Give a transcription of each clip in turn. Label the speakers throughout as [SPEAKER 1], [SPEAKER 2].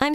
[SPEAKER 1] I'm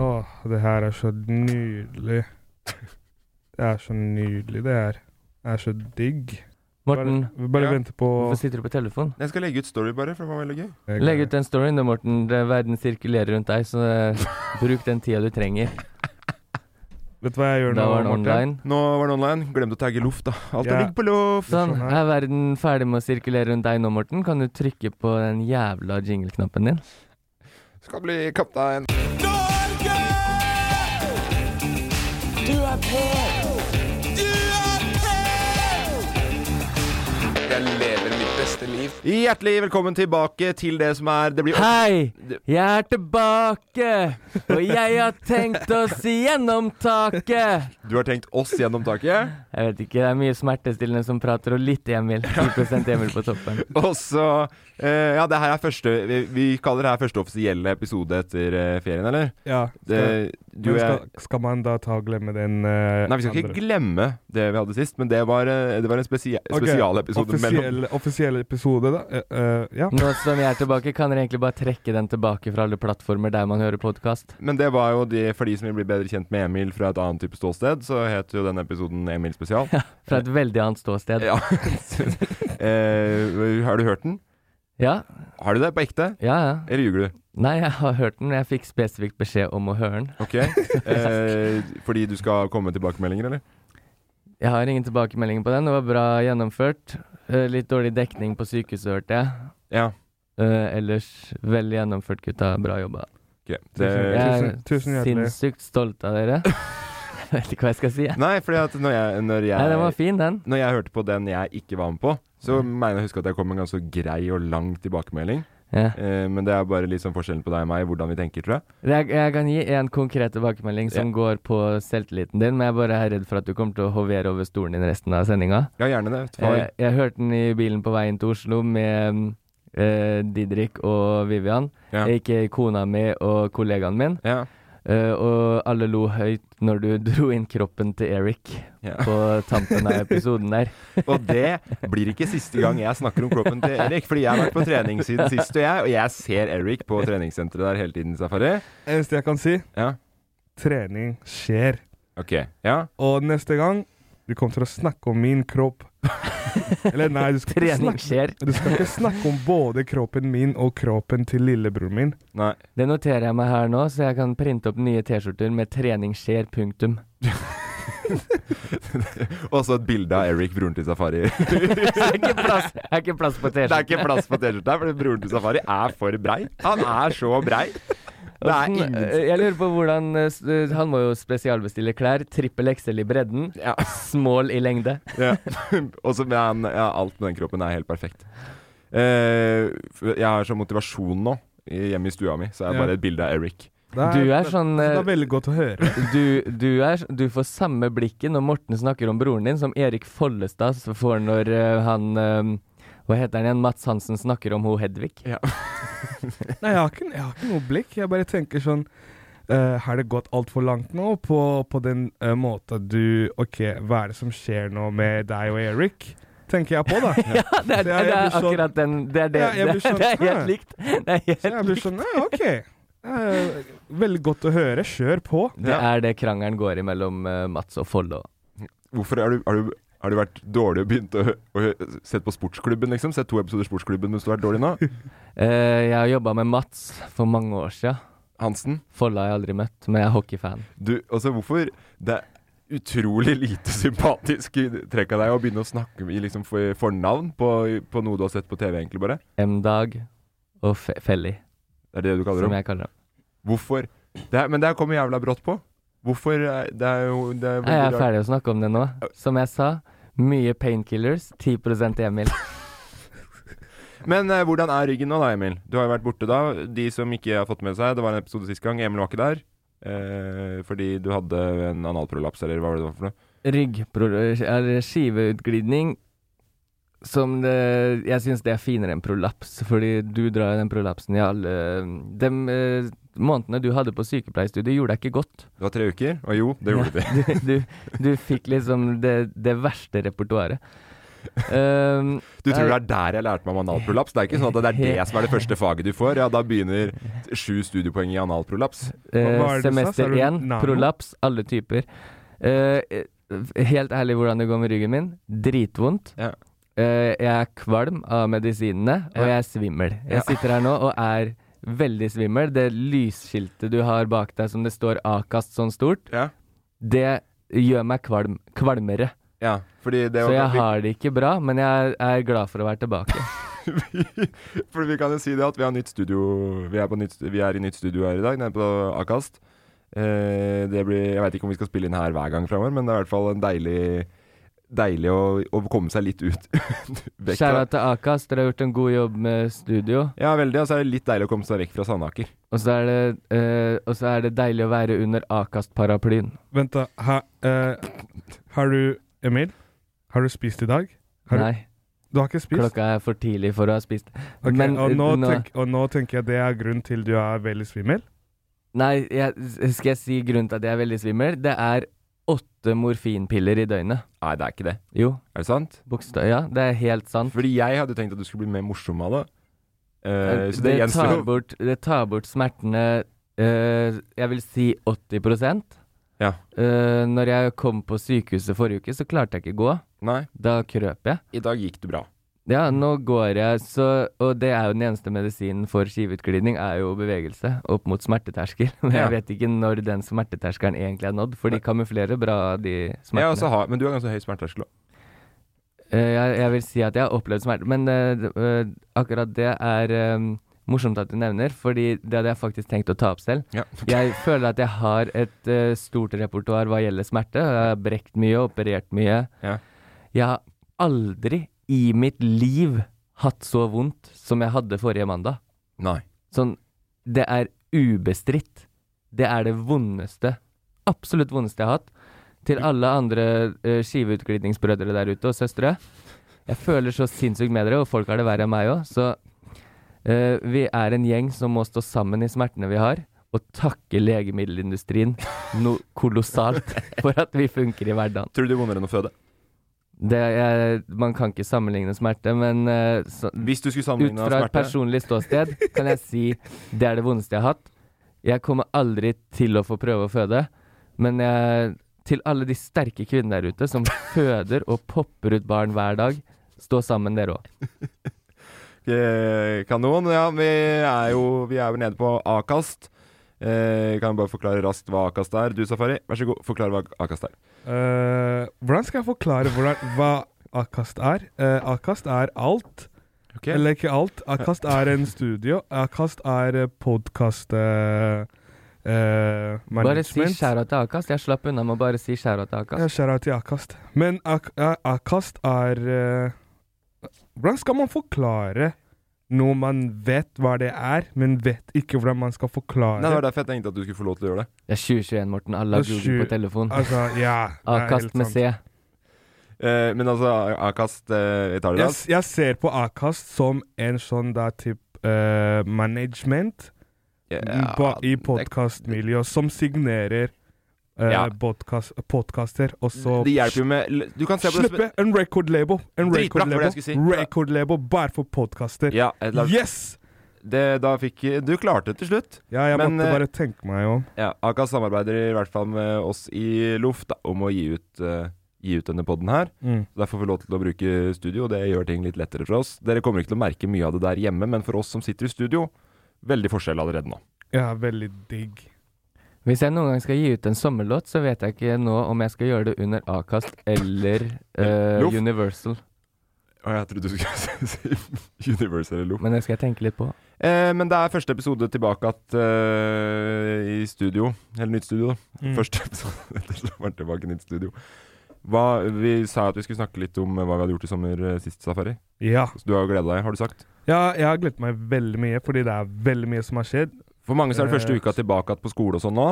[SPEAKER 2] Åh, det her er så nydelig. Det er så nydelig, det her. Det er så digg.
[SPEAKER 3] Morten,
[SPEAKER 2] Bare, bare
[SPEAKER 4] Ja.
[SPEAKER 2] vente på
[SPEAKER 3] hvorfor sitter du på telefon?
[SPEAKER 4] Jeg skal legge ut story, bare, for det var veldig gøy.
[SPEAKER 3] Legg ut den storyen du, Morten. Det- Verden sirkulerer rundt deg, så eh, bruk den tida du trenger.
[SPEAKER 2] Vet du hva jeg gjør
[SPEAKER 3] Da
[SPEAKER 2] nå,
[SPEAKER 3] var den
[SPEAKER 2] Morten?
[SPEAKER 3] online.
[SPEAKER 4] Nå var den online. Glemte å tagge luft, da. Alt
[SPEAKER 2] Ja.
[SPEAKER 4] er ligg på luft.
[SPEAKER 3] Sånn.
[SPEAKER 2] Sånn her.
[SPEAKER 3] Er verden ferdig med å sirkulere rundt deg nå, Morten? Kan du trykke på den jævla jingle-knappen din?
[SPEAKER 4] Skal bli kaptein.
[SPEAKER 5] Jeg lever mitt beste liv.
[SPEAKER 4] Hjertelig velkommen tilbake til det som er Det blir
[SPEAKER 3] Hei!
[SPEAKER 4] Det-
[SPEAKER 3] Jeg er tilbake, og jeg har tenkt oss gjennom taket.
[SPEAKER 4] Du har tenkt oss gjennom taket.
[SPEAKER 3] Jeg vet ikke, det er mye smertestillende som prater, og litt Emil. 10 Emil på toppen.
[SPEAKER 4] Og så eh, Ja, det her er første vi, vi kaller det her første offisielle episode etter eh, ferien, eller?
[SPEAKER 2] Ja.
[SPEAKER 4] Det,
[SPEAKER 2] Skal,
[SPEAKER 4] du og
[SPEAKER 2] men
[SPEAKER 4] jeg
[SPEAKER 2] skal, skal man da ta og glemme den eh,
[SPEAKER 4] Nei, vi skal ikke
[SPEAKER 2] andre?
[SPEAKER 4] glemme det vi hadde sist, men det var, eh, det var en spesie
[SPEAKER 2] Ok,
[SPEAKER 4] spesialepisode mellom
[SPEAKER 2] offisiell, offisiell episode, da. Eh, eh, ja.
[SPEAKER 4] Mm.
[SPEAKER 3] Nå som jeg er tilbake, kan dere egentlig bare trekke den tilbake fra alle plattformer der man hører podkast.
[SPEAKER 4] Men det var jo de, for de som vil bli bedre kjent med Emil fra et annet type ståsted, så het jo den episoden Emil spesial.
[SPEAKER 3] Fra et veldig annet ståsted.
[SPEAKER 4] Ja. eh, har du hørt den?
[SPEAKER 3] Ja,
[SPEAKER 4] Har du det på ekte?
[SPEAKER 3] ja. ja.
[SPEAKER 4] Eller ljuger du?
[SPEAKER 3] Nei, jeg har hørt den. Jeg fikk spesifikt beskjed om å høre den.
[SPEAKER 4] Ok. Eh, fordi du skal komme med tilbakemeldinger, eller?
[SPEAKER 3] Jeg har ingen tilbakemeldinger på den. Det var bra gjennomført. Eh, Litt dårlig dekning på sykehuset, hørte jeg.
[SPEAKER 4] Ja.
[SPEAKER 3] Eh, ellers vel gjennomført, gutta. Bra jobba.
[SPEAKER 4] ok.
[SPEAKER 2] Tusen-
[SPEAKER 4] Det,
[SPEAKER 3] Jeg er
[SPEAKER 2] tusen- tusen hjertelig.
[SPEAKER 3] sinnssykt stolt av dere. Jeg vet ikke hva jeg skal si. jeg.
[SPEAKER 4] nei, fordi at når jeg,
[SPEAKER 3] Nei,
[SPEAKER 4] når
[SPEAKER 3] den var Mm.
[SPEAKER 4] jeg
[SPEAKER 3] fin, den.
[SPEAKER 4] Når jeg hørte på den jeg ikke var med på, så mener jeg å huske at jeg kom med en ganske grei og lang tilbakemelding.
[SPEAKER 3] Ja.
[SPEAKER 4] Eh, men det er bare litt sånn forskjellen på deg og meg, hvordan vi tenker, tror jeg.
[SPEAKER 3] Jeg, jeg kan gi en konkret tilbakemelding som går på selvtilliten din, men jeg bare er redd for at du kommer til å hovere over stolen din resten av sendinga.
[SPEAKER 4] Ja, gjerne det. Ta-
[SPEAKER 3] Jeg, Eh, jeg hørte den i bilen på veien til Oslo med mm, eh, Didrik og Vivian.
[SPEAKER 4] Ja.
[SPEAKER 3] Ikke kona mi og kollegaen min.
[SPEAKER 4] ja.
[SPEAKER 3] Eh, og alle lo høyt når du dro inn kroppen til Eric
[SPEAKER 4] Ja.
[SPEAKER 3] på tampen av episoden der.
[SPEAKER 4] Og det blir ikke siste gang jeg snakker om kroppen til Erik, fordi jeg har vært på trening siden sist, og jeg, og jeg ser Erik på treningssenteret der hele tiden, Safari.
[SPEAKER 2] Eneste jeg kan si,
[SPEAKER 4] Ja.
[SPEAKER 2] trening skjer.
[SPEAKER 4] Ok. Ja.
[SPEAKER 2] Og neste gang du kommer til å snakke om min kropp. Eller nei, du skal, ikke
[SPEAKER 3] Trening
[SPEAKER 2] snakke,
[SPEAKER 3] skjer.
[SPEAKER 2] du skal ikke snakke om både kroppen min og kroppen til lillebroren min.
[SPEAKER 4] Nei.
[SPEAKER 3] Det noterer jeg meg her nå, så jeg kan printe opp nye T-skjorter med 'trening skjer', punktum.
[SPEAKER 4] Og så et bilde av Erik, broren til Safari.
[SPEAKER 3] Det er ikke plass, det er ikke plass på
[SPEAKER 4] Det er
[SPEAKER 3] T-skjorten.
[SPEAKER 4] ikke plass på T-skjorta, for broren til Safari er for brei. Han er så brei. Det er
[SPEAKER 3] Hvordan-
[SPEAKER 4] ingen
[SPEAKER 3] eh, Jeg lurer på hvordan eh, s- eh, Han må jo spesialbestille klær. Trippel XL i bredden,
[SPEAKER 4] ja.
[SPEAKER 3] small i lengde.
[SPEAKER 4] ja. Og så med han- ja, alt med den kroppen er helt perfekt. Eh, for jeg har sånn motivasjon nå. Hjemme i stua mi så er det
[SPEAKER 2] Ja.
[SPEAKER 4] bare et bilde av Eric.
[SPEAKER 2] Det
[SPEAKER 3] Du er sånn,
[SPEAKER 2] Det
[SPEAKER 3] eh,
[SPEAKER 2] er veldig godt å høre.
[SPEAKER 3] Du, du, er, du får samme blikket når Morten snakker om broren din, som Erik Follestad s- får når eh, han eh, Hva heter han igjen? Mats Hansen snakker om hun Hedvig.
[SPEAKER 2] Nei, jeg har, ikke, jeg har ikke noe blikk. Jeg bare tenker sånn eh, Har det gått altfor langt nå på, på den eh, måten du OK, hva er det som skjer nå med deg og Eric? Tenker jeg på, da.
[SPEAKER 3] Det er,
[SPEAKER 2] Så jeg-
[SPEAKER 3] det
[SPEAKER 2] jeg
[SPEAKER 3] er
[SPEAKER 2] blir sånn-
[SPEAKER 3] akkurat den Det er det.
[SPEAKER 2] Ja, jeg blir
[SPEAKER 3] det, er- det er
[SPEAKER 2] sånn, hæ?
[SPEAKER 3] helt likt. Det er
[SPEAKER 2] Så jeg
[SPEAKER 3] helt
[SPEAKER 2] blir
[SPEAKER 3] likt.
[SPEAKER 2] sånn Ja, OK. Eh, veldig godt å høre. Kjør på.
[SPEAKER 3] Det er det krangelen går i mellom eh, Mats og Follo.
[SPEAKER 4] Hvorfor har du, har du, har du vært dårlig og begynt å, å sett på Sportsklubben, liksom? Sett to episoder Sportsklubben mens du har vært dårlig nå?
[SPEAKER 3] Eh, jeg har jobba med Mats for mange år sia.
[SPEAKER 4] Hansen,
[SPEAKER 3] Follo har jeg aldri møtt, men jeg er hockeyfan.
[SPEAKER 4] du, altså hvorfor Det er utrolig lite sympatisk trekk av deg å begynne å snakke i liksom for, fornavn på, på noe du har sett på TV, egentlig, bare.
[SPEAKER 3] M-Dag og Fe Felly,
[SPEAKER 4] Det er det du kaller
[SPEAKER 3] som
[SPEAKER 4] dem.
[SPEAKER 3] jeg kaller dem.
[SPEAKER 4] Hvorfor? Det er, men det her kommer jævla brått på. Hvorfor er- Det er jo det er
[SPEAKER 3] Jeg er
[SPEAKER 4] veldig rart.
[SPEAKER 3] ferdig å snakke om det nå. Som jeg sa, mye painkillers, 10 Emil.
[SPEAKER 4] Men eh, hvordan er ryggen nå da, Emil? Du har jo vært borte da. De som ikke har fått med seg, det var en episode sist gang. Emil var ikke der. Eh, fordi du hadde en analprolaps, eller hva var det det var for noe?
[SPEAKER 3] Ryggpro... Eller skiveutglidning. Som det Jeg syns det er finere enn prolaps, fordi du drar jo den prolapsen i alle De eh, månedene du hadde på sykepleierstudiet, gjorde deg ikke godt.
[SPEAKER 4] Det var tre uker, og jo, det gjorde de.
[SPEAKER 3] Du, du, du fikk liksom det, det verste repertoaret. Um,
[SPEAKER 4] Du tror det er der jeg lærte meg om analprolaps? Det er ikke sånn at det er det som er det første faget du får. Ja, da begynner sju studiepoeng i analprolaps.
[SPEAKER 2] Hva- hva
[SPEAKER 3] Eh,
[SPEAKER 2] er det du sa? Sa
[SPEAKER 3] semester
[SPEAKER 2] du
[SPEAKER 3] én,
[SPEAKER 2] nano?
[SPEAKER 3] prolaps, alle typer. Eh, eh, helt ærlig hvordan det går med ryggen min. Dritvondt.
[SPEAKER 4] Ja.
[SPEAKER 3] Eh, jeg er kvalm av medisinene, og
[SPEAKER 4] Ja.
[SPEAKER 3] jeg er svimmel.
[SPEAKER 4] Ja.
[SPEAKER 3] Jeg sitter her nå og er veldig svimmel. Det lysskiltet du har bak deg som det står Akast sånn stort,
[SPEAKER 4] Ja.
[SPEAKER 3] det gjør meg kvalm. Kvalmere.
[SPEAKER 4] ja fordi det
[SPEAKER 3] Så
[SPEAKER 4] var
[SPEAKER 3] jeg har det ikke bra, men jeg er glad for å være tilbake.
[SPEAKER 4] For vi kan jo si det at vi har nytt studio Vi er, på nytt, vi er i nytt studio her i dag, nede på Akast. Eh, det blir, jeg veit ikke om vi skal spille inn her hver gang fremover, men det er i hvert fall en deilig Deilig å, å komme seg litt ut. vekk fra
[SPEAKER 3] Skjæra til Akast, dere har gjort en god jobb med studio.
[SPEAKER 4] Ja, veldig. Og så er det litt deilig å komme seg vekk fra Sandaker.
[SPEAKER 3] Og så er det, eh, og så er det deilig å være under Akast-paraplyen.
[SPEAKER 2] Vent, da. Ha, eh, har du Emil? Har du spist i dag? Har du-
[SPEAKER 3] Nei,
[SPEAKER 2] Du har ikke spist?
[SPEAKER 3] klokka er for tidlig for å ha spist.
[SPEAKER 2] Ok,
[SPEAKER 3] Men,
[SPEAKER 2] og,
[SPEAKER 3] eh,
[SPEAKER 2] nå
[SPEAKER 3] nå-
[SPEAKER 2] tenk, og nå tenker jeg det er grunnen til du er veldig svimmel.
[SPEAKER 3] Nei, jeg, skal jeg si grunnen til at jeg er veldig svimmel? Det er åtte morfinpiller i døgnet.
[SPEAKER 4] Nei, det er ikke det.
[SPEAKER 3] Jo,
[SPEAKER 4] Er det sant?
[SPEAKER 3] bokstav... Ja, det er helt sant.
[SPEAKER 4] Fordi jeg hadde tenkt at du skulle bli mer morsom av det. Eh, så det
[SPEAKER 3] det,
[SPEAKER 4] gjenstår
[SPEAKER 3] tar
[SPEAKER 4] jo.
[SPEAKER 3] bort, det tar bort smertene eh, Jeg vil si 80
[SPEAKER 4] Ja.
[SPEAKER 3] Eh, Når jeg kom på sykehuset forrige uke, så klarte jeg ikke gå.
[SPEAKER 4] Nei,
[SPEAKER 3] Da krøp jeg.
[SPEAKER 4] i dag gikk det bra.
[SPEAKER 3] Ja, nå går jeg, så, og det er jo den eneste medisinen for skiveutglidning, er jo bevegelse opp mot smerteterskel. Men
[SPEAKER 4] Ja.
[SPEAKER 3] jeg vet ikke når den smerteterskelen egentlig er nådd, for de kamuflerer bra de
[SPEAKER 4] Jeg
[SPEAKER 3] smertene.
[SPEAKER 4] også har, altså men du har ganske høy smerteterskel òg.
[SPEAKER 3] Eh, jeg, jeg vil si at jeg har opplevd smerte, men eh, d- eh, akkurat det er eh, morsomt at du nevner, fordi det hadde jeg faktisk tenkt å ta opp selv.
[SPEAKER 4] Ja.
[SPEAKER 3] Jeg føler at jeg har et eh, stort repertoar hva gjelder smerte. Jeg har brekt mye, operert mye.
[SPEAKER 4] Ja.
[SPEAKER 3] Jeg har aldri i mitt liv hatt så vondt som jeg hadde forrige mandag.
[SPEAKER 4] Nei.
[SPEAKER 3] Sånn, det er ubestridt. Det er det vondeste, absolutt vondeste jeg har hatt. Til alle andre uh, skiveutglidningsbrødre der ute og søstre. Jeg føler så sinnssykt med dere, og folk har det verre enn meg òg, så eh, vi er en gjeng som må stå sammen i smertene vi har, og takke legemiddelindustrien noe kolossalt for at vi funker i hverdagen.
[SPEAKER 4] Tror du det er vondere enn å føde?
[SPEAKER 3] Det er, man kan ikke sammenligne smerte, men eh, så,
[SPEAKER 4] Hvis du skulle
[SPEAKER 3] ut
[SPEAKER 4] sammenligne
[SPEAKER 3] fra et
[SPEAKER 4] smerte
[SPEAKER 3] personlig ståsted kan jeg si det er det vondeste jeg har hatt. Jeg kommer aldri til å få prøve å føde, men jeg, til alle de sterke kvinnene der ute som føder og popper ut barn hver dag, stå sammen dere òg.
[SPEAKER 4] Eh, Kanon. Ja, vi er jo, vi er jo nede på Akast. Eh, kan jeg bare forklare raskt hva Akast er? Du, Safari, vær så god, forklar hva Akast er.
[SPEAKER 2] Eh, hvordan skal jeg forklare hvordan, hva Akast er? Eh, Akast er alt, eller ikke alt. Akast er en studio. Akast er eh, podkast uh,
[SPEAKER 3] Bare si
[SPEAKER 2] eh, management.
[SPEAKER 3] skjæra til Akast. Jeg slapp unna med å bare si skjæra til
[SPEAKER 2] Ja,
[SPEAKER 3] Akast.
[SPEAKER 2] skjæra til Akast. Men ak ja, Akast er eh, Hvordan skal man forklare noe man vet hva det er, men vet ikke hvordan man skal forklare
[SPEAKER 4] Nei, det var derfor jeg tenkte at du skulle få lov til å gjøre det.
[SPEAKER 3] Det er 2021, Morten. Alle har
[SPEAKER 2] Det er
[SPEAKER 3] Google
[SPEAKER 2] sju-
[SPEAKER 3] på telefon.
[SPEAKER 2] Altså, ja. det er helt
[SPEAKER 3] Akast med
[SPEAKER 2] sant.
[SPEAKER 3] C.
[SPEAKER 4] Eh, men altså, A- Akast eh, tar
[SPEAKER 2] Jeg,
[SPEAKER 4] det da.
[SPEAKER 2] s- jeg ser på Akast som en sånn da type eh, management
[SPEAKER 4] Ja,
[SPEAKER 2] på, i
[SPEAKER 4] det-
[SPEAKER 2] podkastmiljø, som signerer eh,
[SPEAKER 4] Ja.
[SPEAKER 2] podkast, podkaster, og så
[SPEAKER 4] Det hjelper jo med l- Du kan se på det som
[SPEAKER 2] Slippe en record label! En
[SPEAKER 4] Dritbra,
[SPEAKER 2] record
[SPEAKER 4] for det
[SPEAKER 2] label,
[SPEAKER 4] jeg skulle si.
[SPEAKER 2] record label bare for podkaster.
[SPEAKER 4] Ja, et lag-
[SPEAKER 2] Yes!
[SPEAKER 4] det, da fikk Du klarte det til slutt.
[SPEAKER 2] Ja, jeg
[SPEAKER 4] Men,
[SPEAKER 2] måtte
[SPEAKER 4] eh,
[SPEAKER 2] bare tenke meg om.
[SPEAKER 4] Ja, Akas samarbeider i hvert fall med oss i Loft da, om å gi ut, eh, gi ut denne podden her.
[SPEAKER 2] Mm.
[SPEAKER 4] Så Derfor får vi lov til å bruke studio, og det gjør ting litt lettere for oss. Dere kommer ikke til å merke mye av det der hjemme, men for oss som sitter i studio, veldig forskjell allerede nå.
[SPEAKER 2] Ja, veldig digg.
[SPEAKER 3] Hvis jeg noen gang skal gi ut en sommerlåt, så vet jeg ikke nå om jeg skal gjøre det under Akast eller eh,
[SPEAKER 4] Loff.
[SPEAKER 3] Universal.
[SPEAKER 4] Og jeg trodde du skulle si Universe eller Loft.
[SPEAKER 3] Men det skal jeg tenke litt på.
[SPEAKER 4] Eh, men det er første episode tilbake at, eh, i studio. Eller nytt studio, da. Første episode etter sommeren tilbake i nytt studio. Hva, vi sa at vi skulle snakke litt om eh, hva vi hadde gjort i sommer eh, sist safari.
[SPEAKER 2] Ja.
[SPEAKER 4] Så du har jo gleda deg, har du sagt?
[SPEAKER 2] ja. Jeg har gledet meg veldig mye, fordi det er veldig mye som har skjedd.
[SPEAKER 4] For mange så er det første
[SPEAKER 2] Eh,
[SPEAKER 4] uka tilbake igjen på skole og sånn nå.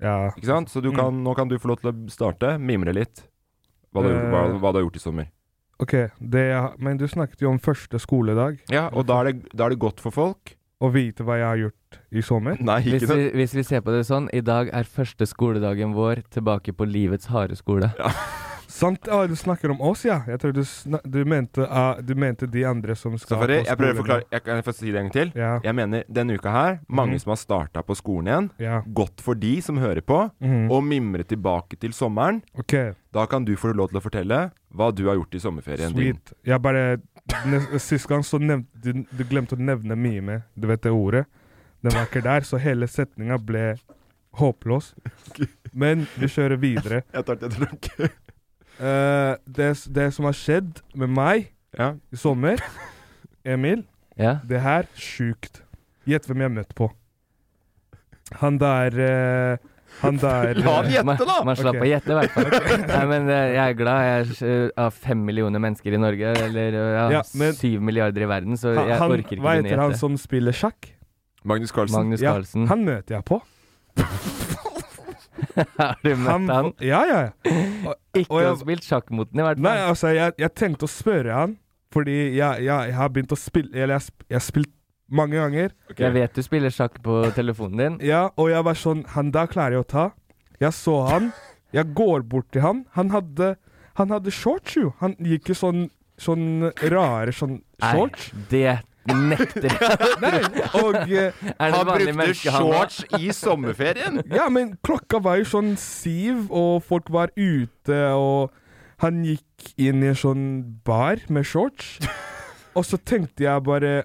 [SPEAKER 2] Ja.
[SPEAKER 4] Ikke sant? Så du kan, nå kan du få lov til å starte, mimre litt. Hva du, har gjort- hva, hva du har gjort i sommer.
[SPEAKER 2] Ok, det jeg, men du snakket jo om første skoledag.
[SPEAKER 4] Ja, Og da er, det, da er det godt for folk.
[SPEAKER 2] Å vite hva jeg har gjort i sommer.
[SPEAKER 4] Nei,
[SPEAKER 3] Hvis
[SPEAKER 4] ikke
[SPEAKER 3] vi,
[SPEAKER 4] det.
[SPEAKER 3] hvis vi ser på det sånn, i dag er første skoledagen vår tilbake på livets harde skole.
[SPEAKER 2] Sant? Å, du snakker om oss, ja. Jeg tror du, sna du, mente, ah, du mente de andre som skal
[SPEAKER 4] Safari,
[SPEAKER 2] på
[SPEAKER 4] jeg prøver å
[SPEAKER 2] skolen.
[SPEAKER 4] forklare jeg Kan jeg få si det en gang til?
[SPEAKER 2] Ja.
[SPEAKER 4] Jeg mener, denne uka her, mange
[SPEAKER 2] Mhm.
[SPEAKER 4] som har starta på skolen igjen.
[SPEAKER 2] Ja.
[SPEAKER 4] Godt for de som hører på,
[SPEAKER 2] Mhm.
[SPEAKER 4] og mimre tilbake til sommeren.
[SPEAKER 2] Ok,
[SPEAKER 4] Da kan du få lov til å fortelle hva du har gjort i sommerferien din.
[SPEAKER 2] sweet. Jeg bare ne- Sist gang så nevnte du, du glemte å nevne mime. Du vet det ordet. Den var ikke der, så hele setninga ble håpløs. Men vi kjører videre.
[SPEAKER 4] Jeg tar til drømke.
[SPEAKER 2] Eh, det, s- det som har skjedd med meg
[SPEAKER 4] Ja.
[SPEAKER 2] i sommer Emil,
[SPEAKER 3] Ja?
[SPEAKER 2] det her sjukt. Gjett hvem jeg møtte på. Han der eh, Han der
[SPEAKER 4] La
[SPEAKER 2] eh,
[SPEAKER 4] den gjette,
[SPEAKER 3] Man,
[SPEAKER 4] da!
[SPEAKER 3] man slapp
[SPEAKER 2] Ok.
[SPEAKER 3] å gjette, i hvert fall. Nei, men eh, jeg er glad. Jeg er eh, av fem millioner mennesker i Norge, eller eh, ja,
[SPEAKER 2] Ja, men-
[SPEAKER 3] syv milliarder i verden, så
[SPEAKER 2] han,
[SPEAKER 3] jeg
[SPEAKER 2] han,
[SPEAKER 3] orker ikke
[SPEAKER 2] Hva
[SPEAKER 3] begynne
[SPEAKER 2] heter
[SPEAKER 3] å
[SPEAKER 2] han
[SPEAKER 3] gjette.
[SPEAKER 2] som spiller sjakk?
[SPEAKER 4] Magnus Carlsen.
[SPEAKER 3] Magnus
[SPEAKER 2] Ja,
[SPEAKER 3] Carlsen.
[SPEAKER 2] han møter jeg på.
[SPEAKER 3] Har du
[SPEAKER 2] Han,
[SPEAKER 3] møtt han?
[SPEAKER 2] Ja, ja, ja.
[SPEAKER 3] Ikke
[SPEAKER 2] og jeg-
[SPEAKER 3] har spilt sjakk mot den, i hvert
[SPEAKER 2] Nei,
[SPEAKER 3] fall.
[SPEAKER 2] altså, jeg, jeg tenkte å spørre han, fordi jeg, jeg, jeg har begynt å spille Eller jeg, sp- jeg har spilt mange ganger.
[SPEAKER 4] Ok.
[SPEAKER 3] Jeg vet du spiller sjakk på telefonen din.
[SPEAKER 2] Ja, og jeg var sånn Han der klarer jeg å ta. Jeg så han. Jeg går bort til han. Han hadde, han hadde shorts, jo. Han gikk i sånn, sånn rare sånn shorts.
[SPEAKER 3] Nei, det nekter jeg.
[SPEAKER 2] Nei, og eh,
[SPEAKER 3] Er det
[SPEAKER 4] Han
[SPEAKER 3] vanlig
[SPEAKER 4] brukte
[SPEAKER 3] menneske han da?
[SPEAKER 4] shorts i sommerferien!
[SPEAKER 2] Ja, men klokka var jo sånn siv, og folk var ute, og han gikk inn i en sånn bar med shorts. Og så tenkte jeg bare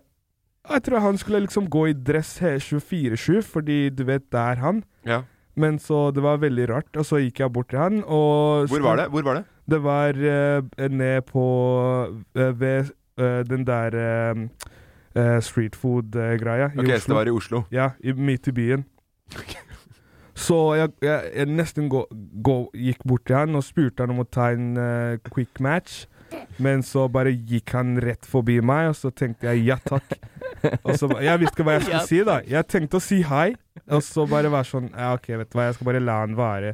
[SPEAKER 2] Jeg tror han skulle liksom gå i dress he- 24-7, fordi du vet, det er han.
[SPEAKER 4] Ja.
[SPEAKER 2] Men så det var veldig rart, og så gikk jeg bort til han, og
[SPEAKER 4] Hvor var det? Hvor var det?
[SPEAKER 2] Det var eh, ned på eh, Ved eh, den der eh, eh, street food-greia i
[SPEAKER 4] Ok, så
[SPEAKER 2] Oslo.
[SPEAKER 4] det var i Oslo.
[SPEAKER 2] Ja, i, midt i byen. Så jeg, jeg, jeg nesten gå, gå, gikk bort til han og spurte han om å ta en eh, quick match. Men så bare gikk han rett forbi meg, og så tenkte jeg ja takk. Og så, ba- jeg visste ikke hva jeg skulle si, da. Jeg tenkte å si hei, og så bare være sånn ja, OK, vet du hva, jeg skal bare la han være.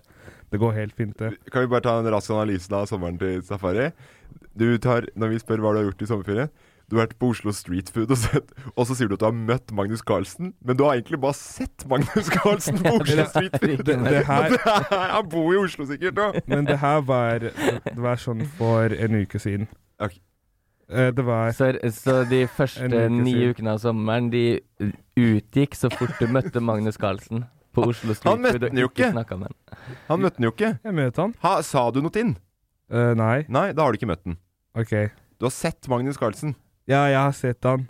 [SPEAKER 2] Det går helt fint, det.
[SPEAKER 4] Kan vi bare ta en rask analyse da av sommeren til Safari? Du tar, Når vi spør hva du har gjort i sommerferien Du har vært på Oslo Street Food, og, sett, og så sier du at du har møtt Magnus Carlsen. Men du har egentlig bare sett Magnus Carlsen på Oslo Street Food!
[SPEAKER 2] det, det her,
[SPEAKER 4] Han bor i Oslo sikkert nå!
[SPEAKER 2] men det her var, det var sånn for en uke siden.
[SPEAKER 4] Ok.
[SPEAKER 2] Eh, Det var
[SPEAKER 3] Så, så de første
[SPEAKER 2] En uke
[SPEAKER 3] ni
[SPEAKER 2] siden.
[SPEAKER 3] ukene av sommeren, de utgikk så fort du møtte Magnus Carlsen på Oslo Street.
[SPEAKER 4] møtte
[SPEAKER 3] Food og
[SPEAKER 4] den jo ikke.
[SPEAKER 3] snakket med han.
[SPEAKER 4] Han møtte den jo ikke.
[SPEAKER 2] Jeg møter han.
[SPEAKER 4] Ha, sa du noe til den?
[SPEAKER 2] Eh, nei,
[SPEAKER 4] Nei, da har du ikke møtt den.
[SPEAKER 2] OK.
[SPEAKER 4] Du har sett Magnus Carlsen.
[SPEAKER 2] Ja, jeg har sett han.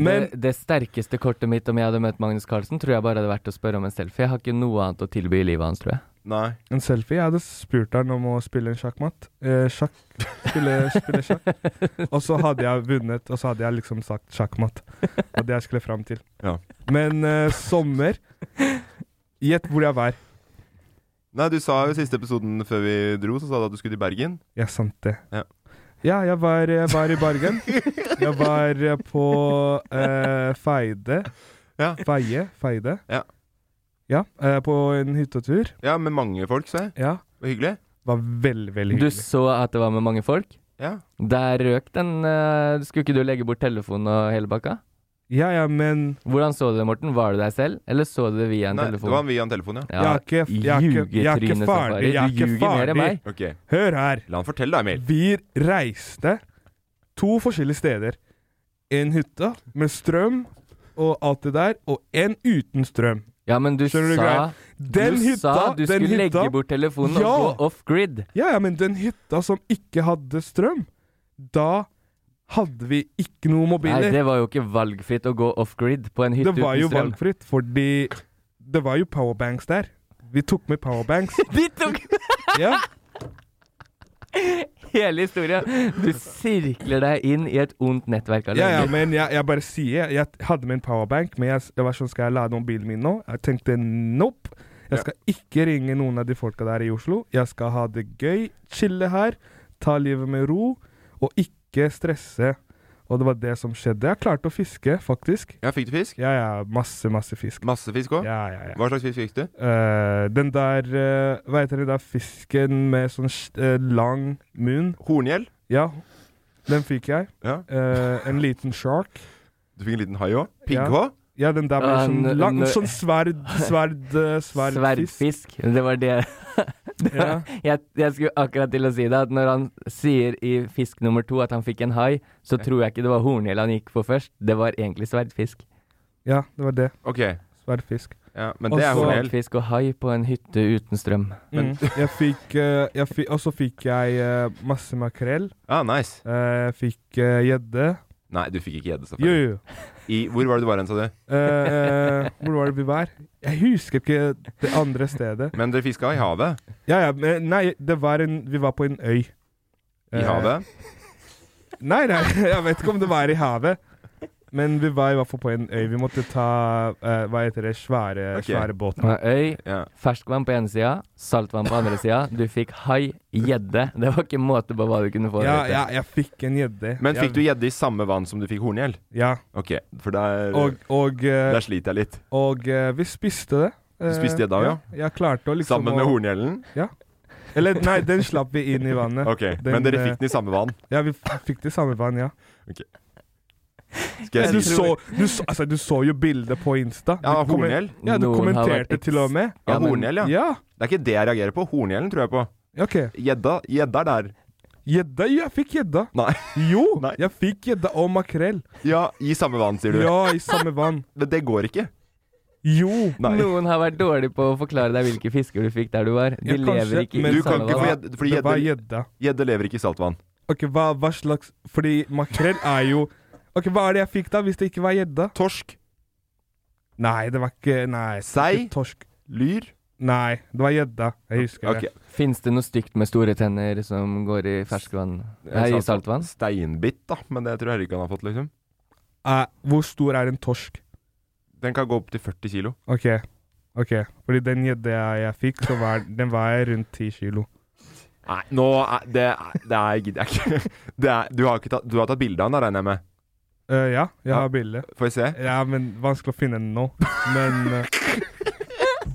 [SPEAKER 2] Men
[SPEAKER 3] det, det sterkeste kortet mitt om jeg hadde møtt Magnus Carlsen, tror jeg bare hadde vært å spørre om en selfie. Jeg har ikke noe annet å tilby i livet hans, tror jeg.
[SPEAKER 4] Nei.
[SPEAKER 2] en selfie Jeg hadde spurt han om å spille en sjakkmatt. Eh, sjakk. Spille, spille sjakk. Og så hadde jeg vunnet, og så hadde jeg liksom sagt sjakkmatt. Og det jeg skulle fram til.
[SPEAKER 4] Ja.
[SPEAKER 2] Men eh, sommer Gjett hvor jeg var.
[SPEAKER 4] Nei, du sa jo i siste episoden før vi dro, så sa du at du skulle til Bergen.
[SPEAKER 2] Ja, sant det.
[SPEAKER 4] Ja.
[SPEAKER 2] Ja, jeg var, jeg var i Bergen. Jeg var eh, på eh, Feide.
[SPEAKER 4] Ja.
[SPEAKER 2] Feie? Feide?
[SPEAKER 4] Ja.
[SPEAKER 2] Ja, eh, på en hyttetur.
[SPEAKER 4] Ja, med mange folk, sa jeg.
[SPEAKER 2] Ja.
[SPEAKER 4] Det var hyggelig.
[SPEAKER 2] Var veldig, veldig
[SPEAKER 3] Du
[SPEAKER 2] hyggelig.
[SPEAKER 3] så at det var med mange folk.
[SPEAKER 4] Ja.
[SPEAKER 3] Der røk den. eh, Skulle ikke du legge bort telefonen og hele bakka?
[SPEAKER 2] Ja, ja, men
[SPEAKER 3] Hvordan så du det, Morten? Var det deg selv, eller så du det via en
[SPEAKER 4] Nei, det
[SPEAKER 3] telefon?
[SPEAKER 4] var via en telefon, ja.
[SPEAKER 2] jeg er ikke, jeg er ikke, jeg er ikke ferdig.
[SPEAKER 3] Safari.
[SPEAKER 2] Jeg er
[SPEAKER 3] Du
[SPEAKER 2] ikke
[SPEAKER 3] ljuger mer enn
[SPEAKER 2] ferdig.
[SPEAKER 3] meg.
[SPEAKER 4] Ok,
[SPEAKER 2] Hør her.
[SPEAKER 4] la han fortelle deg, Emil.
[SPEAKER 2] Vi reiste to forskjellige steder. En hytte med strøm og alt det der, og en uten strøm.
[SPEAKER 3] Ja, men du
[SPEAKER 2] Skjønner du
[SPEAKER 3] sa
[SPEAKER 2] greia? Den
[SPEAKER 3] du
[SPEAKER 2] hytta,
[SPEAKER 3] sa du
[SPEAKER 2] den
[SPEAKER 3] skulle
[SPEAKER 2] hytta,
[SPEAKER 3] legge bort telefonen
[SPEAKER 2] Ja!
[SPEAKER 3] og gå off-grid.
[SPEAKER 2] Ja, ja, men den hytta som ikke hadde strøm, da hadde vi ikke noe
[SPEAKER 3] Nei,
[SPEAKER 2] mobiler.
[SPEAKER 3] det var jo ikke valgfritt å gå off-grid på en hytte
[SPEAKER 2] det var jo
[SPEAKER 3] uten strøm.
[SPEAKER 2] valgfritt, fordi det var jo powerbanks der. Vi tok med powerbanks.
[SPEAKER 3] De tok
[SPEAKER 2] ja.
[SPEAKER 3] hele historia! Du sirkler deg inn i et ondt nettverk av
[SPEAKER 2] ja, ja,
[SPEAKER 3] løgner.
[SPEAKER 2] men jeg, jeg bare sier Jeg hadde med en powerbank, men jeg, jeg var sånn Skal jeg lade mobilen min nå? Jeg tenkte nope. Jeg skal ikke ringe noen av de folka der i Oslo. Jeg skal ha det gøy, chille her, ta livet med ro, og ikke stresse. Og det var det som skjedde. Jeg klarte å fiske, faktisk.
[SPEAKER 4] Ja, fikk du fisk?
[SPEAKER 2] Ja, ja, masse, masse fisk.
[SPEAKER 4] Masse fisk òg?
[SPEAKER 2] Ja, ja, ja.
[SPEAKER 4] Hva slags fisk fikk du?
[SPEAKER 2] Eh, den der eh, Hva heter den der fisken med sånn s- eh, lang munn?
[SPEAKER 4] Horngjell?
[SPEAKER 2] Ja, den fikk jeg.
[SPEAKER 4] Ja.
[SPEAKER 2] Eh, en liten shark.
[SPEAKER 4] Du fikk en liten hai òg?
[SPEAKER 2] Ja.
[SPEAKER 4] Pigghå?
[SPEAKER 2] Ja, den der
[SPEAKER 3] Ah,
[SPEAKER 2] med sånn
[SPEAKER 3] en-
[SPEAKER 2] lang
[SPEAKER 3] en-
[SPEAKER 2] Sånn sverd Sverd eh, Sverdfisk.
[SPEAKER 3] Sverdfisk. Det var det Det var- jeg, jeg skulle akkurat til å si det, at når han sier i fisk nummer to at han fikk en hai, så tror jeg ikke det var horngjell han gikk på først. Det var egentlig sverdfisk.
[SPEAKER 2] Ja, det var det.
[SPEAKER 4] Ok.
[SPEAKER 2] Sverdfisk.
[SPEAKER 4] Ja, men
[SPEAKER 2] Og
[SPEAKER 4] det er
[SPEAKER 2] så-
[SPEAKER 4] horngjell.
[SPEAKER 3] Sverdfisk og hai på en hytte uten strøm.
[SPEAKER 2] Mm. Jeg fikk, eh, jeg fikk Og så fikk jeg eh, masse makrell.
[SPEAKER 4] Ah, nice.
[SPEAKER 2] Eh, jeg fikk eh, gjedde.
[SPEAKER 4] Nei, du fikk ikke gjedde,
[SPEAKER 2] jo,
[SPEAKER 4] selvfølgelig.
[SPEAKER 2] jo.
[SPEAKER 4] I, hvor var det du var hen, sa du?
[SPEAKER 2] Eh, hvor var det vi var? Jeg husker ikke det andre stedet.
[SPEAKER 4] Men dere fiska i havet?
[SPEAKER 2] Ja, ja, men nei, det var en Vi var på en øy.
[SPEAKER 4] I
[SPEAKER 2] Eh,
[SPEAKER 4] havet?
[SPEAKER 2] Nei, nei, jeg vet ikke om det var i havet. Men vi var i hvert fall på en øy. Vi måtte ta eh, hva heter det, svære,
[SPEAKER 4] Ok.
[SPEAKER 2] svære båten.
[SPEAKER 3] Det var øy,
[SPEAKER 4] Ja.
[SPEAKER 3] ferskvann på ene sida, saltvann på andre sida. Du fikk hai, gjedde. Det var ikke måte på hva du kunne få.
[SPEAKER 2] Ja,
[SPEAKER 3] vet du.
[SPEAKER 2] ja, jeg fikk en gjedde.
[SPEAKER 4] Men
[SPEAKER 2] Jeg-
[SPEAKER 4] fikk du gjedde i samme vann som du fikk horngjell?
[SPEAKER 2] Ja.
[SPEAKER 4] Ok, for der,
[SPEAKER 2] Og, og, eh,
[SPEAKER 4] der sliter jeg litt.
[SPEAKER 2] og eh, vi spiste det. Eh,
[SPEAKER 4] spiste gjedda også,
[SPEAKER 2] Ja, jeg klarte å liksom
[SPEAKER 4] Sammen med
[SPEAKER 2] å-
[SPEAKER 4] horngjellen?
[SPEAKER 2] Eller nei, den slapp vi inn i vannet.
[SPEAKER 4] Ok, men dere
[SPEAKER 2] eh,
[SPEAKER 4] fikk den i samme vann?
[SPEAKER 2] Ja, vi f- fikk det i samme vann, ja.
[SPEAKER 4] Skal
[SPEAKER 2] du,
[SPEAKER 4] jeg si
[SPEAKER 2] så, du, så, altså, du så jo bildet på Insta.
[SPEAKER 4] Ja,
[SPEAKER 2] Du kommer-
[SPEAKER 4] horngjell?
[SPEAKER 2] Ja, du
[SPEAKER 3] Noen har vært
[SPEAKER 2] kommenterte til og med.
[SPEAKER 4] Ja,
[SPEAKER 3] Ja, men-
[SPEAKER 4] horngjell, ja.
[SPEAKER 2] Ja,
[SPEAKER 4] Det er ikke det jeg reagerer på. Horngjellen tror jeg på.
[SPEAKER 2] ok.
[SPEAKER 4] Gjedda gjedda er der.
[SPEAKER 2] Gjedda? Jo, jeg fikk gjedda.
[SPEAKER 4] Nei.
[SPEAKER 2] Jo,
[SPEAKER 4] Nei.
[SPEAKER 2] jeg fikk gjedda og makrell.
[SPEAKER 4] Ja, i samme vann, sier du.
[SPEAKER 2] Ja, i samme vann.
[SPEAKER 4] Men det går ikke.
[SPEAKER 2] Jo.
[SPEAKER 4] Nei.
[SPEAKER 3] Noen har vært dårlig på å forklare deg hvilke fisker du fikk der du var. De
[SPEAKER 2] Ja, kanskje,
[SPEAKER 3] lever ikke
[SPEAKER 2] men-
[SPEAKER 3] i
[SPEAKER 4] Du kan
[SPEAKER 3] samme
[SPEAKER 4] ikke få
[SPEAKER 3] vann.
[SPEAKER 4] gjedde, fordi
[SPEAKER 2] det var
[SPEAKER 4] gjedde,
[SPEAKER 2] gjedda.
[SPEAKER 4] gjedde lever ikke i saltvann.
[SPEAKER 2] Ok, hva, hva slags Fordi makrell er jo Ok, Hva er det jeg fikk da, hvis det ikke var gjedda?
[SPEAKER 4] Torsk,
[SPEAKER 2] Nei, det var ikke Nei.
[SPEAKER 4] Sei?
[SPEAKER 2] ikke Torsk.
[SPEAKER 4] lyr
[SPEAKER 2] Nei, det var gjedda. Jeg husker
[SPEAKER 4] Ok,
[SPEAKER 2] det.
[SPEAKER 3] Fins det noe stygt med store tenner som går i ferskvann Nei, i saltvann?
[SPEAKER 4] Steinbitt, da. Men det tror jeg ikke han har fått, liksom.
[SPEAKER 2] Eh, hvor stor er en torsk?
[SPEAKER 4] Den kan gå opp til 40 kilo.
[SPEAKER 2] Ok. Ok, Fordi den gjedda jeg, jeg fikk, så var, den var rundt 10 kilo.
[SPEAKER 4] Nei, nå er Det, er- det er gidder jeg ikke. Det er, du, har ikke tatt, du har tatt bilde av den, da, regner jeg med?
[SPEAKER 2] Eh, ja, jeg
[SPEAKER 4] Ja.
[SPEAKER 2] har bilde.
[SPEAKER 4] Får vi se?
[SPEAKER 2] Ja, men vanskelig å finne den nå. Men eh,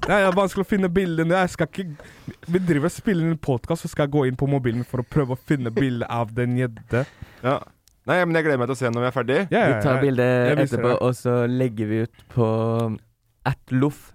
[SPEAKER 2] Nei, det er vanskelig å finne bildet nå. Jeg skal ikke Vi driver og spiller inn en podkast, så skal jeg gå inn på mobilen for å prøve å finne bilde av den gjedde.
[SPEAKER 4] Ja. Nei, men jeg gleder meg til å se den når vi er ferdig.
[SPEAKER 2] Ja,
[SPEAKER 3] Vi
[SPEAKER 2] ja,
[SPEAKER 3] tar
[SPEAKER 2] ja.
[SPEAKER 3] bilde
[SPEAKER 2] jeg viser
[SPEAKER 3] etterpå,
[SPEAKER 2] deg.
[SPEAKER 3] og så legger vi ut på at loff.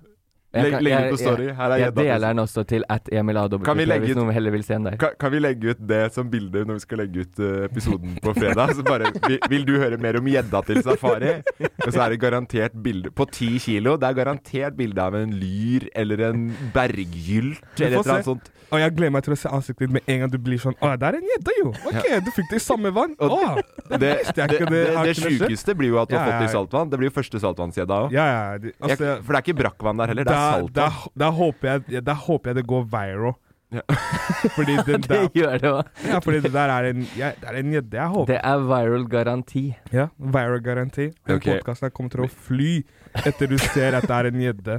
[SPEAKER 3] Jeg
[SPEAKER 4] Legg,
[SPEAKER 3] kan-
[SPEAKER 4] legg
[SPEAKER 3] jeg-
[SPEAKER 4] ut på story.
[SPEAKER 3] Jeg,
[SPEAKER 4] Her er
[SPEAKER 3] jeg
[SPEAKER 4] gjedda. liksom.
[SPEAKER 3] deler
[SPEAKER 4] tusen.
[SPEAKER 3] den også til at Emil A.
[SPEAKER 4] Kan vi legge
[SPEAKER 3] hvis
[SPEAKER 4] ut-
[SPEAKER 3] noen heller vil se den der.
[SPEAKER 4] Kan, kan vi legge ut det som bilde når vi skal legge ut eh, episoden på fredag? Så bare, vil, vil du høre mer om gjedda til safari? Og så er det garantert bilde på ti kilo. Det er garantert bilde av en lyr eller en berggylt
[SPEAKER 2] Vi
[SPEAKER 4] eller
[SPEAKER 2] får
[SPEAKER 4] et eller annet
[SPEAKER 2] se.
[SPEAKER 4] sånt.
[SPEAKER 2] Og jeg gleder meg til å se ansiktet ditt med en gang du blir sånn Å, der er en gjedde, jo! Ok, du fikk det i samme vann.
[SPEAKER 4] Og
[SPEAKER 2] Å, visste
[SPEAKER 4] Det, det,
[SPEAKER 2] jeg
[SPEAKER 4] det,
[SPEAKER 2] ikke, det
[SPEAKER 4] det,
[SPEAKER 2] har ikke skjedd.
[SPEAKER 4] sjukeste blir jo at du har
[SPEAKER 2] Ja,
[SPEAKER 4] fått det
[SPEAKER 2] ja,
[SPEAKER 4] i
[SPEAKER 2] ja.
[SPEAKER 4] saltvann. Det blir jo første saltvannsgjedda òg.
[SPEAKER 2] Ja, ja. de- Altså,
[SPEAKER 4] For det er ikke brakkvann der heller, det er
[SPEAKER 2] da, da,
[SPEAKER 4] saltvann.
[SPEAKER 2] da, håper jeg, ja, da håper jeg det går viral.
[SPEAKER 4] Ja.
[SPEAKER 2] Fordi den
[SPEAKER 3] Det
[SPEAKER 2] der
[SPEAKER 3] gjør det òg.
[SPEAKER 2] Ja, fordi det der er en ja, Det er en gjedde jeg håper
[SPEAKER 3] Det er viral garanti.
[SPEAKER 2] Ja, Viral-garanti. Den
[SPEAKER 4] Ok.
[SPEAKER 2] podkasten her kommer til å fly etter du ser at det er en gjedde.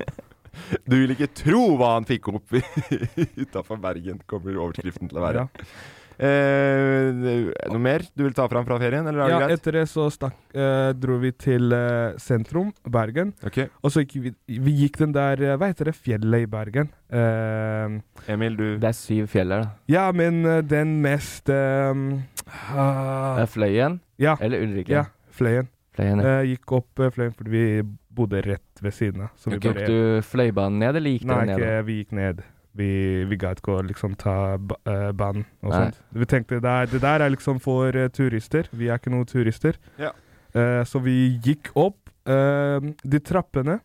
[SPEAKER 4] Du vil ikke tro hva han fikk opp utafor Bergen, kommer overskriften til å være.
[SPEAKER 2] Ja.
[SPEAKER 4] Eh, noe mer du vil ta fram fra ferien, eller er det
[SPEAKER 2] Ja,
[SPEAKER 4] greit?
[SPEAKER 2] etter det så stakk, eh, dro vi til eh, sentrum, Bergen.
[SPEAKER 4] Ok.
[SPEAKER 2] Og så gikk vi, vi gikk den der eh, Hva heter det fjellet i Bergen? Eh,
[SPEAKER 4] Emil, du
[SPEAKER 3] Det er syv fjell her, da.
[SPEAKER 2] ja, men eh, den mest eh, ah,
[SPEAKER 3] Det er Fløyen
[SPEAKER 2] Ja.
[SPEAKER 3] eller Ulriken.
[SPEAKER 2] ja Fløyen.
[SPEAKER 3] Fløyen. ja.
[SPEAKER 2] Eh, gikk opp eh, Fløyen fordi vi bodde rett ved siden av. Så vi
[SPEAKER 3] Tok
[SPEAKER 2] bare-
[SPEAKER 3] du Fløibanen ned, eller gikk
[SPEAKER 2] Nei,
[SPEAKER 3] dere ned? da?
[SPEAKER 2] ikke, vi gikk ned. Vi, vi ga ikke å liksom ta ba eh, banen og
[SPEAKER 3] Nei.
[SPEAKER 2] sånt. Vi tenkte det, er, det der er liksom for eh, turister. Vi er ikke noen turister.
[SPEAKER 4] Ja.
[SPEAKER 2] Eh, så vi gikk opp eh, de trappene.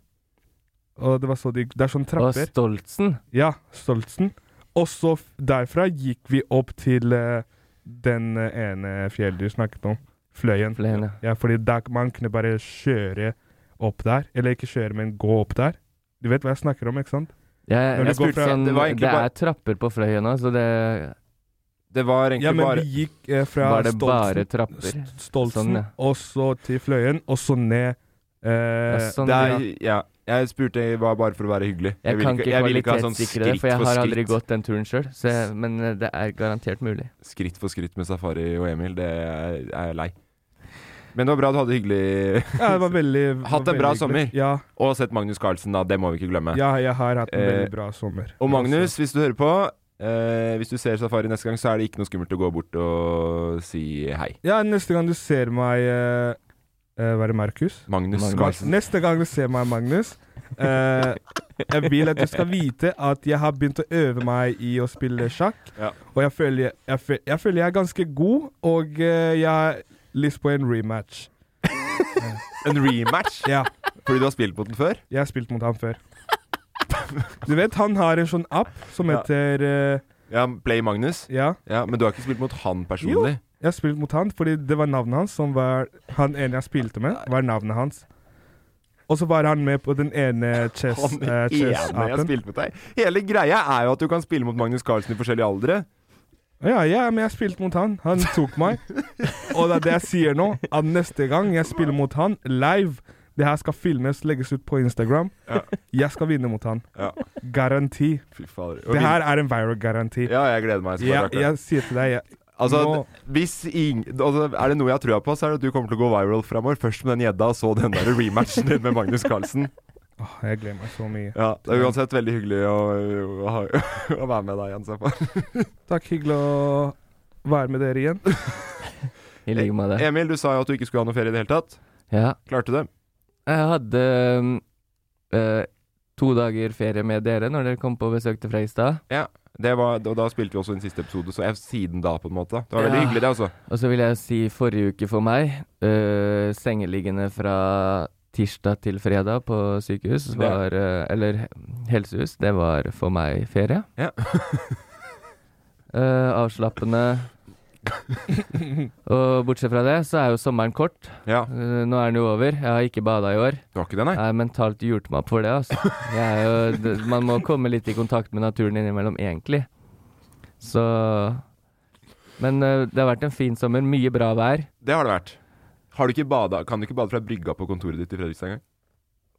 [SPEAKER 2] Og det var så de Det er sånne
[SPEAKER 3] Og
[SPEAKER 2] trapper.
[SPEAKER 3] Stoltsen.
[SPEAKER 2] ja, Stoltsen. Og så f- derfra gikk vi opp til eh, den eh, ene fjellet du snakket om. Fløyen.
[SPEAKER 3] Fløyen, ja.
[SPEAKER 2] Ja, fordi der, man kunne bare kjøre opp der. Eller ikke kjøre, men gå opp der. Du vet hva jeg snakker om, ikke sant?
[SPEAKER 3] Jeg,
[SPEAKER 2] Når
[SPEAKER 3] jeg,
[SPEAKER 2] du går
[SPEAKER 3] spurte
[SPEAKER 2] fra-
[SPEAKER 3] sånn,
[SPEAKER 4] det
[SPEAKER 3] det,
[SPEAKER 4] var egentlig bare-
[SPEAKER 3] er trapper på Fløyen nå, så det
[SPEAKER 4] Det
[SPEAKER 2] Ja,
[SPEAKER 4] var egentlig
[SPEAKER 2] men
[SPEAKER 4] bare
[SPEAKER 2] vi gikk eh, fra
[SPEAKER 3] var det bare
[SPEAKER 2] Stoltsen,
[SPEAKER 3] trapper.
[SPEAKER 2] St- Stoltsen
[SPEAKER 3] Sånn, ja.
[SPEAKER 2] og så til Fløyen, og så ned eh,
[SPEAKER 3] Ja, sånn,
[SPEAKER 4] det er,
[SPEAKER 3] ja.
[SPEAKER 4] ja. Jeg spurte var bare for å være hyggelig.
[SPEAKER 3] Jeg
[SPEAKER 4] vil
[SPEAKER 3] kan ikke
[SPEAKER 4] jeg vil ikke ha sånn
[SPEAKER 3] kvalitetssikre det,
[SPEAKER 4] skritt
[SPEAKER 3] for jeg
[SPEAKER 4] for
[SPEAKER 3] har
[SPEAKER 4] skritt.
[SPEAKER 3] aldri gått den turen sjøl. Men eh, det er garantert mulig.
[SPEAKER 4] Skritt for skritt med Safari og Emil, det er er jeg lei. Men det var bra du hadde det hyggelig
[SPEAKER 2] Ja, det var veldig
[SPEAKER 4] Hatt en
[SPEAKER 2] veldig
[SPEAKER 4] bra
[SPEAKER 2] hyggelig.
[SPEAKER 4] sommer.
[SPEAKER 2] Ja,
[SPEAKER 4] Og sett Magnus Carlsen, da. Det må vi ikke glemme.
[SPEAKER 2] ja, jeg har hatt en
[SPEAKER 4] Eh,
[SPEAKER 2] veldig bra sommer.
[SPEAKER 4] Og Magnus, hvis du hører på eh, Hvis du ser Safari neste gang, så er det ikke noe skummelt å gå bort og si hei.
[SPEAKER 2] Ja, neste gang du ser meg eh, eh, Var det Markus?
[SPEAKER 4] Magnus,
[SPEAKER 3] Magnus.
[SPEAKER 4] Carlsen.
[SPEAKER 2] Neste gang du ser meg, Magnus eh, Jeg vil at du skal vite at jeg har begynt å øve meg i å spille sjakk.
[SPEAKER 4] Ja.
[SPEAKER 2] Og jeg føler jeg, føler, jeg føler jeg er ganske god, og eh, jeg har lyst på en rematch.
[SPEAKER 4] En rematch?
[SPEAKER 2] Ja
[SPEAKER 4] Fordi du har spilt mot den før?
[SPEAKER 2] Jeg har spilt mot ham før. Du vet, han har en sånn app som
[SPEAKER 4] Ja.
[SPEAKER 2] heter eh,
[SPEAKER 4] Ja, Play Magnus?
[SPEAKER 2] Ja.
[SPEAKER 4] Ja, Men du har ikke spilt mot han personlig?
[SPEAKER 2] Jeg har spilt mot han fordi det var navnet hans som var Han ene jeg spilte med, var navnet hans. Og så var han med på den ene eh,
[SPEAKER 4] Han ene
[SPEAKER 2] chess-appen.
[SPEAKER 4] jeg har spilt mot deg. Hele greia er jo at du kan spille mot Magnus Carlsen i forskjellige aldre.
[SPEAKER 2] ja, ja, men jeg spilte mot han. Han tok meg. Og det er det jeg sier nå, at neste gang jeg spiller mot han live Det her skal filmes, legges ut på Instagram. Jeg skal vinne mot han.
[SPEAKER 4] Ja.
[SPEAKER 2] Garanti.
[SPEAKER 4] Fy fader. Og
[SPEAKER 2] Det
[SPEAKER 4] vi-
[SPEAKER 2] her er en viral-garanti.
[SPEAKER 4] Ja, jeg gleder meg. som
[SPEAKER 2] Ja,
[SPEAKER 4] bare rakkeren.
[SPEAKER 2] jeg sier til deg jeg,
[SPEAKER 4] altså,
[SPEAKER 2] nå-
[SPEAKER 4] hvis ing, altså, er det noe jeg har trua på, så er det at du kommer til å gå viral framover. Først med den gjedda, og så den der rematchen din med Magnus Carlsen.
[SPEAKER 2] Åh, jeg gleder meg så mye.
[SPEAKER 4] Ja, det er uansett veldig hyggelig å, å, ha- å være med deg igjen, Safar.
[SPEAKER 2] Takk, hyggelig å være med dere igjen.
[SPEAKER 3] I
[SPEAKER 4] Eh,
[SPEAKER 3] like måte.
[SPEAKER 4] Emil, du sa jo at du ikke skulle ha noe ferie i det hele tatt.
[SPEAKER 3] Ja.
[SPEAKER 4] Klarte du det?
[SPEAKER 3] Jeg hadde mm, eh, to dager ferie med dere når dere kom på besøk til Freistad.
[SPEAKER 4] Det var, og da spilte vi også den siste episode, så jeg, siden da, på en måte. Det var veldig
[SPEAKER 3] Ja.
[SPEAKER 4] hyggelig, det, altså.
[SPEAKER 3] Og så vil jeg si forrige uke for meg, eh, sengeliggende fra tirsdag til fredag på sykehus,
[SPEAKER 4] Det-
[SPEAKER 3] var, eh, eller helsehus, det var for meg ferie.
[SPEAKER 4] Ja.
[SPEAKER 3] Eh, avslappende. Og bortsett fra det, så er jo sommeren kort.
[SPEAKER 4] Ja.
[SPEAKER 3] Eh, nå er den jo over. Jeg har ikke bada i år.
[SPEAKER 4] Det var ikke det, nei?
[SPEAKER 3] Jeg har mentalt hjulpet meg opp for det, altså. Jeg er jo, det, man må komme litt i kontakt med naturen innimellom, egentlig. Så Men eh, det har vært en fin sommer. Mye bra vær.
[SPEAKER 4] Det har det vært. Har du ikke bada, kan du ikke bade fra brygga på kontoret ditt i Fredrikstad engang?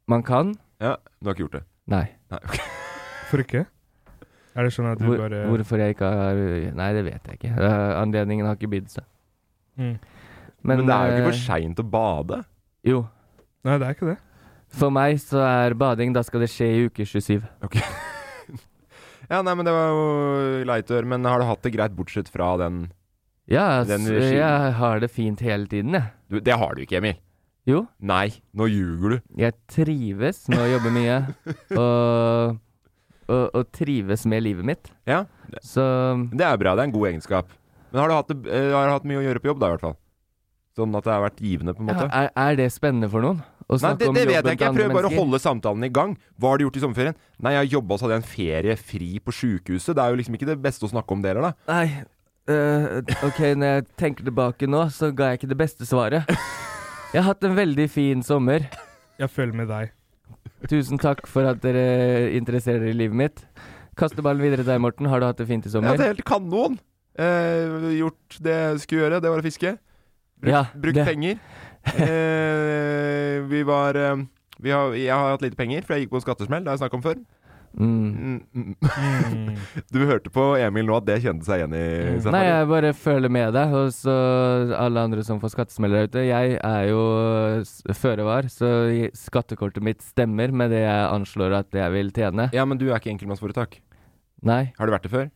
[SPEAKER 3] Man kan
[SPEAKER 4] Ja, du har ikke gjort det.
[SPEAKER 3] Nei.
[SPEAKER 4] Nei, ok.
[SPEAKER 2] For ikke? Er det sånn at du
[SPEAKER 3] Hvor,
[SPEAKER 2] bare
[SPEAKER 3] hvorfor jeg ikke har Nei, det vet jeg ikke. Eh, anledningen har ikke bydd seg.
[SPEAKER 2] Mm.
[SPEAKER 4] Men, det er jo ikke
[SPEAKER 3] eh,
[SPEAKER 4] for seint å bade.
[SPEAKER 3] Jo.
[SPEAKER 2] Nei, det er ikke det.
[SPEAKER 3] For meg så er bading Da skal det skje i uke 27.
[SPEAKER 4] Ja, nei, men det var jo leit å høre. Men har du hatt det greit bortsett fra den
[SPEAKER 3] Ja,
[SPEAKER 4] Den
[SPEAKER 3] s-
[SPEAKER 4] regimen.
[SPEAKER 3] jeg har det fint hele tiden, jeg.
[SPEAKER 4] du, Det har du ikke, Emil.
[SPEAKER 3] Jo.
[SPEAKER 4] Nei, nå ljuger du.
[SPEAKER 3] Jeg trives med å jobbe mye, og, og, og trives med livet mitt.
[SPEAKER 4] Ja,
[SPEAKER 3] Så
[SPEAKER 4] Det er bra. Det er en god egenskap. Men har du hatt, det, eh, har du hatt mye å gjøre på jobb, da, i hvert fall? Sånn at det har vært givende, på en måte?
[SPEAKER 3] er, er det spennende for noen? Å
[SPEAKER 4] Nei,
[SPEAKER 3] snakke
[SPEAKER 4] det,
[SPEAKER 3] om
[SPEAKER 4] det vet
[SPEAKER 3] jobben
[SPEAKER 4] jeg ikke. Jeg
[SPEAKER 3] til
[SPEAKER 4] prøver
[SPEAKER 3] andre
[SPEAKER 4] bare å
[SPEAKER 3] mennesker?
[SPEAKER 4] holde samtalen i gang. Hva har du gjort i sommerferien? Nei, jeg har jobba, så hadde jeg en ferie fri på sjukehuset. Det er jo liksom ikke det beste å snakke om deler, da.
[SPEAKER 3] Nei, øh, ok, når jeg tenker tilbake nå, så ga jeg ikke det beste svaret. Jeg har hatt en veldig fin sommer.
[SPEAKER 2] Jeg følger med deg.
[SPEAKER 3] Tusen takk for at dere interesserer dere i livet mitt. Kaster ballen videre til deg, Morten. Har du hatt det fint i
[SPEAKER 4] Jeg
[SPEAKER 3] sommer?
[SPEAKER 4] hadde helt kanon eh, gjort det jeg skulle gjøre. Det var å fiske. Brukt,
[SPEAKER 3] Ja,
[SPEAKER 4] brukt
[SPEAKER 3] det-
[SPEAKER 4] penger. Eh, vi var eh, vi har, Jeg har hatt lite penger, for jeg gikk på en skattesmell. Det har jeg snakket om før.
[SPEAKER 3] Mm.
[SPEAKER 4] Mm, mm. Du hørte på Emil nå at det kjente seg igjen i Safari.
[SPEAKER 3] Mm. Nei, jeg bare føler med deg, og så alle andre som får skattesmeller der ute. Jeg er jo eh, s- føre var, så jeg- skattekortet mitt stemmer med det jeg anslår at jeg vil tjene.
[SPEAKER 4] Ja, men du er ikke enkeltmannsforetak.
[SPEAKER 3] Nei.
[SPEAKER 4] Har du vært det før?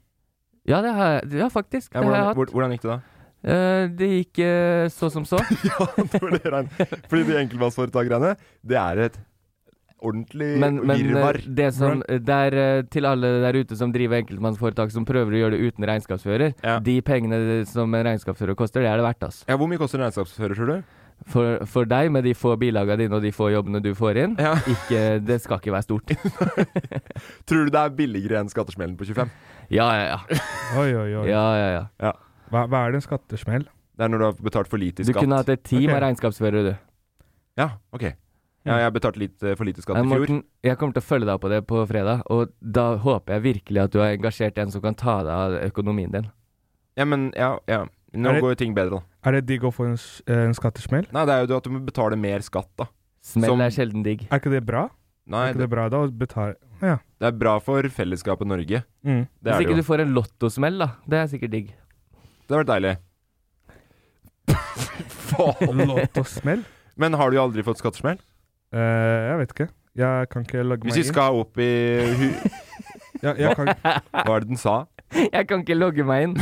[SPEAKER 3] Ja, det har jeg. Ja, faktisk.
[SPEAKER 4] Ja,
[SPEAKER 3] det har jeg
[SPEAKER 4] hvordan,
[SPEAKER 3] hatt.
[SPEAKER 4] hvor- hvordan gikk det da?
[SPEAKER 3] Eh, det gikk eh, så som så.
[SPEAKER 4] ja, det var det Rein. Fordi de enkeltmannsforetak-greiene, det er et ordentlig
[SPEAKER 3] Men, men eh,
[SPEAKER 4] virvar.
[SPEAKER 3] det som det er eh, til alle der ute som driver enkeltmannsforetak som prøver å gjøre det uten regnskapsfører,
[SPEAKER 4] Ja.
[SPEAKER 3] de pengene som en regnskapsfører koster, det er det verdt, altså.
[SPEAKER 4] Ja, hvor mye koster en regnskapsfører, tror du?
[SPEAKER 3] For, for deg, med de få bilaga dine og de få jobbene du får inn,
[SPEAKER 4] Ja.
[SPEAKER 3] ikke, det skal ikke være stort.
[SPEAKER 4] Tror du det er billigere enn skattesmellen på 25?
[SPEAKER 3] Ja, ja, ja.
[SPEAKER 2] Oi, oi, oi.
[SPEAKER 3] ja, ja, ja.
[SPEAKER 2] Hva, hva er det en skattesmell?
[SPEAKER 4] Det er når du har betalt for lite i
[SPEAKER 3] Du
[SPEAKER 4] skatt.
[SPEAKER 3] kunne hatt et team
[SPEAKER 2] Ok.
[SPEAKER 3] av regnskapsførere, du.
[SPEAKER 4] Ja, ok. Ja, jeg betalte litt eh, for lite skatt
[SPEAKER 3] Nei,
[SPEAKER 4] i fjor.
[SPEAKER 3] Morten, jeg kommer til å følge deg på det på fredag, og da håper jeg virkelig at du har engasjert en som kan ta deg av økonomien din.
[SPEAKER 4] Ja, men ja, ja. Nå
[SPEAKER 2] Er det-
[SPEAKER 4] går jo ting bedre, da.
[SPEAKER 2] Er det digg å få en, s- eh, en skattesmell?
[SPEAKER 4] Nei, det er jo det at du må betale mer skatt, da. Som-
[SPEAKER 3] Smell er sjelden digg.
[SPEAKER 2] Er ikke det bra?
[SPEAKER 4] Nei,
[SPEAKER 2] er ikke
[SPEAKER 4] det,
[SPEAKER 2] det bra da å betale Ja.
[SPEAKER 4] det er bra for fellesskapet Norge.
[SPEAKER 2] Mm.
[SPEAKER 4] Det er
[SPEAKER 3] Hvis
[SPEAKER 4] det
[SPEAKER 3] ikke
[SPEAKER 4] jo.
[SPEAKER 3] du får en lottosmell, da. Det er sikkert digg.
[SPEAKER 4] Det har vært deilig. Faen.
[SPEAKER 2] Lottosmell?
[SPEAKER 4] Men har du aldri fått skattesmell?
[SPEAKER 2] Eh, jeg vet ikke. Jeg kan ikke logge
[SPEAKER 4] Hvis
[SPEAKER 2] meg
[SPEAKER 4] vi skal opp i hu-
[SPEAKER 2] inn. Jeg, jeg, kan,
[SPEAKER 4] Hva er det den sa?
[SPEAKER 3] Jeg kan ikke logge meg inn.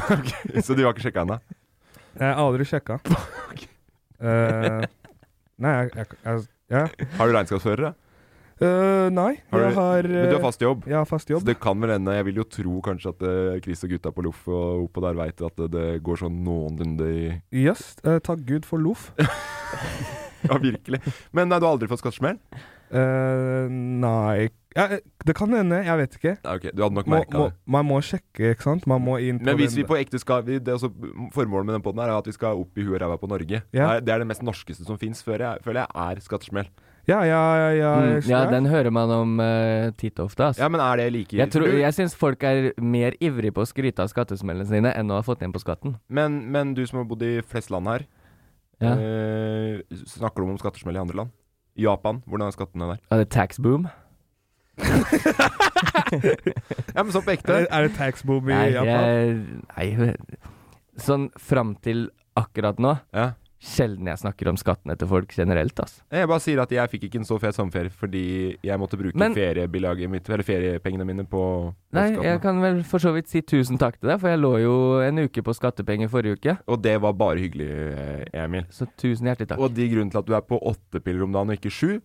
[SPEAKER 4] Så du har ikke sjekka ennå?
[SPEAKER 2] jeg har aldri sjekka. Eh, nei, jeg, jeg, jeg ja.
[SPEAKER 4] Har du regnskapsfører, da?
[SPEAKER 2] Eh, nei,
[SPEAKER 4] Har du-
[SPEAKER 2] jeg har eh,
[SPEAKER 4] Men du har fast jobb?
[SPEAKER 2] Jeg har fast
[SPEAKER 4] Så
[SPEAKER 2] jobb.
[SPEAKER 4] det kan vel hende Jeg vil jo tro kanskje at eh, Chris og gutta på Loff og oppå der veit at det, det går sånn noenlunde i
[SPEAKER 2] Yes, eh, takk Gud for loff.
[SPEAKER 4] Ja, virkelig. Men nei, du har aldri fått skattesmell?
[SPEAKER 2] Eh, nei ja, eh, Det kan hende, jeg vet ikke.
[SPEAKER 4] Nei, ok, du hadde nok
[SPEAKER 2] Må,
[SPEAKER 4] merka
[SPEAKER 2] må,
[SPEAKER 4] det.
[SPEAKER 2] man må sjekke, ikke sant? Man må inn på
[SPEAKER 4] Men hvis vi
[SPEAKER 2] den
[SPEAKER 4] på ekte skal vi, det er også, Formålet med den podden her er at vi skal opp i huet og ræva på Norge.
[SPEAKER 2] Ja.
[SPEAKER 4] Det, er, det er det mest norskeste som fins, føler jeg, føler jeg er skattesmell.
[SPEAKER 2] Ja, ja, ja, ja,
[SPEAKER 3] Mm, ja,
[SPEAKER 2] ja.
[SPEAKER 3] den hører man om eh, titt og ofte, altså.
[SPEAKER 4] Ja, men er det like
[SPEAKER 3] Jeg, tror,
[SPEAKER 4] for du-
[SPEAKER 3] jeg syns folk er mer ivrig på å skryte av skattesmellene sine enn å ha fått igjen på skatten.
[SPEAKER 4] men, men du som har bodd i flest land her,
[SPEAKER 3] Ja.
[SPEAKER 4] eh, snakker du om skattesmell i andre land? Japan, hvordan er skattene der?
[SPEAKER 3] Ja, det er tax boom.
[SPEAKER 4] Ja, men sånn på
[SPEAKER 2] Er
[SPEAKER 4] ekte.
[SPEAKER 2] det, er det tax boom i
[SPEAKER 3] Nei,
[SPEAKER 2] Japan?
[SPEAKER 3] jeg- Eh, nei Sånn fram til akkurat nå,
[SPEAKER 4] Ja.
[SPEAKER 3] sjelden jeg snakker om skattene til folk generelt, altså.
[SPEAKER 4] Jeg bare sier at jeg fikk ikke en så fet sommerferie fordi jeg måtte bruke
[SPEAKER 3] Men-
[SPEAKER 4] feriebilaget mitt, eller feriepengene mine på på
[SPEAKER 3] Nei,
[SPEAKER 4] skatten.
[SPEAKER 3] jeg kan vel for så vidt si tusen takk til deg, for jeg lå jo en uke på skattepenger forrige uke,
[SPEAKER 4] Og det var bare hyggelig, eh, Emil.
[SPEAKER 3] så tusen hjertelig takk.
[SPEAKER 4] Og de grunnen til at du er på åtte piller om dagen og ikke sju,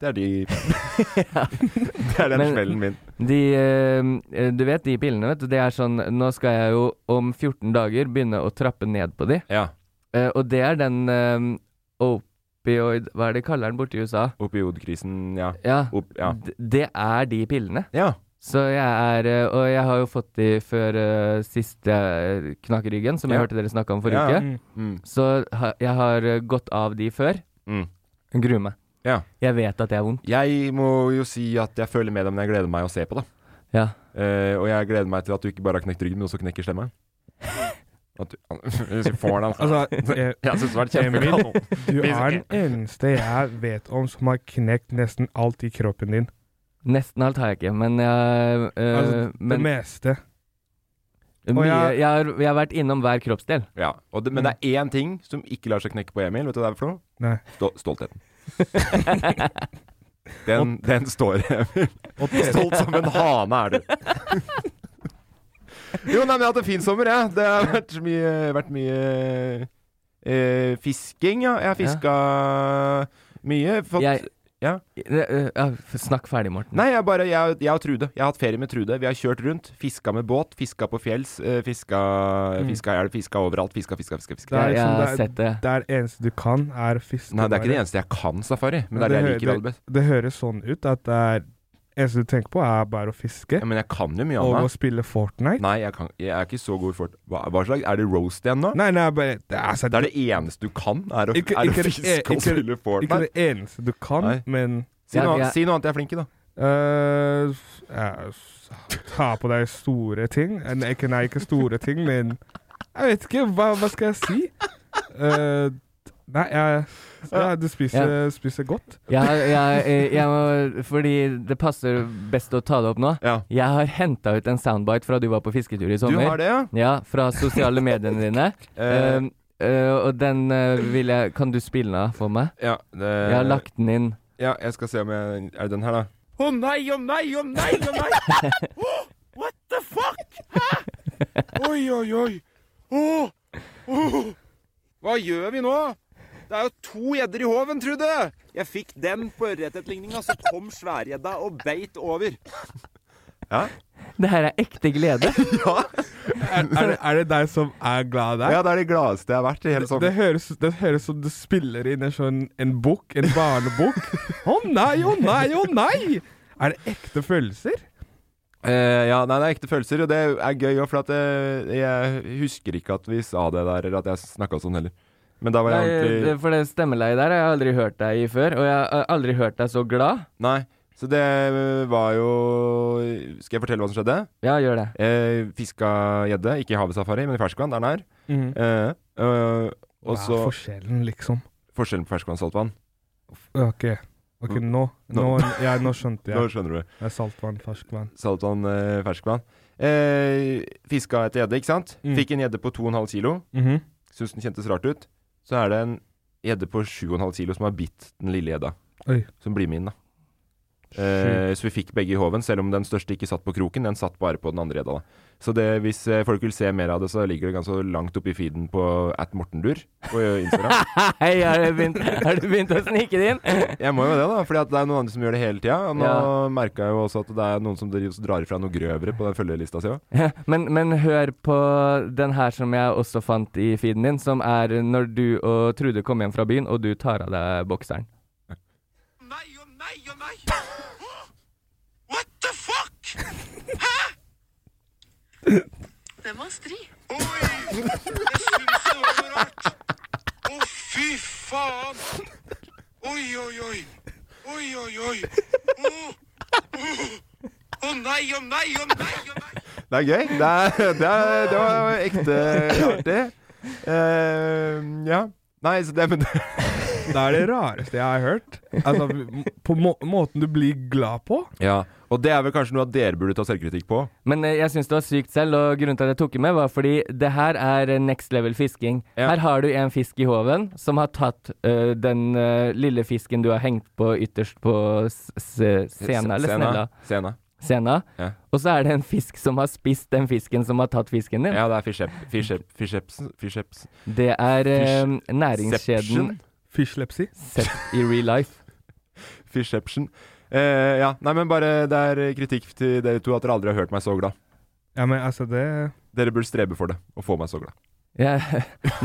[SPEAKER 4] det er de Det er den
[SPEAKER 3] Men-
[SPEAKER 4] smellen min.
[SPEAKER 3] De, eh, du vet de pillene, vet du. Det er sånn Nå skal jeg jo om 14 dager begynne å trappe ned på de.
[SPEAKER 4] Ja.
[SPEAKER 3] Eh, og det er den eh, opioid Hva er det de kaller den borte i USA?
[SPEAKER 4] Opioidkrisen, ja.
[SPEAKER 3] Ja.
[SPEAKER 4] Opp, ja.
[SPEAKER 3] D- Det er de pillene.
[SPEAKER 4] Ja.
[SPEAKER 3] Så jeg er eh, Og jeg har jo fått de før eh, siste eh, knakk i ryggen, som jeg
[SPEAKER 4] Ja.
[SPEAKER 3] hørte dere snakke om forrige
[SPEAKER 4] Ja.
[SPEAKER 3] uke.
[SPEAKER 2] Mm.
[SPEAKER 4] Mm.
[SPEAKER 3] Så ha, jeg har eh, gått av de før.
[SPEAKER 4] Mm.
[SPEAKER 3] Gruer meg.
[SPEAKER 4] Ja.
[SPEAKER 3] Jeg vet at det er vondt.
[SPEAKER 4] Jeg må jo si at jeg føler med deg, men jeg gleder meg å se på, da.
[SPEAKER 3] Ja.
[SPEAKER 4] Eh, og jeg gleder meg til at du ikke bare har knekt ryggen, men også knekker stemma. At du, hvis vi får den, altså.
[SPEAKER 2] Altså, jeg,
[SPEAKER 4] Jeg syns det har vært
[SPEAKER 2] Emil,
[SPEAKER 4] kjempekanon.
[SPEAKER 2] du er den eneste jeg vet om som har knekt nesten alt i kroppen din.
[SPEAKER 3] Nesten alt har jeg ikke, men jeg eh,
[SPEAKER 2] Altså, det
[SPEAKER 3] men,
[SPEAKER 2] meste.
[SPEAKER 3] mye,
[SPEAKER 2] jeg-
[SPEAKER 3] jeg, har, jeg har vært innom hver kroppsdel.
[SPEAKER 4] Ja, og det, men det er én ting som ikke lar seg knekke på Emil. Vet du hva det er for noe?
[SPEAKER 2] Nei.
[SPEAKER 4] Stå, stoltheten. Den, den står Emil.
[SPEAKER 2] Og tese.
[SPEAKER 4] Stolt som en hane er du. Jo, nei, men jeg har hatt en fin sommer, jeg. Det har vært mye, vært mye eh, fisking, ja. Jeg har fiska mye. Fått,
[SPEAKER 3] Jeg,
[SPEAKER 4] Ja.
[SPEAKER 3] Eh, eh, ja, snakk ferdig, Morten.
[SPEAKER 4] Nei, jeg bare jeg, jeg og Trude. Jeg har hatt ferie med Trude. Vi har kjørt rundt. Fiska med båt. Fiska på fjells. eh, Fiska, fiska i elv. Fiska overalt. Fiska, fiska, fiska. fiska.
[SPEAKER 2] Det er
[SPEAKER 3] jeg, jeg
[SPEAKER 2] liksom
[SPEAKER 3] har
[SPEAKER 2] det er-
[SPEAKER 3] sett det.
[SPEAKER 2] Det er det eneste du kan, er fiske.
[SPEAKER 4] Nei, det er ikke det
[SPEAKER 2] bare.
[SPEAKER 4] eneste jeg kan safari, men det er det jeg
[SPEAKER 2] hø-
[SPEAKER 4] liker aller best.
[SPEAKER 2] Det høres sånn ut at det er eneste du tenker på, er bare å fiske
[SPEAKER 4] Ja, men jeg kan jo mye
[SPEAKER 2] og å
[SPEAKER 4] annet.
[SPEAKER 2] spille Fortnite.
[SPEAKER 4] Nei, jeg, kan, jeg er ikke så god i fort... Hva, hva slags Er det roast igjen nå?
[SPEAKER 2] Nei, nei, bare det er, altså,
[SPEAKER 4] Det er det eneste du kan, er å,
[SPEAKER 2] Ikke-
[SPEAKER 4] er
[SPEAKER 2] ikke
[SPEAKER 4] å
[SPEAKER 2] det-
[SPEAKER 4] fiske og
[SPEAKER 2] ikke-
[SPEAKER 4] spille
[SPEAKER 2] ikke
[SPEAKER 4] Fortnite.
[SPEAKER 2] det eneste du kan,
[SPEAKER 4] Nei.
[SPEAKER 2] men
[SPEAKER 4] Si noe,
[SPEAKER 3] Ja,
[SPEAKER 4] annet-
[SPEAKER 3] jeg-
[SPEAKER 4] si noe annet jeg er flink i, da.
[SPEAKER 2] eh, ja, s- Ta på deg store ting. Eh, Nei, ikke, nei, ikke store ting, men Jeg vet ikke. Hva, hva skal jeg si? Eh, Nei, jeg, ja, du spiser, spiser godt.
[SPEAKER 3] Jeg, har- jeg, eh, jeg må, fordi det passer best å ta det opp nå.
[SPEAKER 4] Ja.
[SPEAKER 3] Jeg har henta ut en soundbite fra du var på fisketur i
[SPEAKER 4] Du
[SPEAKER 3] sommer.
[SPEAKER 4] har det, ja?
[SPEAKER 3] Ja, fra sosiale mediene dine.
[SPEAKER 4] Eh,
[SPEAKER 3] Um, eh, og den eh, vil jeg Kan du spille den av for meg?
[SPEAKER 4] ja, det,
[SPEAKER 3] Jeg har lagt den inn.
[SPEAKER 4] ja, jeg skal se om jeg Er det den her, da?
[SPEAKER 2] Å nei, å nei, å nei, å nei! what the fuck?
[SPEAKER 5] Oi, oi, oi. Åh, åh. Hva gjør vi nå? Det er jo to gjedder i håven, Trude. Jeg fikk den på ørretetligninga, så kom sværgjedda og beit over.
[SPEAKER 3] Det her er ekte glede.
[SPEAKER 2] Er, er, det, er det deg som er glad der?
[SPEAKER 4] Ja, det er sånn. det gladeste jeg har vært i hele
[SPEAKER 2] Det
[SPEAKER 4] sommer.
[SPEAKER 2] høres, det høres som du spiller inn en sånn en bok, en barnebok. Å nei, å nei, å nei! Er det ekte følelser?
[SPEAKER 4] Eh, ja, nei, det er ekte følelser, og det er gøy òg, for at eh, jeg husker ikke at vi sa det der, eller at jeg snakka sånn heller. Men da var jeg
[SPEAKER 3] Nei,
[SPEAKER 4] ordentlig
[SPEAKER 3] det- for det stemmeleiet der har jeg aldri hørt deg i før. Og jeg har aldri hørt deg så glad.
[SPEAKER 4] Nei. Så det var jo Skal jeg fortelle hva som skjedde?
[SPEAKER 3] Ja, gjør det.
[SPEAKER 4] Eh, fiska gjedde, ikke i havet safari, men i ferskvann, der den er. Eh, eh,
[SPEAKER 2] Mm.
[SPEAKER 4] og
[SPEAKER 2] Hva
[SPEAKER 4] så
[SPEAKER 2] er forskjellen, liksom?
[SPEAKER 4] forskjellen på ferskvann og saltvann.
[SPEAKER 2] Ok, ok, nå, nå, ja, nå skjønte
[SPEAKER 4] Nå
[SPEAKER 2] jeg.
[SPEAKER 4] skjønner du.
[SPEAKER 2] Det er saltvann, ferskvann.
[SPEAKER 4] Saltvann, eh, ferskvann. Eh, fiska etter gjedde, ikke sant?
[SPEAKER 2] Mm.
[SPEAKER 4] Fikk en gjedde på 2,5 kilo.
[SPEAKER 2] Mhm.
[SPEAKER 4] Syns den kjentes rart ut. Så er det en gjedde på 7,5 kilo som har bitt den lille gjedda.
[SPEAKER 2] Oi.
[SPEAKER 4] Som blir min, da. Eh, så vi fikk begge i håven, selv om den største ikke satt på kroken. Den satt bare på den andre gjedda. da. Så det, hvis eh, folk vil se mer av det, så ligger det ganske langt oppe i feeden på at Mortendur på Instagram.
[SPEAKER 3] Hei, har du begynt, har du begynt å snike det inn?
[SPEAKER 4] Jeg må jo det, da, fordi at det er noen andre som gjør det hele tida. Og nå
[SPEAKER 3] Ja.
[SPEAKER 4] merket jeg jo også at det er noen som dri- drar ifra noe grøvere på den følgelista si òg.
[SPEAKER 3] Ja, Men, men hør på den her som jeg også fant i feeden din, som er når du og Trude kommer hjem fra byen, og du tar av deg bokseren.
[SPEAKER 5] Nei, å nei, å nei. Åh, What the fuck?
[SPEAKER 6] Den var stri.
[SPEAKER 5] Oi, jeg syns det var noe rart. Å, fy faen. Oi, oi, oi. Oi, oi, oi. Å, Å Å, nei, å nei, å nei, å nei.
[SPEAKER 4] Det er gøy. Det, er, det, er, det var ekte artig. Eh, ja. Nei, så det, men det
[SPEAKER 2] Det er det rareste jeg har hørt. Altså, på må måten du blir glad på.
[SPEAKER 4] Ja. Og det er vel kanskje noe at dere burde ta selvkritikk på.
[SPEAKER 3] Men eh, jeg syns det var sykt selv, og grunnen til at jeg tok det med, var fordi det her er eh, next level fisking.
[SPEAKER 4] Ja.
[SPEAKER 3] Her har du en fisk i håven som har tatt eh, den eh, lille fisken du har hengt på ytterst på s s scena, eller snella.
[SPEAKER 4] Sena.
[SPEAKER 3] Scena.
[SPEAKER 4] Ja.
[SPEAKER 3] Og så er det en fisk som har spist den fisken som har tatt fisken din.
[SPEAKER 4] Ja, det er Fishep... Fishep... Fishepsen Fishepsen
[SPEAKER 3] Det er eh,
[SPEAKER 4] Fish-
[SPEAKER 3] næringskjeden
[SPEAKER 2] Fishlepsy.
[SPEAKER 3] sett i real life.
[SPEAKER 4] Fishepsen. Eh, ja. Nei, men bare det er kritikk til dere to at dere aldri har hørt meg så glad.
[SPEAKER 2] Ja, men altså, det
[SPEAKER 4] Dere burde strebe for det, og få meg så glad.
[SPEAKER 3] Ja,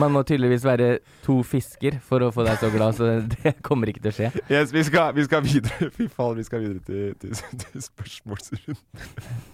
[SPEAKER 3] man må tydeligvis være to fisker for å få deg så glad, så det kommer ikke til å skje.
[SPEAKER 4] Yes, vi skal, vi skal videre. Fy faen, vi skal videre til, til, til spørsmålsrunden.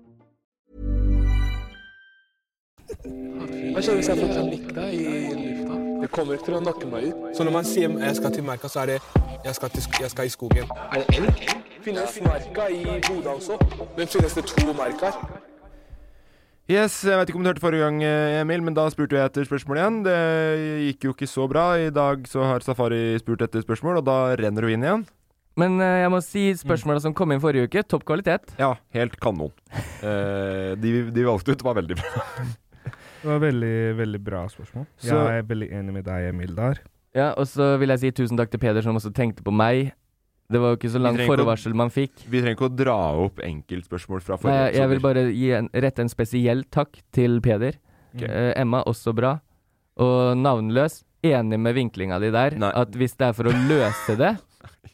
[SPEAKER 7] Jeg kjenner hvis jeg får panikk da, i lufta. Det kommer til å nakke meg ut. Så når man sier jeg skal til merka, så er det jeg skal, til, sk- jeg skal i skogen. Er det elg? Finnes merka i Bodø også, men finnes det to merker?
[SPEAKER 4] Yes, jeg vet ikke om du hørte forrige gang, eh, Emil, men da spurte jeg etter spørsmål igjen. Det gikk jo ikke så bra. I dag så har Safari spurt etter spørsmål, og da renner du inn igjen.
[SPEAKER 3] Men eh, jeg må si spørsmåla som kom inn forrige uke, topp kvalitet.
[SPEAKER 4] Ja, helt kanon. Eh, de vi valgte ut, var veldig bra.
[SPEAKER 2] Det var veldig, veldig bra spørsmål.
[SPEAKER 3] Så-
[SPEAKER 2] jeg er veldig enig med deg, Emil, der.
[SPEAKER 3] Ja, Og så vil jeg si tusen takk til Peder, som også tenkte på meg. Det var jo ikke så lang
[SPEAKER 4] trenger ikke å-
[SPEAKER 3] forvarsel man fikk.
[SPEAKER 4] Vi trenger ikke å dra opp enkeltspørsmål fra
[SPEAKER 3] Nei,
[SPEAKER 4] forrige
[SPEAKER 3] jeg, jeg vil bare gi en, rette en spesiell takk til Peder.
[SPEAKER 4] Ok.
[SPEAKER 3] Eh, Emma, også bra. Og navnløs, enig med vinklinga di der. At hvis det er for å løse det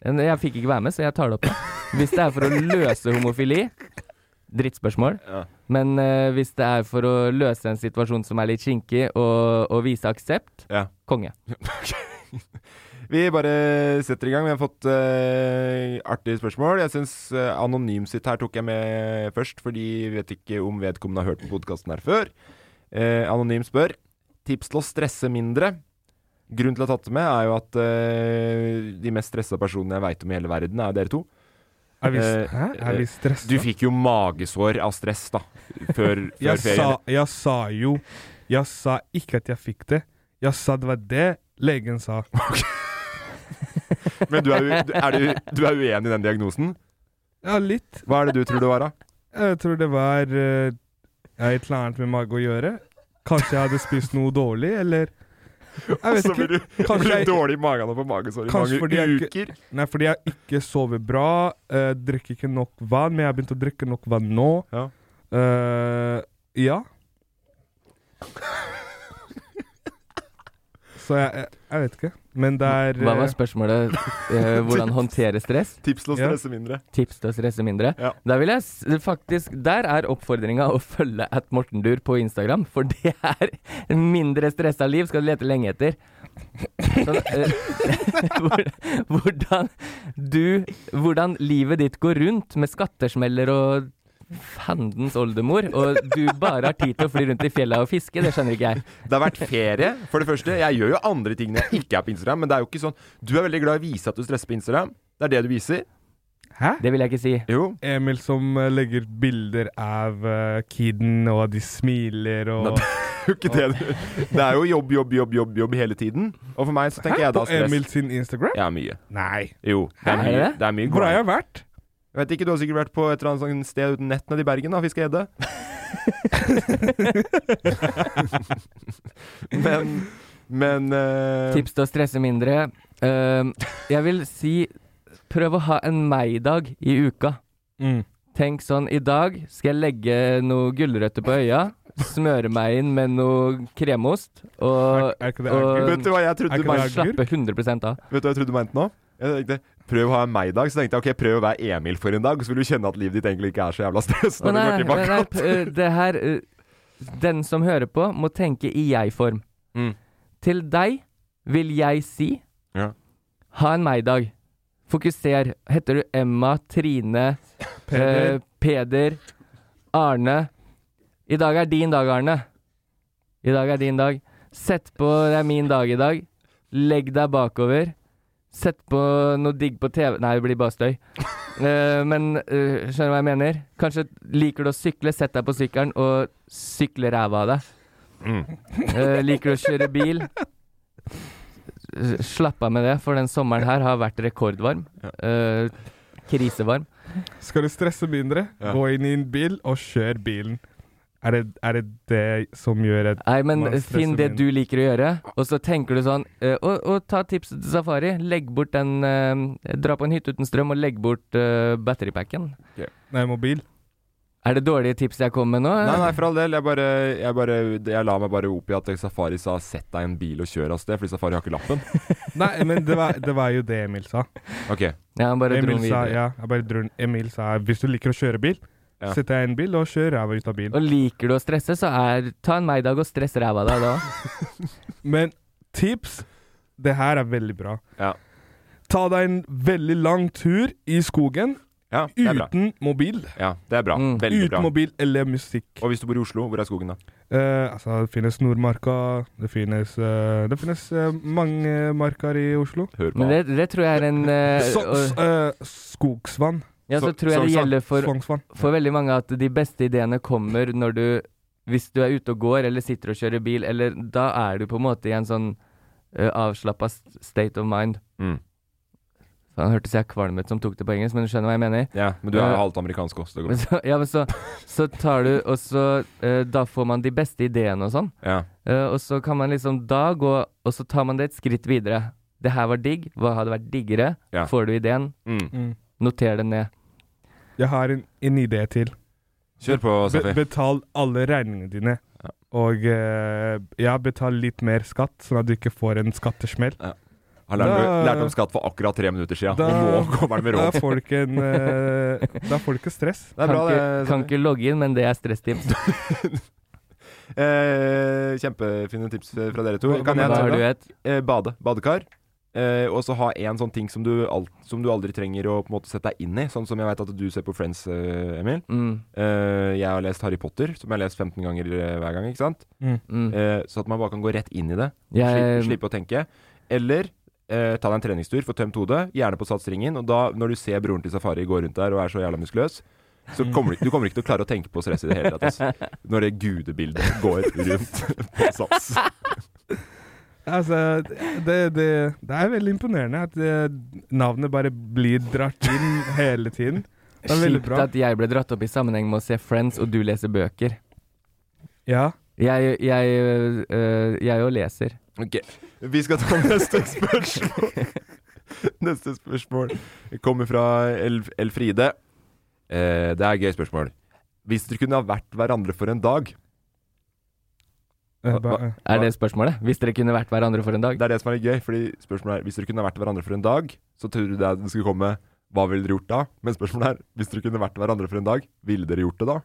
[SPEAKER 3] en- Jeg fikk ikke være med, så jeg tar det opp. da. Hvis det er for å løse homofili Drittspørsmål. Men eh, hvis det er for å løse en situasjon som er litt kinkig, og, og vise aksept,
[SPEAKER 4] Ja.
[SPEAKER 3] konge.
[SPEAKER 4] Vi bare setter i gang. Vi har fått eh, artige spørsmål. Jeg syns uh, anonym sitt her tok jeg med først, fordi vi vet ikke om vedkommende har hørt på podkasten her før. Eh, anonym spør tips til å stresse mindre. Grunnen til å ha tatt det med, er jo at eh, de mest stressa personene jeg veit om i hele verden, er dere to.
[SPEAKER 2] Er vi,
[SPEAKER 4] Eh,
[SPEAKER 2] hæ? Er
[SPEAKER 4] eh,
[SPEAKER 2] vi stressa?
[SPEAKER 4] Du fikk jo magesår av stress, da, før, før
[SPEAKER 2] jeg
[SPEAKER 4] ferien.
[SPEAKER 2] Sa, jeg sa jo Jeg sa ikke at jeg fikk det. Jeg sa det var det legen sa.
[SPEAKER 4] Men du er, u- du, er du, du er uenig i den diagnosen?
[SPEAKER 2] Ja, litt.
[SPEAKER 4] Hva er det du tror det var, da?
[SPEAKER 2] Jeg tror det var eh, et eller annet med mage å gjøre. Kanskje jeg hadde spist noe dårlig, eller Jeg
[SPEAKER 4] Og
[SPEAKER 2] vet
[SPEAKER 4] så
[SPEAKER 2] ikke.
[SPEAKER 4] blir du,
[SPEAKER 2] Kanskje
[SPEAKER 4] blir
[SPEAKER 2] jeg-
[SPEAKER 4] du dårlig i magen og får magesår i
[SPEAKER 2] Kanskje fordi
[SPEAKER 4] mange
[SPEAKER 2] jeg
[SPEAKER 4] uker.
[SPEAKER 2] ikke, nei, fordi jeg ikke sover bra, eh, drikker ikke nok vann, men jeg har begynt å drikke nok vann nå.
[SPEAKER 4] Ja.
[SPEAKER 2] Eh, ja. Så jeg, jeg, jeg vet ikke. Men det er
[SPEAKER 3] Hva var
[SPEAKER 2] eh,
[SPEAKER 3] spørsmålet? Eh, hvordan håndtere stress?
[SPEAKER 4] Tips til å
[SPEAKER 2] Ja.
[SPEAKER 4] stresse mindre.
[SPEAKER 3] Tips til å stresse mindre.
[SPEAKER 4] Ja.
[SPEAKER 3] Der vil jeg s- faktisk Der er oppfordringa å følge at Mortendur på Instagram, for det er mindre stressa liv skal du lete lenge etter. Sånn, eh, hvor- hvordan du Hvordan livet ditt går rundt med skattesmeller og fandens oldemor, og du bare har tid til å fly rundt i fjellet og fiske, det skjønner ikke jeg.
[SPEAKER 4] Det har vært ferie, for det første. Jeg gjør jo andre ting når jeg ikke er på Instagram, men det er jo ikke sånn Du er veldig glad i å vise at du stresser på Instagram. Det er det du viser.
[SPEAKER 2] Hæ?
[SPEAKER 3] Det vil jeg ikke si.
[SPEAKER 4] Jo.
[SPEAKER 2] Emil som eh, legger ut bilder av eh, kiden, og de smiler og
[SPEAKER 4] Nei, Det er jo ikke det du Det er jo jobb, jobb, jobb, jobb, jobb hele tiden. Og for meg så tenker jeg da
[SPEAKER 2] På
[SPEAKER 4] stress.
[SPEAKER 2] Emil sin Instagram?
[SPEAKER 4] Ja, mye.
[SPEAKER 2] Nei.
[SPEAKER 4] Jo. Det er
[SPEAKER 3] Hæ?
[SPEAKER 4] mye,
[SPEAKER 3] Er det?
[SPEAKER 4] det er mye
[SPEAKER 2] Hvor har
[SPEAKER 4] grind.
[SPEAKER 2] jeg vært?
[SPEAKER 4] Jeg vet ikke, du har sikkert vært på et eller annet sånt sted uten nett nede i Bergen, da, fiske gjedde. men Men eh,
[SPEAKER 3] Tips til å stresse mindre. Ehm, jeg vil si prøv å ha en meg-dag i uka.
[SPEAKER 2] Mm.
[SPEAKER 3] Tenk sånn, i dag skal jeg legge noe gulrøtter på øya, smøre meg inn med noe kremost, og,
[SPEAKER 2] Er ikke det
[SPEAKER 3] og
[SPEAKER 4] Vet du hva jeg
[SPEAKER 2] Er
[SPEAKER 4] trodde
[SPEAKER 2] ikke
[SPEAKER 4] du
[SPEAKER 2] det
[SPEAKER 4] mente?
[SPEAKER 2] agurk?
[SPEAKER 3] slappe 100 av.
[SPEAKER 4] Vet du hva jeg trodde du mente nå? Jeg tenkte, Prøv å ha en meg-dag. Så tenkte jeg ok, prøv å være Emil for en dag, så vil du kjenne at livet ditt egentlig ikke er så jævla stress.
[SPEAKER 3] Men
[SPEAKER 4] Når
[SPEAKER 3] nei,
[SPEAKER 4] du går
[SPEAKER 3] nei, nei,
[SPEAKER 4] tilbake.
[SPEAKER 3] p- eh, det her eh, Den som hører på, må tenke i jeg-form.
[SPEAKER 4] Mm.
[SPEAKER 3] Til deg vil jeg si
[SPEAKER 4] Ja.
[SPEAKER 3] ha en meg-dag. Fokuser. Heter du Emma, Trine,
[SPEAKER 2] Peder?
[SPEAKER 3] Eh, Peder, Arne. I dag er din dag, Arne. I dag er din dag. Sett på Det er min dag i dag. Legg deg bakover. Sett på noe digg på TV Nei, det blir bare støy. Eh, men eh, skjønner du hva jeg mener? Kanskje liker du å sykle, sett deg på sykkelen og sykle ræva av deg. Eh, liker du å kjøre bil? S- Slapp av med det, for den sommeren her har vært rekordvarm. Eh, krisevarm.
[SPEAKER 2] Skal du stresse mindre,
[SPEAKER 4] Ja.
[SPEAKER 2] gå inn i en bil og kjør bilen. Er det er det, det som gjør at
[SPEAKER 3] Nei, men eh,
[SPEAKER 2] Man stresser
[SPEAKER 3] finn det
[SPEAKER 2] mindre.
[SPEAKER 3] du liker å gjøre, og så tenker du sånn eh, og, og ta tipset til Safari. Legg bort den eh, Dra på en hytte uten strøm og legg bort eh, batteripacken.
[SPEAKER 2] Nei, mobil.
[SPEAKER 3] Er det dårlige tips jeg kommer med nå?
[SPEAKER 4] Nei, nei, for all del. Jeg bare, jeg bare Jeg la meg bare opp i at Safari sa 'sett deg i en bil og kjør av sted', fordi Safari har ikke lappen.
[SPEAKER 2] Nei, men det var, det var jo det Emil sa.
[SPEAKER 4] Ok.
[SPEAKER 3] Ja, han bare dro
[SPEAKER 2] Emil
[SPEAKER 3] den
[SPEAKER 2] sa,
[SPEAKER 3] videre.
[SPEAKER 2] ja, jeg bare dro, den- Emil sa hvis du liker å kjøre bil,
[SPEAKER 4] Ja.
[SPEAKER 2] sett deg i en bil og kjør ræva ut av bilen.
[SPEAKER 3] Og liker du å stresse, så er ta en meg-dag og stress ræva av deg da.
[SPEAKER 2] Men tips Det her er veldig bra.
[SPEAKER 4] Ja.
[SPEAKER 2] Ta deg en veldig lang tur i skogen
[SPEAKER 4] ja det er bra.
[SPEAKER 2] uten mobil.
[SPEAKER 4] Ja, det er bra.
[SPEAKER 3] Mm.
[SPEAKER 4] Veldig
[SPEAKER 2] Uten
[SPEAKER 4] bra.
[SPEAKER 2] mobil eller musikk.
[SPEAKER 4] Og hvis du bor i Oslo, hvor er skogen da?
[SPEAKER 2] Eh, altså, det finnes Nordmarka, det finnes, eh, det finnes eh, mange marker i Oslo.
[SPEAKER 4] Hør på
[SPEAKER 3] Men det, det tror jeg er en eh,
[SPEAKER 2] Så,
[SPEAKER 3] og-
[SPEAKER 2] s- eh, skogsvann.
[SPEAKER 3] Ja, så
[SPEAKER 4] så-
[SPEAKER 3] tror jeg det
[SPEAKER 4] så- så-
[SPEAKER 3] gjelder for,
[SPEAKER 2] Svangsvann.
[SPEAKER 3] for veldig mange at de beste ideene kommer når du Hvis du er ute og går, eller sitter og kjører bil, eller Da er du på en måte i en sånn uh, avslappa s- state of mind.
[SPEAKER 4] Mm.
[SPEAKER 3] Faen, hørtes jeg kvalm ut som tok det på engelsk, men du skjønner hva jeg mener?
[SPEAKER 4] Ja, men du er
[SPEAKER 3] Ja.
[SPEAKER 2] Eh,
[SPEAKER 4] jo halvt amerikansk også. Det
[SPEAKER 3] Men
[SPEAKER 4] går.
[SPEAKER 3] så, ja, men så, så tar du Og så eh, Da får man de beste ideene og sånn.
[SPEAKER 4] Ja.
[SPEAKER 3] Eh, og så kan man liksom da gå, og så tar man det et skritt videre. Det her var digg, hva hadde vært diggere?
[SPEAKER 4] Ja.
[SPEAKER 3] Får du ideen,
[SPEAKER 4] Mm.
[SPEAKER 2] Mm.
[SPEAKER 3] noter den ned.
[SPEAKER 2] Jeg har en, en idé til.
[SPEAKER 4] Kjør på,
[SPEAKER 2] Be
[SPEAKER 4] Safi.
[SPEAKER 2] betal alle regningene dine.
[SPEAKER 4] Ja.
[SPEAKER 2] Og eh, ja, betal litt mer skatt, sånn at du ikke får en skattesmell.
[SPEAKER 4] Har lært,
[SPEAKER 2] Da-
[SPEAKER 4] lært om skatt for akkurat tre minutter siden,
[SPEAKER 2] Da-
[SPEAKER 4] og nå kommer han med
[SPEAKER 2] Da
[SPEAKER 4] råd.
[SPEAKER 2] får du ikke en eh, Da får du ikke stress.
[SPEAKER 4] Det er sånn. bra,
[SPEAKER 3] kan,
[SPEAKER 4] det.
[SPEAKER 3] ikke, kan
[SPEAKER 4] Safi.
[SPEAKER 3] ikke logge inn, men det er stresstips.
[SPEAKER 4] Eh, kjempefine tips fra dere to.
[SPEAKER 2] Hva-
[SPEAKER 4] Kan jeg
[SPEAKER 3] Da
[SPEAKER 2] hva
[SPEAKER 4] ta
[SPEAKER 3] har du
[SPEAKER 4] det?
[SPEAKER 3] et
[SPEAKER 4] Eh, bade. Badekar. Eh, og så ha en sånn ting som du, alt, som du aldri trenger å på en måte sette deg inn i. Sånn som jeg veit at du ser på Friends, eh, Emil.
[SPEAKER 3] mm,
[SPEAKER 4] Eh, jeg har lest Harry Potter, som jeg har lest 15 ganger eh, hver gang. ikke sant?
[SPEAKER 3] mm.
[SPEAKER 4] Eh, så at man bare kan gå rett inn i det.
[SPEAKER 3] Jeg,
[SPEAKER 4] Slippe, slippe å tenke. Eller eh, ta deg en treningstur, få tømt hodet, gjerne på satsringen. Og da, når du ser broren til Safari gå rundt der og er så jævla muskuløs, så kommer du, du kommer ikke til å klare å tenke på stress i det hele tatt. ass. Når det gudebildet går rundt på sats.
[SPEAKER 2] Altså, det, det, det er veldig imponerende at eh, navnet bare blir dratt inn hele tiden. Det er veldig
[SPEAKER 3] kjipt
[SPEAKER 2] bra.
[SPEAKER 3] at jeg ble dratt opp i sammenheng med å se Friends, og du leser bøker.
[SPEAKER 2] Ja.
[SPEAKER 3] Jeg, jeg, øh, jeg jo leser.
[SPEAKER 4] Ok, Vi skal ta neste spørsmål. Neste spørsmål kommer fra Elf Elfride. Eh, det er et gøy spørsmål. Hvis dere kunne ha vært hverandre for en dag
[SPEAKER 2] Eh,
[SPEAKER 4] Hva-
[SPEAKER 2] ba- eh.
[SPEAKER 3] Er det spørsmålet? Hvis dere kunne vært hverandre for en dag?
[SPEAKER 4] Det er det som er litt gøy, fordi spørsmålet er Hvis dere kunne vært hverandre for en dag, så tror du det den skulle komme Hva ville dere gjort da? Men spørsmålet er Hvis dere kunne vært hverandre for en dag, ville dere gjort det da?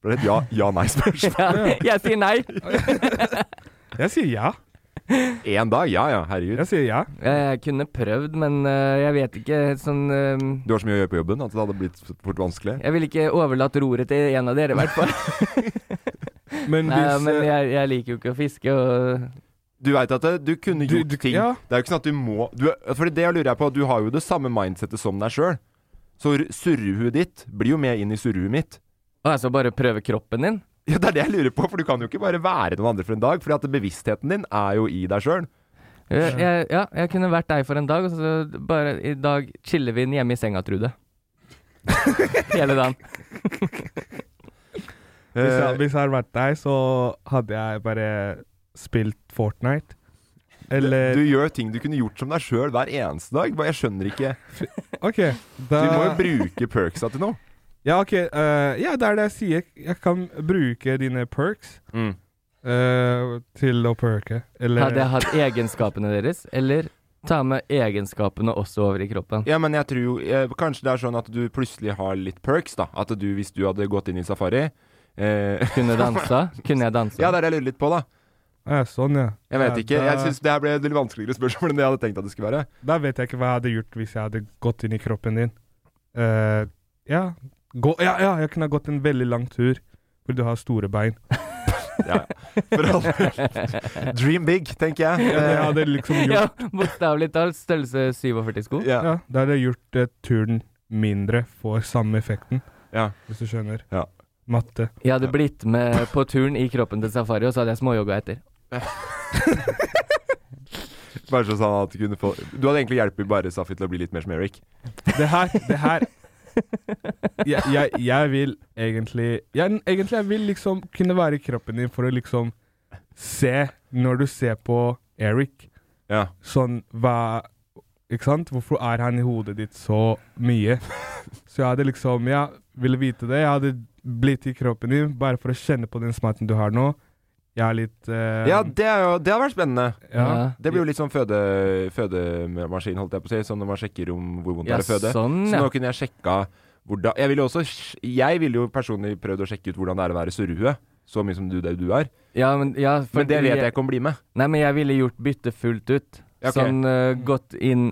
[SPEAKER 4] Det er et ja, ja nei-spørsmål.
[SPEAKER 3] Ja, jeg sier nei!
[SPEAKER 2] Jeg sier ja.
[SPEAKER 4] Én dag? Ja ja, herregud.
[SPEAKER 2] Jeg sier ja.
[SPEAKER 3] Jeg kunne prøvd, men øh, jeg vet ikke sånn øh,
[SPEAKER 4] Du har så mye å gjøre på jobben altså, at det hadde blitt fort vanskelig.
[SPEAKER 3] Jeg ville ikke overlatt roret til en av dere, i hvert fall.
[SPEAKER 2] Men
[SPEAKER 3] Nei,
[SPEAKER 2] hvis
[SPEAKER 3] men
[SPEAKER 2] eh,
[SPEAKER 3] jeg, jeg liker jo ikke å fiske, og
[SPEAKER 4] Du veit at det- du kunne
[SPEAKER 2] Du-
[SPEAKER 4] gjort
[SPEAKER 2] du-
[SPEAKER 4] ting.
[SPEAKER 2] ja.
[SPEAKER 4] Det er jo ikke sånn at du må du, Fordi det lurer jeg på, du har jo det samme mindsettet som deg sjøl. Så r- surrehuet ditt blir jo med inn i surrehuet mitt.
[SPEAKER 3] og altså bare prøve kroppen din.
[SPEAKER 4] Ja, Det er det jeg lurer på, for du kan jo ikke bare være noen andre for en dag. Fordi at bevisstheten din er jo i deg sjøl.
[SPEAKER 3] Jeg, Eh, jeg, ja, jeg kunne vært deg for en dag, og så bare i dag chiller vi inn hjemme i senga, Trude. Hele dagen.
[SPEAKER 2] Hvis
[SPEAKER 4] Eh,
[SPEAKER 2] jeg, hvis jeg hadde vært deg, så hadde jeg bare spilt Fortnite. Eller
[SPEAKER 4] Du gjør ting du kunne gjort som deg sjøl hver eneste dag. Bare, Jeg skjønner ikke.
[SPEAKER 2] OK,
[SPEAKER 4] Du
[SPEAKER 2] da
[SPEAKER 4] må jo bruke perksa til noe.
[SPEAKER 2] Ja, OK. eh, ja, det er det jeg sier. Jeg kan bruke dine perks
[SPEAKER 4] Mm.
[SPEAKER 2] eh, til å perke. Eller
[SPEAKER 3] Hadde jeg hatt egenskapene deres, eller ta med egenskapene også over i kroppen?
[SPEAKER 4] Ja, men jeg tror jo eh, Kanskje det er sånn at du plutselig har litt perks, da. At du, hvis du hadde gått inn i safari eh,
[SPEAKER 3] Kunne dansa? Kunne jeg dansa?
[SPEAKER 4] Ja, det er det jeg lurer litt på, da.
[SPEAKER 2] Ja, Sånn, ja.
[SPEAKER 4] Jeg vet ikke.
[SPEAKER 2] Ja,
[SPEAKER 4] Jeg
[SPEAKER 2] da,
[SPEAKER 4] syns det her ble et litt vanskeligere spørsmål enn det jeg hadde tenkt at det skulle være.
[SPEAKER 2] da vet jeg ikke hva jeg hadde gjort hvis jeg hadde gått inn i kroppen din. Eh, ja. Gå, ja, ja, jeg kunne ha gått en veldig lang tur, for du har store bein.
[SPEAKER 4] Ja, ja. For all del. Dream big, tenker jeg.
[SPEAKER 2] Ja, men jeg
[SPEAKER 4] Eh,
[SPEAKER 2] hadde liksom
[SPEAKER 3] Ja,
[SPEAKER 2] gjort
[SPEAKER 3] bokstavelig talt. Størrelse 47 sko.
[SPEAKER 4] ja.
[SPEAKER 2] Ja, da hadde jeg gjort eh, turen mindre for samme effekten.
[SPEAKER 4] Ja.
[SPEAKER 2] Hvis du skjønner.
[SPEAKER 4] Ja.
[SPEAKER 2] Matte.
[SPEAKER 3] Jeg hadde blitt med på turen i kroppen til Safari, og så hadde jeg småjogga etter.
[SPEAKER 4] Bare så sånn at du kunne få Du hadde egentlig hjulpet bare Safi til å bli litt mer som Eric.
[SPEAKER 2] Det her, det her jeg, jeg, jeg vil egentlig jeg, Egentlig jeg vil liksom kunne være i kroppen din for å liksom se Når du ser på Eric,
[SPEAKER 4] Ja.
[SPEAKER 2] sånn hva Ikke sant? Hvorfor er han i hodet ditt så mye? Så jeg hadde liksom Jeg ville vite det. Jeg hadde bli til kroppen din, bare for å kjenne på den smaken du har nå. Jeg er litt eh,
[SPEAKER 4] Ja, det, er jo, det har vært spennende.
[SPEAKER 2] Ja.
[SPEAKER 4] Det blir jo litt sånn føde, fødemaskin, holdt jeg på å si. Sånn når man sjekker om hvor vondt det
[SPEAKER 3] Ja,
[SPEAKER 4] er å føde.
[SPEAKER 3] sånn,
[SPEAKER 4] Så
[SPEAKER 3] ja.
[SPEAKER 4] nå kunne jeg sjekka hvordan Jeg ville jo også sj- Jeg ville jo personlig prøvd å sjekke ut hvordan det er å være surrehue. Så mye som du, det du er.
[SPEAKER 3] Ja, men, ja, for-
[SPEAKER 4] Men det vet jeg ikke om blir med.
[SPEAKER 3] Nei, men jeg ville gjort byttet fullt ut.
[SPEAKER 4] Ja, ok.
[SPEAKER 3] Sånn eh, gått inn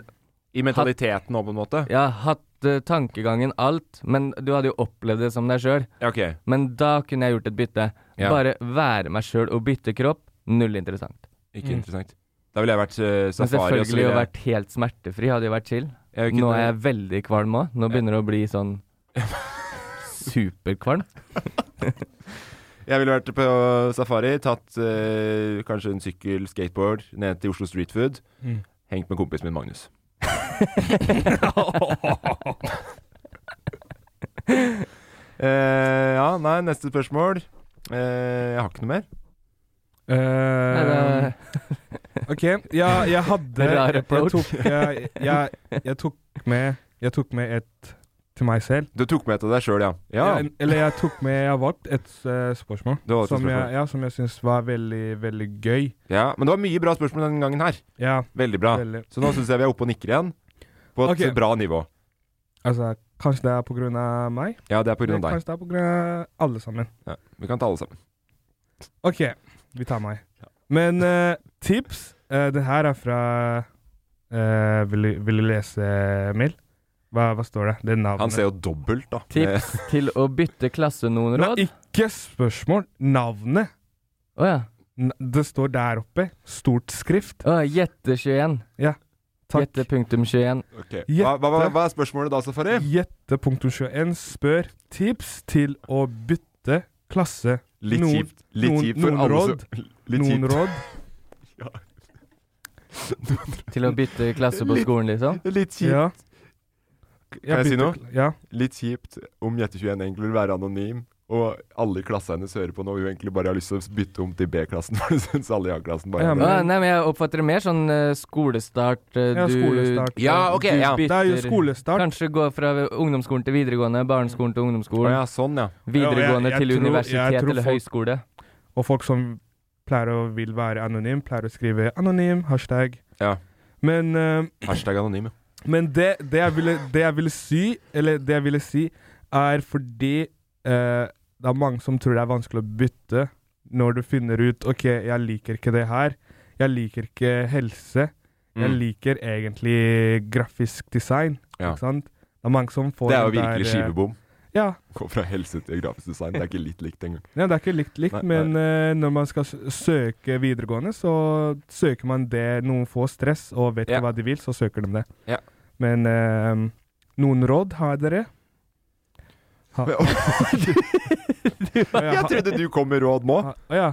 [SPEAKER 4] I mentaliteten òg, på en måte.
[SPEAKER 3] Ja, hatt eh, tankegangen, alt. Men du hadde jo opplevd det som deg sjøl.
[SPEAKER 4] Ja, ok.
[SPEAKER 3] Men da kunne jeg gjort et bytte.
[SPEAKER 4] Ja.
[SPEAKER 3] Bare være meg sjøl og bytte kropp, null interessant.
[SPEAKER 4] Ikke interessant. Da ville jeg vært eh,
[SPEAKER 3] Men
[SPEAKER 4] safari. og så
[SPEAKER 3] selvfølgelig
[SPEAKER 4] ville
[SPEAKER 3] å
[SPEAKER 4] jeg-
[SPEAKER 3] vært helt smertefri hadde jo vært chill.
[SPEAKER 4] Jeg kunne-
[SPEAKER 3] Nå er jeg veldig kvalm òg. Nå begynner det å bli sånn superkvalm.
[SPEAKER 4] Jeg ville vært på safari, tatt eh, kanskje en sykkel, skateboard, ned til Oslo Street Food.
[SPEAKER 2] Mm.
[SPEAKER 4] Hengt med kompisen min Magnus. Eh, ja, nei, neste spørsmål. Eh, jeg har ikke noe mer.
[SPEAKER 2] eh,
[SPEAKER 3] Nei, det-
[SPEAKER 2] Ok, ja, jeg hadde jeg,
[SPEAKER 3] Rar
[SPEAKER 2] jeg,
[SPEAKER 3] approach.
[SPEAKER 2] tok, jeg, jeg, jeg, tok med, jeg tok med et til meg selv.
[SPEAKER 4] Du tok med til deg sjøl, ja. ja.
[SPEAKER 2] Ja, en- eller jeg tok med Jeg har valgt et eh, spørsmål,
[SPEAKER 4] Du har valgt et
[SPEAKER 2] som,
[SPEAKER 4] spørsmål.
[SPEAKER 2] Jeg, ja, som jeg syns var veldig, veldig gøy.
[SPEAKER 4] ja. Men det var mye bra spørsmål denne gangen her.
[SPEAKER 2] Ja,
[SPEAKER 4] Veldig bra.
[SPEAKER 2] veldig.
[SPEAKER 4] Så nå syns jeg vi er oppe og nikker igjen. På et
[SPEAKER 2] Ok.
[SPEAKER 4] bra nivå.
[SPEAKER 2] Altså, kanskje det er på grunn av meg?
[SPEAKER 4] Ja, det er på grunn
[SPEAKER 2] Eller
[SPEAKER 4] av deg.
[SPEAKER 2] kanskje det er på grunn av alle sammen.
[SPEAKER 4] Ja, vi kan ta alle sammen.
[SPEAKER 2] OK, vi tar meg. Men eh, tips eh, Det her er fra eh, vil, du- vil du lese, Emil? Hva, hva står det? Det er navnet.
[SPEAKER 4] Han ser jo dobbelt, da.
[SPEAKER 3] Tips til å bytte klasse noen råd?
[SPEAKER 2] Eh. Nei, ikke spørsmål. Navnet.
[SPEAKER 3] Å ja.
[SPEAKER 2] N- Det står der oppe. Stort skrift.
[SPEAKER 3] Å, Jette 21.
[SPEAKER 2] Takk.
[SPEAKER 3] Jette punktum 21.
[SPEAKER 4] Ok. Hva, hva, hva, hva er spørsmålet da, Safari?
[SPEAKER 2] Jette.21 spør tips til å bytte klasse.
[SPEAKER 4] Litt
[SPEAKER 2] Noen-
[SPEAKER 4] kjipt. Litt
[SPEAKER 2] noen-
[SPEAKER 4] kjipt for
[SPEAKER 2] noen
[SPEAKER 4] alle
[SPEAKER 2] råd.
[SPEAKER 4] som Litt
[SPEAKER 2] Noen
[SPEAKER 4] kjipt.
[SPEAKER 2] råd.
[SPEAKER 3] Til å bytte klasse på skolen, liksom?
[SPEAKER 4] Litt kjipt.
[SPEAKER 2] Ja.
[SPEAKER 4] jeg si
[SPEAKER 2] bytter- Ja.
[SPEAKER 4] Litt kjipt om Jette21 egentlig vil være anonym, og alle i klassa hennes hører på nå, og hun egentlig bare har lyst til å bytte om til B-klassen, for hun syns alle i A-klassen bare
[SPEAKER 2] Ja,
[SPEAKER 4] er
[SPEAKER 3] Å,
[SPEAKER 2] men-
[SPEAKER 4] bra.
[SPEAKER 3] nei, men jeg oppfatter det mer sånn eh, skolestart. eh,
[SPEAKER 2] Ja,
[SPEAKER 3] du,
[SPEAKER 2] skolestart.
[SPEAKER 4] Ja, ok,
[SPEAKER 3] du
[SPEAKER 4] ja.
[SPEAKER 2] Det er jo
[SPEAKER 3] bytter-
[SPEAKER 2] skolestart.
[SPEAKER 3] Kanskje gå fra ungdomsskolen til videregående, barneskolen til
[SPEAKER 4] Å
[SPEAKER 3] ungdomsskolen,
[SPEAKER 4] ja, sånn, ja.
[SPEAKER 3] videregående
[SPEAKER 2] Ja, jeg- jeg
[SPEAKER 3] til
[SPEAKER 2] tror- jeg
[SPEAKER 3] universitet
[SPEAKER 2] tror
[SPEAKER 3] eller
[SPEAKER 2] folk-
[SPEAKER 3] høyskole.
[SPEAKER 2] Og folk som pleier å vil være anonym, pleier å skrive anonym, hashtag.
[SPEAKER 4] Ja.
[SPEAKER 2] Men, eh,
[SPEAKER 4] Hashtag anonym. ja.
[SPEAKER 2] men det, det, jeg ville, det jeg ville si, eller det jeg ville si, er fordi eh, det er mange som tror det er vanskelig å bytte når du finner ut OK, jeg liker ikke det her. Jeg liker ikke helse. Jeg
[SPEAKER 4] Mm.
[SPEAKER 2] liker egentlig grafisk design.
[SPEAKER 4] Ja.
[SPEAKER 2] Ikke sant? Det er mange som får
[SPEAKER 4] Det er jo
[SPEAKER 2] den
[SPEAKER 4] virkelig
[SPEAKER 2] der, eh,
[SPEAKER 4] skivebom.
[SPEAKER 2] Ja,
[SPEAKER 4] Gå fra helse til grafisk design. Det er ikke litt likt engang.
[SPEAKER 2] Ja, det er ikke likt likt,
[SPEAKER 4] Nei,
[SPEAKER 2] men eh, når man skal s- søke videregående, så søker man det noen får stress og vet
[SPEAKER 4] Ja.
[SPEAKER 2] ikke hva de vil, så søker de det.
[SPEAKER 4] Ja.
[SPEAKER 2] Men eh, noen råd har dere? Ha,
[SPEAKER 4] Jeg trodde du kom med råd nå!
[SPEAKER 2] ha, å ja.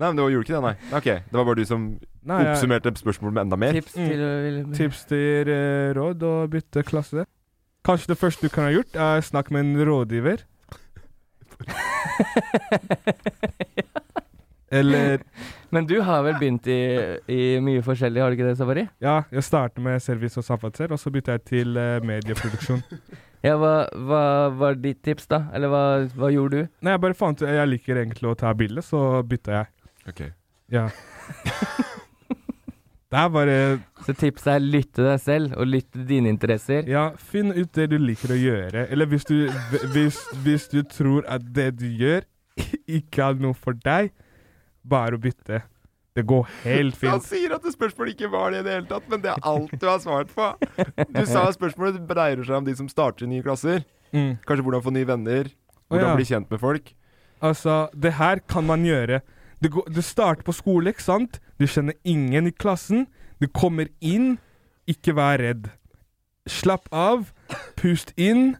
[SPEAKER 4] Nei, men du gjorde ikke det, nei. Ok, Det var bare du som
[SPEAKER 2] Nei, ja.
[SPEAKER 4] oppsummerte spørsmålet med enda mer.
[SPEAKER 3] Tips til å ville-
[SPEAKER 2] Mm. Tips til eh, råd og bytte klasse. Kanskje det første du kan ha gjort, er snakk med en rådgiver. Eller
[SPEAKER 3] Men du har vel begynt i, i mye forskjellig, har du ikke det, Safari?
[SPEAKER 2] Ja, jeg starter med service og samferdsel, og så bytter jeg til eh, medieproduksjon.
[SPEAKER 3] Ja, hva, hva var ditt tips, da? Eller hva, hva gjorde du?
[SPEAKER 2] Nei, jeg bare fant ut Jeg liker egentlig å ta bilde, så bytta jeg.
[SPEAKER 4] Ok.
[SPEAKER 2] Ja. det er bare
[SPEAKER 3] Så tipset er lytte deg selv, og lytte dine interesser.
[SPEAKER 2] Ja, finn ut det du liker å gjøre. Eller hvis du, hvis, hvis du tror at det du gjør, ikke er noe for deg, bare å bytte. Det går helt
[SPEAKER 4] Han
[SPEAKER 2] fint.
[SPEAKER 4] sier at det spørsmålet ikke var det i det hele tatt, men det er alt du har svart på. Du sa at spørsmålet dreier seg om de som starter nye klasser.
[SPEAKER 2] Mm.
[SPEAKER 4] Kanskje hvordan få nye venner.
[SPEAKER 2] Å,
[SPEAKER 4] Hvordan
[SPEAKER 2] ja.
[SPEAKER 4] bli kjent med folk.
[SPEAKER 2] Altså, det her kan man gjøre. Du, går, du starter på skole, ikke sant? Du kjenner ingen i klassen. Du kommer inn. Ikke vær redd. Slapp av, pust inn,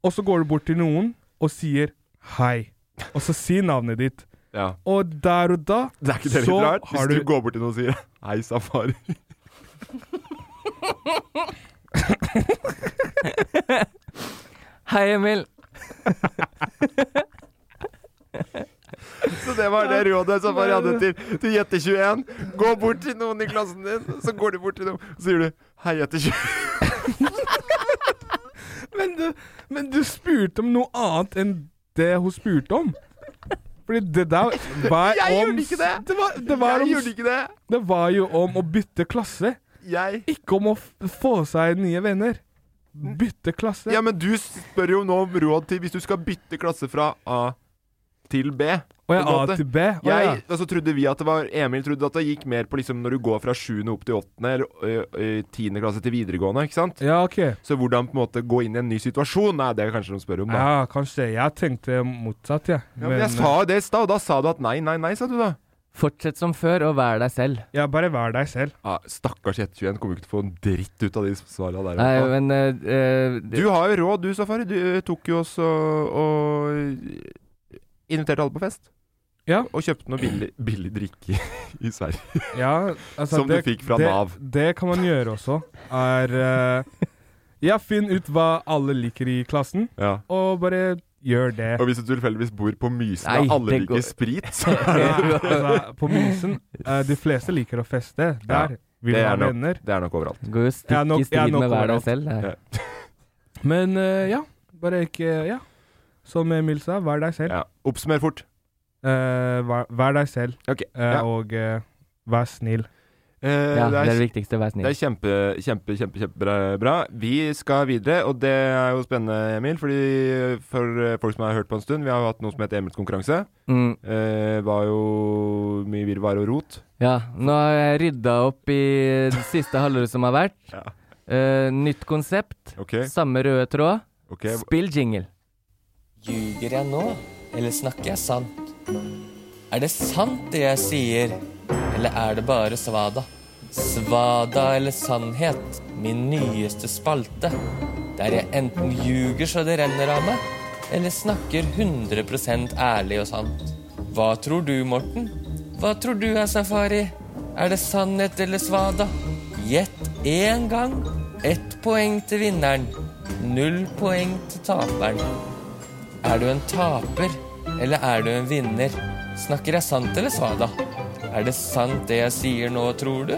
[SPEAKER 2] og så går du bort til noen og sier hei. Og så si navnet ditt.
[SPEAKER 4] Ja.
[SPEAKER 2] Og der og da
[SPEAKER 4] Det er ikke det
[SPEAKER 2] så
[SPEAKER 4] litt rart? Hvis
[SPEAKER 2] har
[SPEAKER 4] du...
[SPEAKER 2] du
[SPEAKER 4] går bort til noen og sier 'hei, safari'.
[SPEAKER 3] Hei, Emil!
[SPEAKER 4] Så det var det rådet safari hadde til, til Jette21. Gå bort til noen i klassen din, så går du bort til dem, og så sier du 'hei, Jette21'.
[SPEAKER 2] men, du, men du spurte om noe annet enn det hun spurte om. Fordi det der var
[SPEAKER 4] Jeg
[SPEAKER 2] om
[SPEAKER 4] gjorde ikke det!
[SPEAKER 2] Det var, det var
[SPEAKER 4] Jeg
[SPEAKER 2] om,
[SPEAKER 4] gjorde ikke det!
[SPEAKER 2] Det var jo om å bytte klasse.
[SPEAKER 4] Jeg
[SPEAKER 2] Ikke om å f få seg nye venner. Bytte klasse.
[SPEAKER 4] Ja, men du spør jo nå om råd til hvis du skal bytte klasse fra A til B.
[SPEAKER 2] Å ja,
[SPEAKER 4] på en
[SPEAKER 2] A
[SPEAKER 4] måte.
[SPEAKER 2] til B. Å
[SPEAKER 4] jeg,
[SPEAKER 2] ja.
[SPEAKER 4] altså, trodde vi at det var Emil trodde at det gikk mer på liksom når du går fra 7. opp til 8. eller ø, ø, 10. klasse til videregående, ikke sant?
[SPEAKER 2] Ja, OK.
[SPEAKER 4] Så hvordan på en måte gå inn i en ny situasjon? Nei, det er kanskje de spør om, da.
[SPEAKER 2] Ja, kanskje. Jeg tenkte motsatt, jeg.
[SPEAKER 4] Ja, men jeg sa jo det i stad, og da sa du at nei, nei, nei, sa du da.
[SPEAKER 3] Fortsett som før, og vær deg selv.
[SPEAKER 2] Ja, bare vær deg selv.
[SPEAKER 4] Ja, stakkars 121 kommer jo ikke til å få en dritt ut av de svarene der. i
[SPEAKER 3] Nei,
[SPEAKER 4] hvert fall.
[SPEAKER 3] men eh, eh,
[SPEAKER 4] Du har jo råd, du, Safari. Du ø, tok jo oss og, og inviterte alle på fest.
[SPEAKER 2] Ja.
[SPEAKER 4] Og kjøpte noe billig, billig drikke i Sverige.
[SPEAKER 2] Ja, altså,
[SPEAKER 4] Som du fikk fra
[SPEAKER 2] det,
[SPEAKER 4] Nav.
[SPEAKER 2] Det kan man gjøre også. Er eh, Ja, finn ut hva alle liker i klassen,
[SPEAKER 4] Ja.
[SPEAKER 2] og bare gjør det.
[SPEAKER 4] Og hvis du tilfeldigvis bor på Mysen
[SPEAKER 3] Nei,
[SPEAKER 4] og alle
[SPEAKER 3] det
[SPEAKER 4] liker
[SPEAKER 3] går-
[SPEAKER 4] sprit, så er
[SPEAKER 2] Ja,
[SPEAKER 4] det
[SPEAKER 2] altså, på Mysen eh, De fleste liker å feste. Der vil man
[SPEAKER 4] det er
[SPEAKER 2] ha
[SPEAKER 4] nok-
[SPEAKER 2] venner.
[SPEAKER 4] Det er nok overalt.
[SPEAKER 3] det går jo
[SPEAKER 2] Jeg er
[SPEAKER 3] stikk
[SPEAKER 2] nok-
[SPEAKER 3] i
[SPEAKER 2] jeg er
[SPEAKER 3] strid
[SPEAKER 2] nok
[SPEAKER 3] med vær
[SPEAKER 2] overalt.
[SPEAKER 3] deg selv. det her.
[SPEAKER 4] Ja.
[SPEAKER 2] Men eh, ja, bare ikke Ja. Som Emil sa, vær deg selv.
[SPEAKER 4] Ja. Oppsummer fort.
[SPEAKER 2] Eh, vær, vær deg selv,
[SPEAKER 4] Ok.
[SPEAKER 2] eh,
[SPEAKER 4] ja.
[SPEAKER 2] og eh, vær snill.
[SPEAKER 4] Eh,
[SPEAKER 3] Ja, det er det
[SPEAKER 4] det er,
[SPEAKER 3] viktigste. Vær
[SPEAKER 4] det
[SPEAKER 3] snill.
[SPEAKER 4] er kjempe, kjempe, kjempe, kjempebra. Vi skal videre, og det er jo spennende, Emil. Fordi for eh, folk som har hørt på en stund, vi har jo hatt noe som heter Emils konkurranse.
[SPEAKER 3] Mm,
[SPEAKER 4] Eh, var jo mye virvar og rot.
[SPEAKER 3] ja, nå har jeg rydda opp i det siste halvåret som har vært.
[SPEAKER 4] Ja.
[SPEAKER 3] Eh, nytt konsept,
[SPEAKER 4] Ok,
[SPEAKER 3] samme røde tråd.
[SPEAKER 4] ok.
[SPEAKER 3] Spill jingle.
[SPEAKER 8] Ljuger jeg nå, eller snakker jeg sant? Er det sant det jeg sier, eller er det bare svada? Svada eller sannhet, min nyeste spalte. Der jeg enten ljuger så det renner av meg, eller snakker 100 ærlig og sant. Hva tror du, Morten? Hva tror du er safari? Er det sannhet eller svada? Gjett én gang. Ett poeng til vinneren. Null poeng til taperen. Er du en taper, eller er du en vinner? Snakker jeg sant eller svada? Er det sant det jeg sier nå, tror du?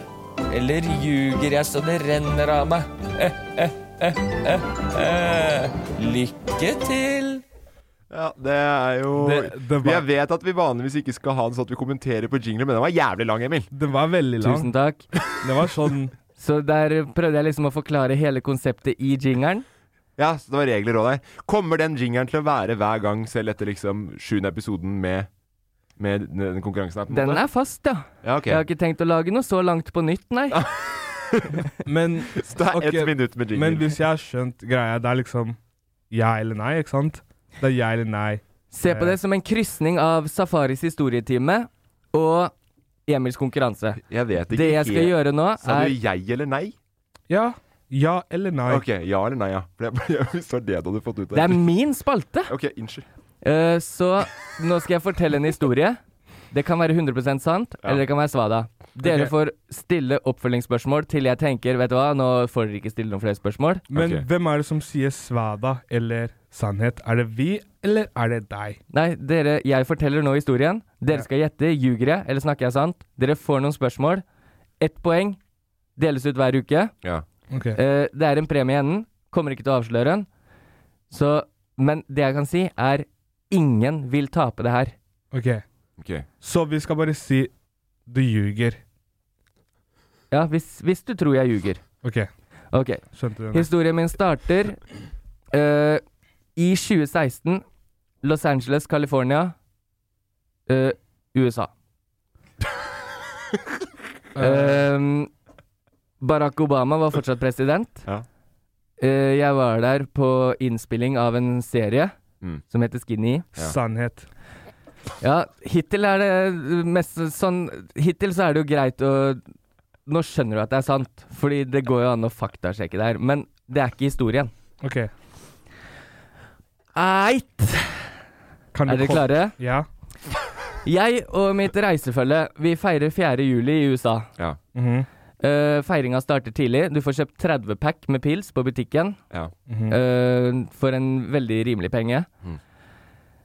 [SPEAKER 8] Eller ljuger jeg så det renner av meg? Eh, eh, eh, eh, eh. Lykke til!
[SPEAKER 4] Ja, det er jo
[SPEAKER 2] Det- det var-
[SPEAKER 4] Jeg vet at vi vanligvis ikke skal ha den sånn at vi kommenterer på jingler, men den var jævlig lang, Emil.
[SPEAKER 2] Den var veldig lang.
[SPEAKER 3] Tusen takk.
[SPEAKER 2] Det var sånn
[SPEAKER 3] Så der prøvde jeg liksom å forklare hele konseptet i jingeren.
[SPEAKER 4] Ja, så det var regler òg der. Kommer den jingeren til å være hver gang, selv etter liksom sjuende episoden med, med den- den konkurransen her? på en
[SPEAKER 3] Den
[SPEAKER 4] måte?
[SPEAKER 3] er fast, ja.
[SPEAKER 4] Ja, ok.
[SPEAKER 3] Jeg har ikke tenkt å lage noe så langt på nytt, nei.
[SPEAKER 2] Ah. Men
[SPEAKER 4] Så det er
[SPEAKER 2] ok,
[SPEAKER 4] ett minutt med
[SPEAKER 2] Men
[SPEAKER 4] jingeren.
[SPEAKER 2] hvis jeg har skjønt greia, det er liksom ja eller nei, ikke sant? Det er ja eller nei.
[SPEAKER 3] Se på det som en krysning av Safaris historietime og Emils konkurranse.
[SPEAKER 4] Jeg vet ikke
[SPEAKER 3] Det jeg skal
[SPEAKER 4] helt.
[SPEAKER 3] gjøre nå,
[SPEAKER 4] Sa
[SPEAKER 3] er
[SPEAKER 4] du jeg eller nei?
[SPEAKER 2] Ja. Ja eller nei.
[SPEAKER 4] Ok, ja eller nei, ja. For jeg, jeg, hvis det var det du hadde fått ut av
[SPEAKER 3] Det er min spalte!
[SPEAKER 4] Ok, unnskyld.
[SPEAKER 3] Eh, så nå skal jeg fortelle en historie. Det kan være 100 sant, eller det kan være svada. Dere
[SPEAKER 2] Ok.
[SPEAKER 3] får stille oppfølgingsspørsmål til jeg tenker Vet du hva, nå får dere ikke stille noen flere spørsmål.
[SPEAKER 2] Men
[SPEAKER 4] Ok.
[SPEAKER 2] hvem er det som sier svada eller sannhet? Er det vi, eller er det deg?
[SPEAKER 3] Nei, dere, jeg forteller nå historien. Dere skal gjette. Ljuger jeg, eller snakker jeg sant? Dere får noen spørsmål. Ett poeng deles ut hver uke.
[SPEAKER 4] Ja.
[SPEAKER 2] Ok.
[SPEAKER 3] Eh, det er en premie i enden. Kommer ikke til å avsløre den. Så, men det jeg kan si, er ingen vil tape det her.
[SPEAKER 2] Ok.
[SPEAKER 4] Ok.
[SPEAKER 2] Så vi skal bare si du ljuger.
[SPEAKER 3] Ja, hvis, hvis du tror jeg ljuger.
[SPEAKER 2] Ok,
[SPEAKER 3] Ok,
[SPEAKER 2] skjønte du? nå?
[SPEAKER 3] historien min starter eh, i 2016. Los Angeles, California. eh, USA. Ehm, Barack Obama var fortsatt president.
[SPEAKER 4] Ja.
[SPEAKER 3] Eh, jeg var der på innspilling av en serie
[SPEAKER 4] Mm.
[SPEAKER 3] som heter Skinny.
[SPEAKER 2] Sannhet.
[SPEAKER 3] Ja, hittil er det mest sånn Hittil så er det jo greit å Nå skjønner du at det er sant, fordi det går jo an å faktasjekke det her. Men det er ikke historien.
[SPEAKER 2] Ok.
[SPEAKER 3] Eit!
[SPEAKER 2] Kan
[SPEAKER 3] Er dere
[SPEAKER 2] kort-
[SPEAKER 3] klare?
[SPEAKER 2] Ja.
[SPEAKER 3] Jeg og mitt reisefølge, vi feirer 4. juli i USA.
[SPEAKER 4] Ja.
[SPEAKER 2] Mhm.
[SPEAKER 3] Uh, feiringa starter tidlig. Du får kjøpt 30 pack med pils på butikken
[SPEAKER 4] Ja.
[SPEAKER 2] Mhm.
[SPEAKER 3] eh, for en veldig rimelig penge.
[SPEAKER 4] Mm.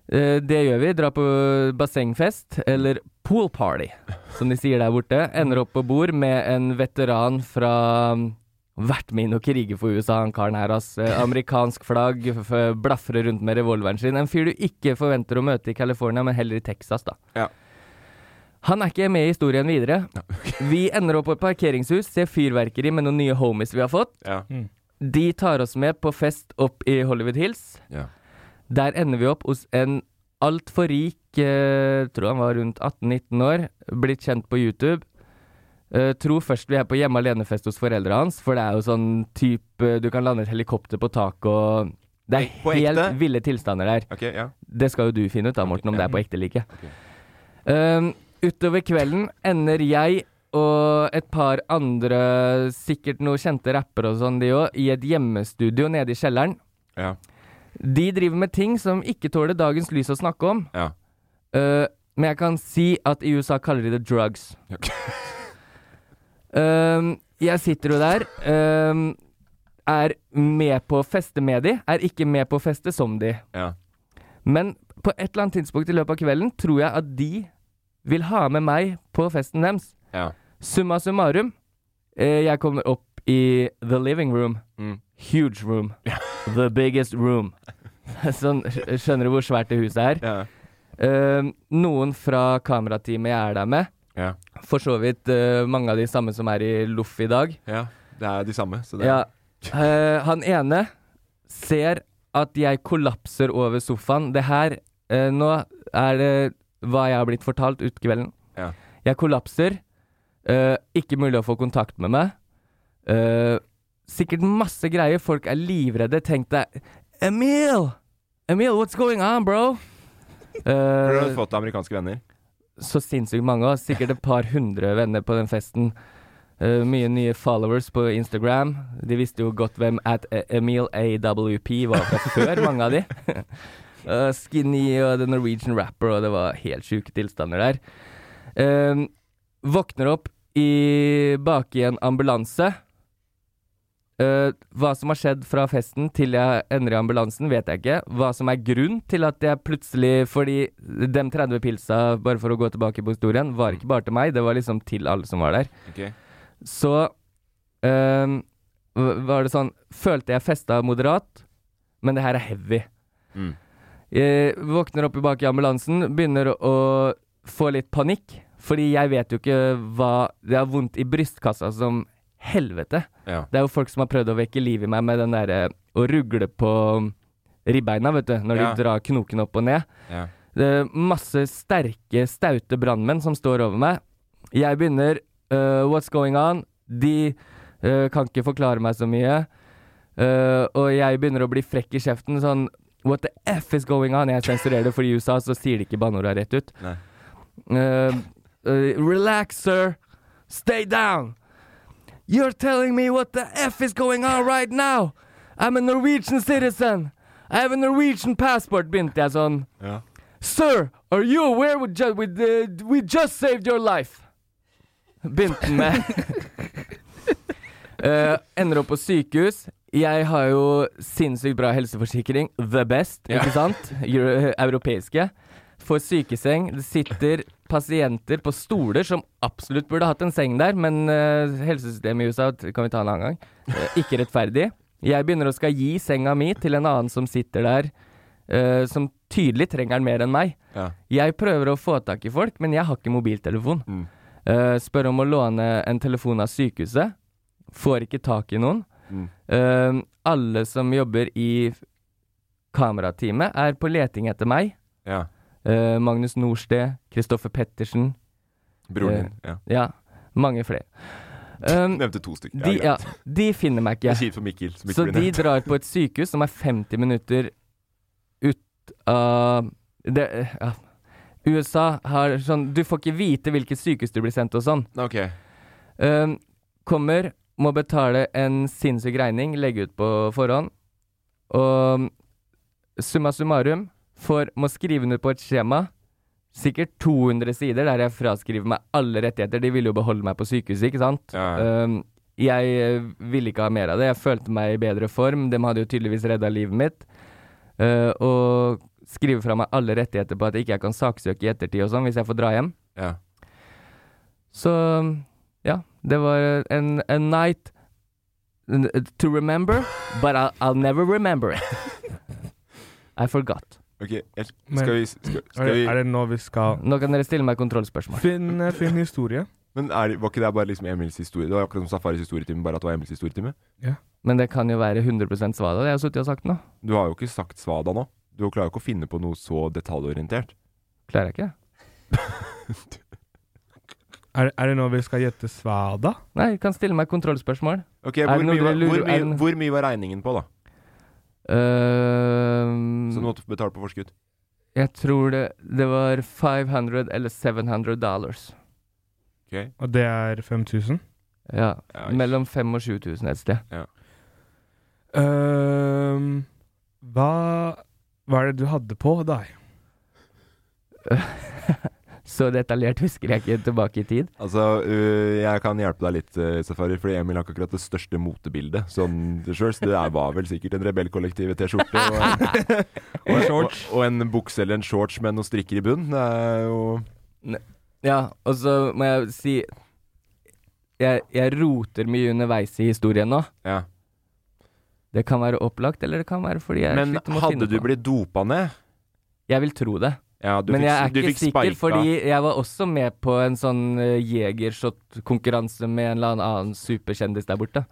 [SPEAKER 3] Eh, det gjør vi. Drar på bassengfest, eller pool party, som de sier der borte. Ender opp på bord med en veteran fra um, Vært med inn og krige for USA, han karen her, ass. Eh, Amerikansk flagg, f f- blafre rundt med revolveren sin. En fyr du ikke forventer å møte i California, men heller i Texas, da.
[SPEAKER 4] Ja.
[SPEAKER 3] Han er ikke med i historien videre. Vi ender opp på et parkeringshus, ser fyrverkeri med noen nye homies vi har fått.
[SPEAKER 4] Ja.
[SPEAKER 3] De tar oss med på fest opp i Hollywood Hills.
[SPEAKER 4] Ja.
[SPEAKER 3] Der ender vi opp hos en altfor rik, eh, tror han var rundt 18-19 år, blitt kjent på YouTube. Eh, tror først vi er på hjemme alene-fest hos foreldra hans, for det er jo sånn type Du kan lande et helikopter på taket og Det er
[SPEAKER 4] På ekte?
[SPEAKER 3] helt ville tilstander der.
[SPEAKER 4] Ok, ja.
[SPEAKER 3] Det skal jo du finne ut da, Morten, om det er på ekte eller ikke.
[SPEAKER 4] Ok.
[SPEAKER 3] Um, utover kvelden ender jeg og et par andre, sikkert noen kjente rappere og sånn, de òg, i et hjemmestudio nede i kjelleren.
[SPEAKER 4] Ja.
[SPEAKER 3] De driver med ting som ikke tåler dagens lys å snakke om.
[SPEAKER 4] Ja.
[SPEAKER 3] Uh, men jeg kan si at i USA kaller de det drugs. Um, jeg sitter jo der. Um, er med på å feste med de, er ikke med på å feste som de.
[SPEAKER 4] Ja.
[SPEAKER 3] Men på et eller annet tidspunkt i løpet av kvelden tror jeg at de vil ha med meg på festen deres.
[SPEAKER 4] Ja.
[SPEAKER 3] Summa summarum, eh, jeg kommer opp i the living room.
[SPEAKER 4] Mm.
[SPEAKER 3] Huge room. The biggest room. Sånn, skj- skjønner du hvor svært det huset er?
[SPEAKER 4] Ja.
[SPEAKER 3] Eh, noen fra kamerateamet jeg er der med,
[SPEAKER 4] Ja.
[SPEAKER 3] for så vidt eh, mange av de samme som er i loff i dag.
[SPEAKER 4] ja. Det er de samme. Så det
[SPEAKER 3] Ja. Eh, han ene ser at jeg kollapser over sofaen. Det her eh, Nå er det hva jeg har blitt fortalt ut kvelden.
[SPEAKER 4] Ja.
[SPEAKER 3] Jeg kollapser. eh, ikke mulig å få kontakt med meg. Eh, sikkert masse greier. Folk er livredde. Tenk deg Emil! Emil, what's going on, bro?
[SPEAKER 4] Har
[SPEAKER 3] Uh,
[SPEAKER 4] du fått amerikanske venner?
[SPEAKER 3] så sinnssykt mange også. Sikkert et par hundre venner på den festen. Eh, mye nye followers på Instagram. De visste jo godt hvem at eh, Emil AWP var fra før, mange av de. Eh, skinny og The Norwegian Rapper, og det var helt sjuke tilstander der. Eh, våkner opp i bak i en ambulanse. Eh, hva som har skjedd fra festen til jeg ender i ambulansen, vet jeg ikke. Hva som er grunn til at jeg plutselig Fordi dem 30 pilsa, bare for å gå tilbake på historien, var ikke bare til meg, det var liksom til alle som var der.
[SPEAKER 4] Ok.
[SPEAKER 3] Så ehm, v- var det sånn Følte jeg festa moderat, men det her er heavy.
[SPEAKER 4] Mm.
[SPEAKER 3] Jeg våkner opp i bak i ambulansen, begynner å få litt panikk. Fordi jeg vet jo ikke hva Det har vondt i brystkassa som helvete.
[SPEAKER 4] Ja.
[SPEAKER 3] Det er jo folk som har prøvd å vekke liv i meg med den derre å rugle på um, ribbeina, vet du. Når
[SPEAKER 4] Ja.
[SPEAKER 3] de drar knoken opp og ned.
[SPEAKER 4] Ja.
[SPEAKER 3] Det er masse sterke, staute brannmenn som står over meg. Jeg begynner øh, What's going on? De øh, kan ikke forklare meg så mye. Øh, og jeg begynner å bli frekk i kjeften. Sånn What the F is going on? Jeg sensurerer det, for i USA så sier de ikke banneorda rett ut.
[SPEAKER 4] Nei.
[SPEAKER 3] Uh, uh, relax, sir. Stay down. You're telling me what the F is going on right now. I'm a Norwegian citizen. I have a Norwegian passport, begynte jeg sånn.
[SPEAKER 4] Ja.
[SPEAKER 3] Sir, are you aware we, ju we, uh, we just saved your life? Begynte han med. Eh, ender opp på sykehus. Jeg har jo sinnssykt bra helseforsikring. The best, ikke sant? Euro europeiske. Får sykeseng. Det sitter pasienter på stoler som absolutt burde hatt en seng der, men eh, helsesystemet i USA t- kan vi ta en annen gang. Eh, ikke rettferdig. Jeg begynner å skal gi senga mi til en annen som sitter der, eh, som tydelig trenger den mer enn meg.
[SPEAKER 4] Ja.
[SPEAKER 3] Jeg prøver å få tak i folk, men jeg har ikke mobiltelefon. Eh, spør om å låne en telefon av sykehuset. Får ikke tak i noen.
[SPEAKER 4] Mm.
[SPEAKER 3] Eh, alle som jobber i f- kamerateamet, er på leting etter meg.
[SPEAKER 4] ja.
[SPEAKER 3] Eh, Magnus Norsted, Kristoffer Pettersen,
[SPEAKER 4] Broren din. Ja.
[SPEAKER 3] ja, mange flere. Um,
[SPEAKER 4] Nevnte to stykker.
[SPEAKER 3] de, ja,
[SPEAKER 4] greit.
[SPEAKER 3] de finner meg
[SPEAKER 4] Det er
[SPEAKER 3] ikke.
[SPEAKER 4] kjipt for Mikkel, som ikke
[SPEAKER 3] Så
[SPEAKER 4] blir
[SPEAKER 3] de
[SPEAKER 4] nevnt.
[SPEAKER 3] drar på et sykehus som er 50 minutter ut av det, ja. USA har sånn Du får ikke vite hvilket sykehus du blir sendt og sånn.
[SPEAKER 4] Ok.
[SPEAKER 3] Um, kommer, må betale en sinnssyk regning, legge ut på forhånd. Og summa summarum får, må skrive under på et skjema. Sikkert 200 sider der jeg fraskriver meg alle rettigheter. De ville jo beholde meg på sykehuset, ikke sant?
[SPEAKER 4] Ja, ja.
[SPEAKER 3] Um, jeg eh, ville ikke ha mer av det. Jeg følte meg i bedre form. De hadde jo tydeligvis redda livet mitt. Uh, og skrive fra meg alle rettigheter på at ikke jeg kan saksøke i ettertid og sånn, hvis jeg får dra hjem.
[SPEAKER 4] ja.
[SPEAKER 3] Så ja, det var en, a night n- to remember, but I'll, I'll never remember it. I forgot.
[SPEAKER 2] Ok, jeg,
[SPEAKER 4] Men-
[SPEAKER 2] skal vi skal,
[SPEAKER 4] er,
[SPEAKER 2] skal
[SPEAKER 4] det,
[SPEAKER 2] vi
[SPEAKER 4] er det nå vi skal
[SPEAKER 3] Nå kan dere stille meg kontrollspørsmål.
[SPEAKER 4] Finn, eh, finn historie.
[SPEAKER 2] Men er, det- var ikke det bare liksom Emils historie? Det var akkurat som Safaris historietime, bare at det var Emils historietime.
[SPEAKER 3] Men det kan jo være 100 svada, det jeg har sittet og sagt nå.
[SPEAKER 2] Du har jo ikke sagt svada nå. Du klarer jo ikke å finne på noe så detaljorientert.
[SPEAKER 3] Klarer jeg ikke?
[SPEAKER 4] Er, er det nå vi skal gjette svada?
[SPEAKER 3] Nei, du kan stille meg kontrollspørsmål.
[SPEAKER 2] Ok,
[SPEAKER 3] Er
[SPEAKER 2] hvor
[SPEAKER 3] det noe
[SPEAKER 2] mye, var,
[SPEAKER 3] dere
[SPEAKER 2] hvor,
[SPEAKER 3] lurer- er det
[SPEAKER 2] mye,
[SPEAKER 3] noe-
[SPEAKER 2] hvor mye var regningen på, da? Så du
[SPEAKER 3] Øhm,
[SPEAKER 2] måtte betale på forskudd?
[SPEAKER 3] jeg tror det, det var 500 eller 700 dollars.
[SPEAKER 2] Ok.
[SPEAKER 4] Og det er 5000?
[SPEAKER 3] Ja,
[SPEAKER 2] Ja,
[SPEAKER 3] mellom 5000 og 7000 et sted.
[SPEAKER 2] Ehm,
[SPEAKER 4] Øhm, hva, hva er det du hadde på deg?
[SPEAKER 3] Så detaljert husker jeg ikke tilbake i tid.
[SPEAKER 2] Altså, øh, jeg kan hjelpe deg litt, øh, Safari, fordi Emil har ikke akkurat det største motebildet sånn sjøl, så det er- var vel sikkert en rebellkollektiv-T-skjorte og, og, og, og en bukse eller en shorts med noen strikker i bunnen. Det er jo
[SPEAKER 3] Ja, og så må jeg si jeg, jeg roter mye underveis i historien nå.
[SPEAKER 2] Ja.
[SPEAKER 3] Det kan være opplagt, eller det kan være fordi jeg
[SPEAKER 2] Men
[SPEAKER 3] sliter med å
[SPEAKER 2] hadde
[SPEAKER 3] finne
[SPEAKER 2] du
[SPEAKER 3] på.
[SPEAKER 2] blitt dopa ned?
[SPEAKER 3] Jeg vil tro det.
[SPEAKER 2] Ja, du
[SPEAKER 3] Men
[SPEAKER 2] fikk,
[SPEAKER 3] jeg er
[SPEAKER 2] du
[SPEAKER 3] ikke
[SPEAKER 2] fikk
[SPEAKER 3] sikker,
[SPEAKER 2] sparka.
[SPEAKER 3] fordi jeg var også med på en sånn eh, jegershot-konkurranse med en eller annen superkjendis der borte.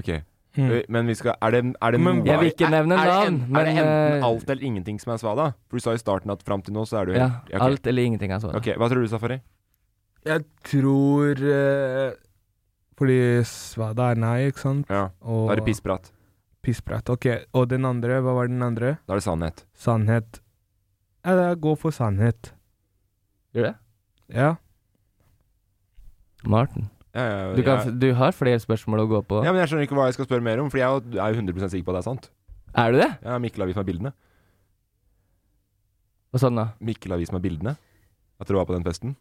[SPEAKER 2] Ok. Øh, Men vi skal Er det, er det
[SPEAKER 4] Men
[SPEAKER 2] noe-
[SPEAKER 3] jeg vil ikke
[SPEAKER 2] er-
[SPEAKER 3] nevne
[SPEAKER 2] er det
[SPEAKER 3] navn,
[SPEAKER 2] en- Er
[SPEAKER 3] men,
[SPEAKER 2] det enten
[SPEAKER 3] eh,
[SPEAKER 2] alt eller ingenting som er svada? For du sa i starten at fram til nå så er du
[SPEAKER 3] Ja,
[SPEAKER 2] helt- ok.
[SPEAKER 3] Alt eller ingenting, altså.
[SPEAKER 2] Ok, Hva tror du, Safari?
[SPEAKER 4] Jeg tror eh, Fordi svada er nei, ikke sant?
[SPEAKER 2] Ja,
[SPEAKER 4] Og
[SPEAKER 2] Da er det pissprat.
[SPEAKER 4] pissprat. Ok, og den andre, hva var den andre?
[SPEAKER 2] Da er det sannhet.
[SPEAKER 4] Sannhet. Ja, da gå for sannhet.
[SPEAKER 3] Gjør det?
[SPEAKER 4] Ja.
[SPEAKER 3] Martin.
[SPEAKER 2] Ja, ja,
[SPEAKER 3] Du, kan,
[SPEAKER 2] ja.
[SPEAKER 3] f- du har flere spørsmål å gå på.
[SPEAKER 2] Ja, men Jeg skjønner ikke hva jeg skal spørre mer om, for jeg er jo- er jo 100 sikker på at det er sant.
[SPEAKER 3] Er du det?
[SPEAKER 2] Ja, Mikkel har vist meg bildene.
[SPEAKER 3] Og sånn, da.
[SPEAKER 2] Mikkel har vist meg bildene. At dere var på den festen.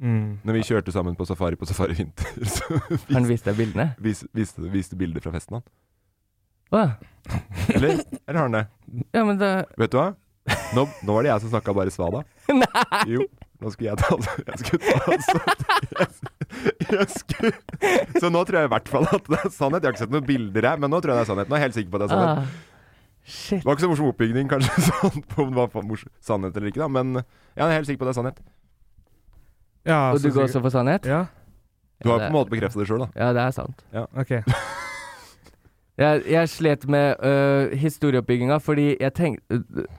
[SPEAKER 4] Mm.
[SPEAKER 2] Når vi kjørte sammen på safari på Safari Vinter, så
[SPEAKER 3] Har han
[SPEAKER 2] vis,
[SPEAKER 3] vist deg bildene?
[SPEAKER 2] vis, viste, viste bilder fra festen han.
[SPEAKER 3] Å,
[SPEAKER 2] Eller, eller har han det?
[SPEAKER 3] ja, men da
[SPEAKER 2] Vet du hva? Nå, nå var det jeg som snakka bare svada.
[SPEAKER 3] Nei!
[SPEAKER 2] Jo, nå skulle jeg ta Jeg skulle ta så- jeg skulle. Så nå tror jeg i hvert fall at det er sannhet. Jeg har ikke sett noen bilder her, men nå tror jeg det er sannhet. Nå er jeg helt sikker på at det er sannhet.
[SPEAKER 3] Ah, shit.
[SPEAKER 2] Det var ikke så morsom oppbygning, kanskje, sånn, på om det var mors sannhet eller ikke, da, men jeg er helt sikker på at det er sannhet.
[SPEAKER 4] ja
[SPEAKER 3] Og du
[SPEAKER 4] så
[SPEAKER 3] går
[SPEAKER 4] sikkert-
[SPEAKER 3] også for sannhet?
[SPEAKER 4] Ja,
[SPEAKER 2] altså, Du har på
[SPEAKER 3] Ja, det-
[SPEAKER 2] en måte bekrefta det sjøl, da.
[SPEAKER 3] Ja, det er sant.
[SPEAKER 4] ok.
[SPEAKER 3] Jeg, jeg slet med øh, historieoppbygginga, fordi jeg tenkte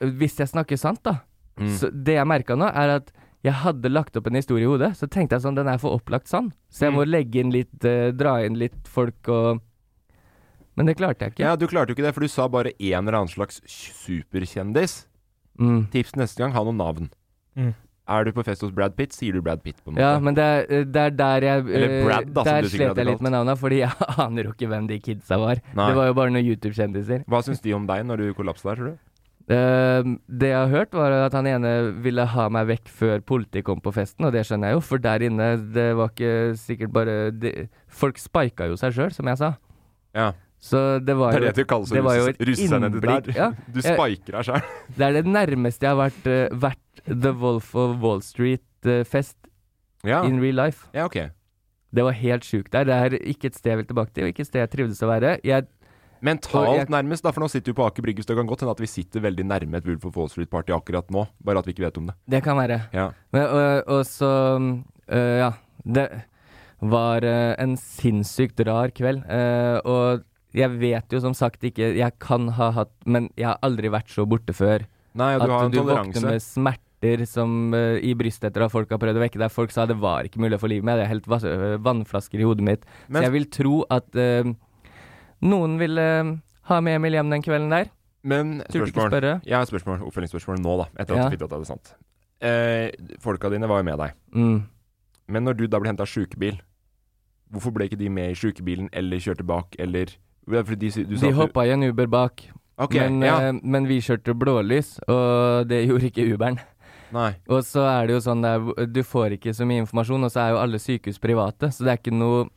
[SPEAKER 3] øh, Hvis jeg snakker sant, da
[SPEAKER 2] Mm.
[SPEAKER 3] så Det jeg merka nå, er at jeg hadde lagt opp en historie i hodet. Så tenkte jeg sånn, den er for opplagt sann. Så
[SPEAKER 2] Mm.
[SPEAKER 3] jeg må legge inn litt, øh, dra inn litt folk og Men det klarte jeg ikke.
[SPEAKER 2] Ja, du klarte jo ikke det, for du sa bare en eller annen slags superkjendis.
[SPEAKER 3] Mm.
[SPEAKER 2] Tips neste gang, ha noen navn.
[SPEAKER 4] Mm.
[SPEAKER 2] Er du på fest hos Brad Pitt, sier du Brad Pitt, på en måte.
[SPEAKER 3] Ja, men det er, øh, det er der jeg øh,
[SPEAKER 2] Eller Brad, da, som
[SPEAKER 3] Der
[SPEAKER 2] du sikkert
[SPEAKER 3] slet
[SPEAKER 2] hadde
[SPEAKER 3] jeg
[SPEAKER 2] kalt.
[SPEAKER 3] litt med navna, fordi jeg aner jo ikke hvem de kidsa var.
[SPEAKER 2] Nei.
[SPEAKER 3] Det var jo bare noen YouTube-kjendiser.
[SPEAKER 2] Hva syns de om deg når du kollapsa der, tror du?
[SPEAKER 3] Eh, det jeg har hørt, var at han ene ville ha meg vekk før politiet kom på festen, og det skjønner jeg jo, for der inne, det var ikke sikkert bare det, Folk spika jo seg sjøl, som jeg sa.
[SPEAKER 2] Ja.
[SPEAKER 3] Så det var
[SPEAKER 2] Det er
[SPEAKER 3] jo
[SPEAKER 2] det du kalles å
[SPEAKER 3] det var jo
[SPEAKER 2] russe,
[SPEAKER 3] et
[SPEAKER 2] russe seg ned til
[SPEAKER 3] innblikk,
[SPEAKER 2] der.
[SPEAKER 3] ja.
[SPEAKER 2] Du
[SPEAKER 3] Jeg-
[SPEAKER 2] spiker deg sjæl.
[SPEAKER 3] Det er det nærmeste jeg har vært, eh, vært The Wolf of Wall Street-fest
[SPEAKER 2] Ja.
[SPEAKER 3] in real life.
[SPEAKER 2] ja, ok.
[SPEAKER 3] Det var helt sjukt der. Det er ikke et sted jeg vil tilbake til, og ikke et sted jeg trivdes å være. Jeg, Og
[SPEAKER 2] Mentalt
[SPEAKER 3] jeg-
[SPEAKER 2] nærmest, da, for nå sitter vi på Aker Brygge, så det kan godt hende at vi sitter veldig nærme et Wolf of Wall Street-party akkurat nå, bare at vi ikke vet om det.
[SPEAKER 3] det kan være.
[SPEAKER 2] Ja.
[SPEAKER 3] Men, og, og så mm, øh, Ja. Det var øh, en sinnssykt rar kveld. øh, og jeg vet jo som sagt ikke Jeg kan ha hatt Men jeg har aldri vært så borte før.
[SPEAKER 2] Nei, du har en
[SPEAKER 3] at du våkner
[SPEAKER 2] toleranse.
[SPEAKER 3] med smerter som, øh, i brystet etter at folk har prøvd å vekke deg. Folk sa det var ikke mulig å få livet med. Det er helt vas- øh, vannflasker i hodet mitt.
[SPEAKER 2] Men-
[SPEAKER 3] så jeg vil tro at øh, noen ville øh, ha med Emil hjem den kvelden der.
[SPEAKER 2] Men
[SPEAKER 3] Turte ikke
[SPEAKER 2] spørsmål.
[SPEAKER 3] spørre.
[SPEAKER 2] Jeg har et spørsmål, oppfølgingsspørsmål nå, da, etter at
[SPEAKER 3] Ja.
[SPEAKER 2] du fikk at det er sant. Eh, folka dine var jo med deg.
[SPEAKER 3] Mm.
[SPEAKER 2] Men når du da ble henta av sjukebil, hvorfor ble ikke de med i sjukebilen eller kjørte bak, eller Det er Fordi de, si- du sa
[SPEAKER 3] De
[SPEAKER 2] at du-
[SPEAKER 3] hoppa i en Uber bak,
[SPEAKER 2] Ok,
[SPEAKER 3] men,
[SPEAKER 2] ja.
[SPEAKER 3] øh, men vi kjørte blålys, og det gjorde ikke Uberen.
[SPEAKER 2] Nei.
[SPEAKER 3] Og så er det jo sånn der, du får ikke så mye informasjon, og så er jo alle sykehus private, så det er ikke noe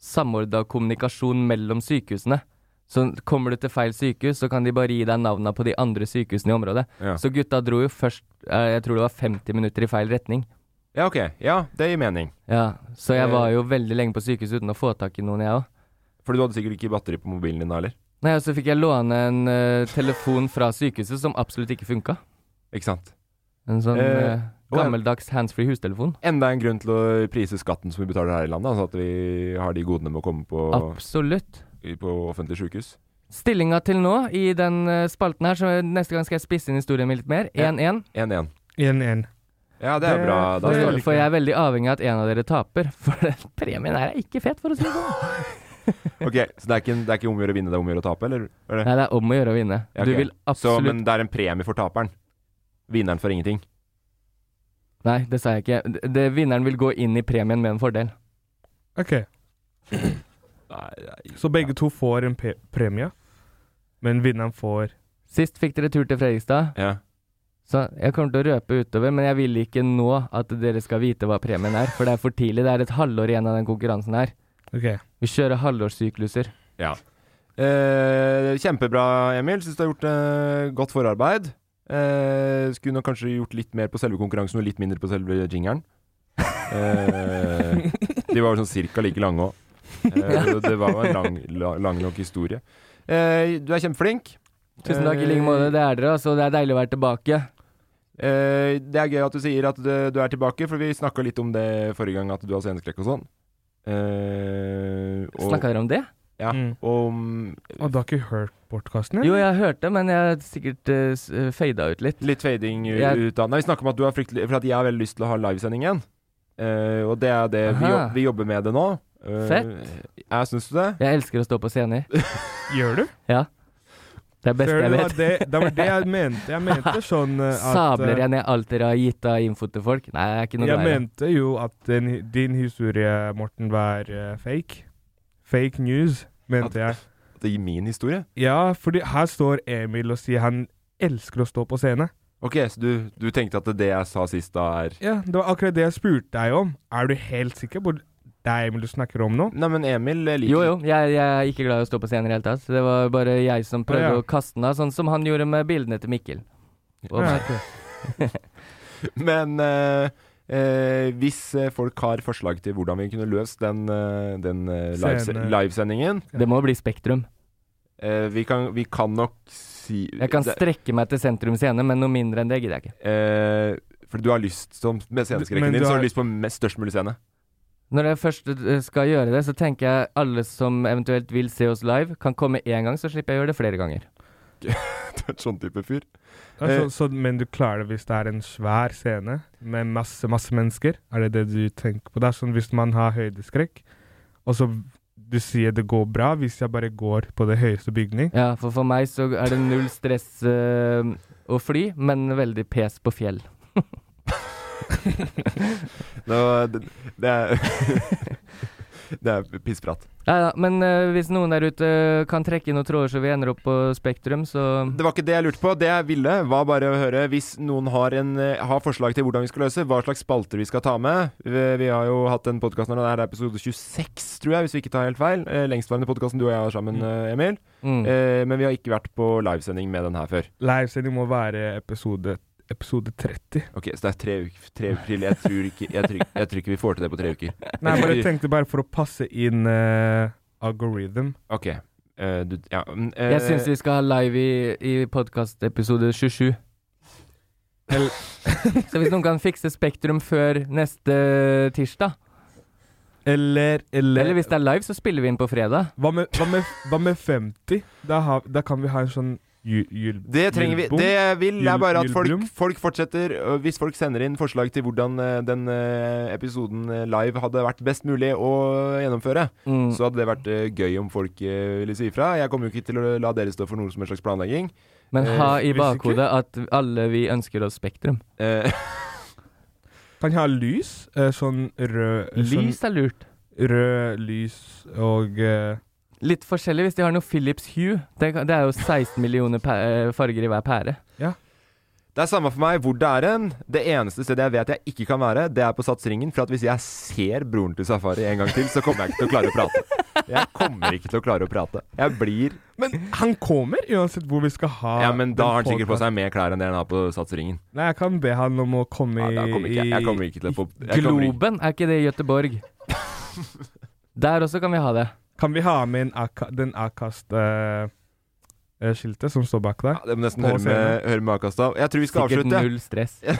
[SPEAKER 3] samordna kommunikasjon mellom sykehusene. Så kommer du til feil sykehus, så kan de bare gi deg navna på de andre sykehusene i området.
[SPEAKER 2] Ja.
[SPEAKER 3] Så gutta dro jo først, eh, jeg tror det var 50 minutter i feil retning.
[SPEAKER 2] Ja, ok. Ja, det gir mening.
[SPEAKER 3] Ja, så jeg var jo veldig lenge på sykehus uten å få tak i noen, jeg òg.
[SPEAKER 2] Fordi du hadde sikkert ikke batteri på mobilen din da heller.
[SPEAKER 3] Nei, og så fikk jeg låne en eh, telefon fra sykehuset som absolutt ikke funka.
[SPEAKER 2] Ikke sant?
[SPEAKER 3] En sånn
[SPEAKER 2] Eh,
[SPEAKER 3] eh,
[SPEAKER 2] og en-
[SPEAKER 3] gammeldags handsfree hustelefon.
[SPEAKER 2] Enda en grunn til å prise skatten som vi betaler her i landet. Altså at vi har de godene med å komme på,
[SPEAKER 3] Absolutt.
[SPEAKER 2] på offentlig sykehus.
[SPEAKER 3] Stillinga til nå i den eh, spalten her, så neste gang skal jeg spisse inn historien min litt mer. 1-1.
[SPEAKER 2] 1-1.
[SPEAKER 9] 1-1.
[SPEAKER 2] Ja, det er bra. Da
[SPEAKER 3] For-
[SPEAKER 2] står det.
[SPEAKER 3] For jeg er veldig avhengig av at en av dere taper. For den premien her er ikke fet, for å si det sånn.
[SPEAKER 2] Ok, Så det er ikke, det er ikke om å gjøre å vinne, det er om å gjøre å tape, eller? Er det?
[SPEAKER 3] Nei, det er om å gjøre å vinne.
[SPEAKER 2] Ja,
[SPEAKER 3] Du
[SPEAKER 2] ok.
[SPEAKER 3] vil
[SPEAKER 2] Så,
[SPEAKER 3] absolutt
[SPEAKER 2] men det er en premie for taperen. Vinneren får ingenting.
[SPEAKER 3] Nei, det sa jeg ikke. Det, det, vinneren vil gå inn i premien med en fordel.
[SPEAKER 9] Ok, så begge to får en pe premie, men vinneren får
[SPEAKER 3] Sist fikk dere tur til Fredrikstad,
[SPEAKER 2] Ja.
[SPEAKER 3] så jeg kommer til å røpe utover, men jeg vil ikke nå at dere skal vite hva premien er, for det er for tidlig. Det er et halvår igjen av den konkurransen her.
[SPEAKER 9] Ok.
[SPEAKER 3] Vi kjører halvårssykluser.
[SPEAKER 2] ja. Eh, kjempebra, Emil. Syns du har gjort eh, godt forarbeid. Eh, skulle nok kanskje gjort litt mer på selve konkurransen og litt mindre på selve jingeren. Eh, de var jo sånn cirka like lange òg. Eh, det var jo en lang, la- lang nok historie. Eh, du er kjempeflink.
[SPEAKER 3] Tusen takk i
[SPEAKER 2] Eh,
[SPEAKER 3] like måte. Det er dere, altså. Det er deilig å være tilbake.
[SPEAKER 2] Eh, det er gøy at du sier at du, du er tilbake, for vi snakka litt om det forrige gang, at du har sceneskrekk og sånn. Eh, og-
[SPEAKER 3] Snakka dere om det?
[SPEAKER 2] Ja.
[SPEAKER 9] Mm.
[SPEAKER 2] Om
[SPEAKER 9] Og du har ikke hørt podkasten?
[SPEAKER 3] Jo, jeg hørte, men jeg har sikkert eh, s- fada ut litt.
[SPEAKER 2] litt fading u-
[SPEAKER 3] Jeg-
[SPEAKER 2] ut av Nei, vi snakker om at du har fryktelig For at jeg har veldig lyst til å ha livesending igjen. Eh, og det er det vi,
[SPEAKER 3] Aha.
[SPEAKER 2] jobb, vi jobber med det nå. Eh,
[SPEAKER 3] Fett.
[SPEAKER 2] Jeg syns du det?
[SPEAKER 3] Jeg elsker å stå på scenen.
[SPEAKER 9] Gjør du?
[SPEAKER 3] Det er det beste
[SPEAKER 9] Ser
[SPEAKER 3] jeg
[SPEAKER 9] du,
[SPEAKER 3] vet.
[SPEAKER 9] Det, det var det jeg mente. Jeg mente sånn eh, at
[SPEAKER 3] Sabler
[SPEAKER 9] eh,
[SPEAKER 3] jeg ned alt dere har gitt av info til folk? Nei, jeg er ikke noe
[SPEAKER 9] Jeg
[SPEAKER 3] glad i det.
[SPEAKER 9] mente jo at din, din historie, Morten, var eh, fake. Fake news, mente jeg.
[SPEAKER 2] Det gir min historie?
[SPEAKER 9] Ja, fordi her står Emil og sier han elsker å stå på scene.
[SPEAKER 2] Ok, så du, du tenkte at det jeg sa sist, da er
[SPEAKER 9] Ja, Det var akkurat det jeg spurte deg om. Er du helt sikker på det er Emil du snakker om nå?
[SPEAKER 2] Nei, men Emil eh, liker
[SPEAKER 3] Jo, jo, jeg, jeg er ikke glad i å stå på scenen i det hele tatt. Det var bare jeg som prøvde
[SPEAKER 9] Å, ja.
[SPEAKER 3] å kaste den av, sånn som han gjorde med bildene til Mikkel. Og
[SPEAKER 9] Ja,
[SPEAKER 3] meg.
[SPEAKER 9] ok.
[SPEAKER 2] Men eh, eh, hvis eh, folk har forslag til hvordan vi kunne løst den, eh, den eh, lives
[SPEAKER 9] Scene.
[SPEAKER 2] livesendingen
[SPEAKER 3] Det må bli Spektrum.
[SPEAKER 2] eh, vi, kan, vi kan nok si
[SPEAKER 3] Jeg kan
[SPEAKER 2] det-
[SPEAKER 3] strekke meg til Sentrum Scene, men noe mindre enn det gidder jeg ikke.
[SPEAKER 2] eh, For du har lyst som, Med
[SPEAKER 9] Men
[SPEAKER 2] sceneskrekken
[SPEAKER 9] du
[SPEAKER 2] din Så
[SPEAKER 9] har-
[SPEAKER 2] har du lyst på mest, størst mulig scene
[SPEAKER 3] Når jeg først eh, skal gjøre det, så tenker jeg alle som eventuelt vil se oss live, kan komme én gang, så slipper jeg å gjøre det flere ganger.
[SPEAKER 2] Du er en sånn type fyr
[SPEAKER 9] Ja, så, så, men du klarer det hvis det er en svær scene med masse, masse mennesker? Er det det du tenker på? Det er sånn hvis man har høydeskrekk, og så du sier det går bra hvis jeg bare går på det høyeste bygning.
[SPEAKER 3] Ja, for for meg så er det null stress eh, å fly, men veldig pes på fjell.
[SPEAKER 2] Nå, det, det er Det er pissprat
[SPEAKER 3] Ja, ja, men eh, hvis noen der ute kan trekke inn noen tråder så vi ender opp på Spektrum, så
[SPEAKER 2] Det var ikke det jeg lurte på. Det jeg ville, var bare å høre hvis noen har, en, eh, har forslag til hvordan vi skal løse, hva slags spalter vi skal ta med. Vi, vi har jo hatt den podkasten her, det er episode 26, tror jeg, hvis vi ikke tar helt feil. Eh, Lengstvarende podkasten du og jeg har sammen, eh, Emil.
[SPEAKER 3] mm.
[SPEAKER 2] Eh, men vi har ikke vært på livesending med den her før.
[SPEAKER 9] Livesending må være episode, episode 30.
[SPEAKER 2] Ok, Så det er tre uker, tre uker til. Jeg tror, ikke, jeg, tror, jeg tror ikke vi får til det på tre uker.
[SPEAKER 9] Nei, jeg bare tenkte bare for å passe inn eh, algorithm.
[SPEAKER 2] Ok. eh, du, ja, mm, eh,
[SPEAKER 3] Jeg syns vi skal ha live i, i podkastepisode 27.
[SPEAKER 9] Eller-
[SPEAKER 3] så hvis noen kan fikse Spektrum før neste tirsdag,
[SPEAKER 9] Eller, eller,
[SPEAKER 3] eller hvis det er live, så spiller vi inn på fredag.
[SPEAKER 9] hva, med, hva, med, hva med 50? Da, har, da kan vi ha en sånn jul... jul
[SPEAKER 2] Det trenger vi.
[SPEAKER 9] julebom.
[SPEAKER 2] Det jeg vil er
[SPEAKER 9] Jul-
[SPEAKER 2] bare at folk,
[SPEAKER 9] juleblom.
[SPEAKER 2] folk fortsetter. og Hvis folk sender inn forslag til hvordan eh, den eh, episoden eh, live hadde vært best mulig å gjennomføre,
[SPEAKER 3] Mm.
[SPEAKER 2] så hadde det vært eh, gøy om folk eh, ville si ifra. Jeg kommer jo ikke til å la dere stå for noe som en slags planlegging.
[SPEAKER 3] Men
[SPEAKER 2] eh,
[SPEAKER 3] ha
[SPEAKER 9] hvis
[SPEAKER 3] i
[SPEAKER 9] ikke-
[SPEAKER 3] bakhodet at alle vi ønsker oss Spektrum.
[SPEAKER 2] Eh,
[SPEAKER 9] Kan jeg ha lys? Eh, sånn rød sånn
[SPEAKER 3] Lys er lurt.
[SPEAKER 9] Rød lys og eh,
[SPEAKER 3] Litt forskjellig hvis de har noe Philips Hue. Det, kan- det er jo 16 millioner pæ- eh, farger i hver pære.
[SPEAKER 2] Det er samme for meg hvor det er en. Det eneste stedet jeg vet jeg ikke kan være, det er på Sats Ringen. For at hvis jeg ser broren til Safari en gang til, så kommer jeg ikke til å klare å prate. Jeg kommer ikke til å klare å prate. Jeg blir
[SPEAKER 4] Men han kommer uansett hvor vi skal ha
[SPEAKER 2] Ja, men da
[SPEAKER 4] den
[SPEAKER 2] har han sikkert på
[SPEAKER 4] podcasten.
[SPEAKER 2] seg mer klær enn det han har på Sats Ringen.
[SPEAKER 4] Nei, jeg kan be han om å komme
[SPEAKER 2] Ja, da kommer ikke jeg- jeg kommer ikke til å få jeg kommer ikke-
[SPEAKER 3] Globen, er ikke det i Gøteborg? Der også kan vi ha det.
[SPEAKER 4] Kan vi ha med en AK, den Akast-skiltet eh, som står bak der?
[SPEAKER 2] Ja, det må nesten
[SPEAKER 4] På
[SPEAKER 2] høre med,
[SPEAKER 4] scenen.
[SPEAKER 2] høre med Akast av. Jeg tror vi skal
[SPEAKER 3] Sikkert
[SPEAKER 2] avslutte.
[SPEAKER 3] null stress.
[SPEAKER 2] Jeg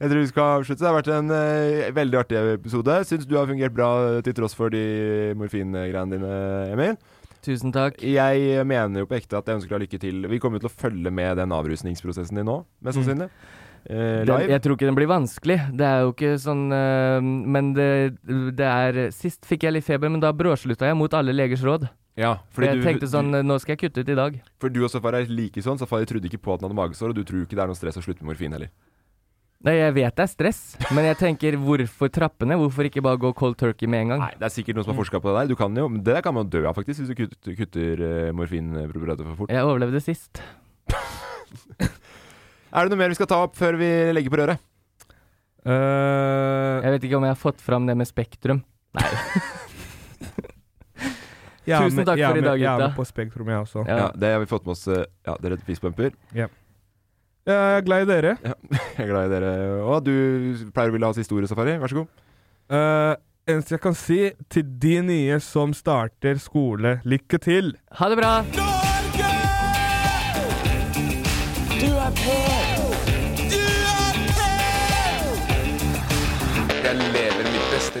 [SPEAKER 2] tror vi skal avslutte. Det har vært en eh, veldig artig episode. Syns du har fungert bra eh, til tross for de morfingreiene dine, Emil.
[SPEAKER 3] Tusen takk.
[SPEAKER 2] Jeg mener jo på ekte at jeg ønsker deg lykke til. Vi kommer jo til å følge med den avrusningsprosessen din nå, mest sannsynlig. Eh,
[SPEAKER 3] Mm. Den,
[SPEAKER 2] live.
[SPEAKER 3] jeg tror ikke den blir vanskelig. Det er jo ikke sånn eh, Men det, det er Sist fikk jeg litt feber, men da bråslutta jeg mot alle legers råd.
[SPEAKER 2] Ja,
[SPEAKER 3] For
[SPEAKER 2] fordi
[SPEAKER 3] jeg
[SPEAKER 2] du,
[SPEAKER 3] tenkte sånn eh, Nå skal jeg kutte ut i dag.
[SPEAKER 2] For du og Safari er like sånn. Safari trodde ikke på at han hadde magesår, og du tror ikke det er noe stress å slutte med morfin heller.
[SPEAKER 3] Nei, jeg vet det er stress, men jeg tenker hvorfor trappene? Hvorfor ikke bare gå cold turkey med en gang?
[SPEAKER 2] Det er sikkert noen som har
[SPEAKER 3] Mm.
[SPEAKER 2] forska på det der. Du kan jo, men det der kan man jo dø av, faktisk, hvis du kutter, kutter eh, morfinpreparatet for fort.
[SPEAKER 3] Jeg overlevde sist.
[SPEAKER 2] Er det noe mer vi skal ta opp før vi legger på røret?
[SPEAKER 4] Eh,
[SPEAKER 3] Jeg vet ikke om jeg har fått fram det med Spektrum.
[SPEAKER 4] jeg er
[SPEAKER 3] Tusen
[SPEAKER 4] med-
[SPEAKER 3] takk
[SPEAKER 4] jeg er
[SPEAKER 3] for i
[SPEAKER 4] med-
[SPEAKER 3] dag,
[SPEAKER 4] Jeg er
[SPEAKER 3] gutta.
[SPEAKER 4] med på Spektrum, jeg også.
[SPEAKER 2] Ja.
[SPEAKER 3] Eh, Ja.
[SPEAKER 2] det har vi fått med oss. eh, Ja, dere fistbumper.
[SPEAKER 4] Jeg er glad i dere.
[SPEAKER 2] Jeg er glad i dere. Og du pleier å ville ha oss historie, Safari. Vær så god.
[SPEAKER 4] Eh, eneste jeg kan si til de nye som starter skole, lykke til!
[SPEAKER 3] Ha det bra!
[SPEAKER 10] Jeg lever mitt beste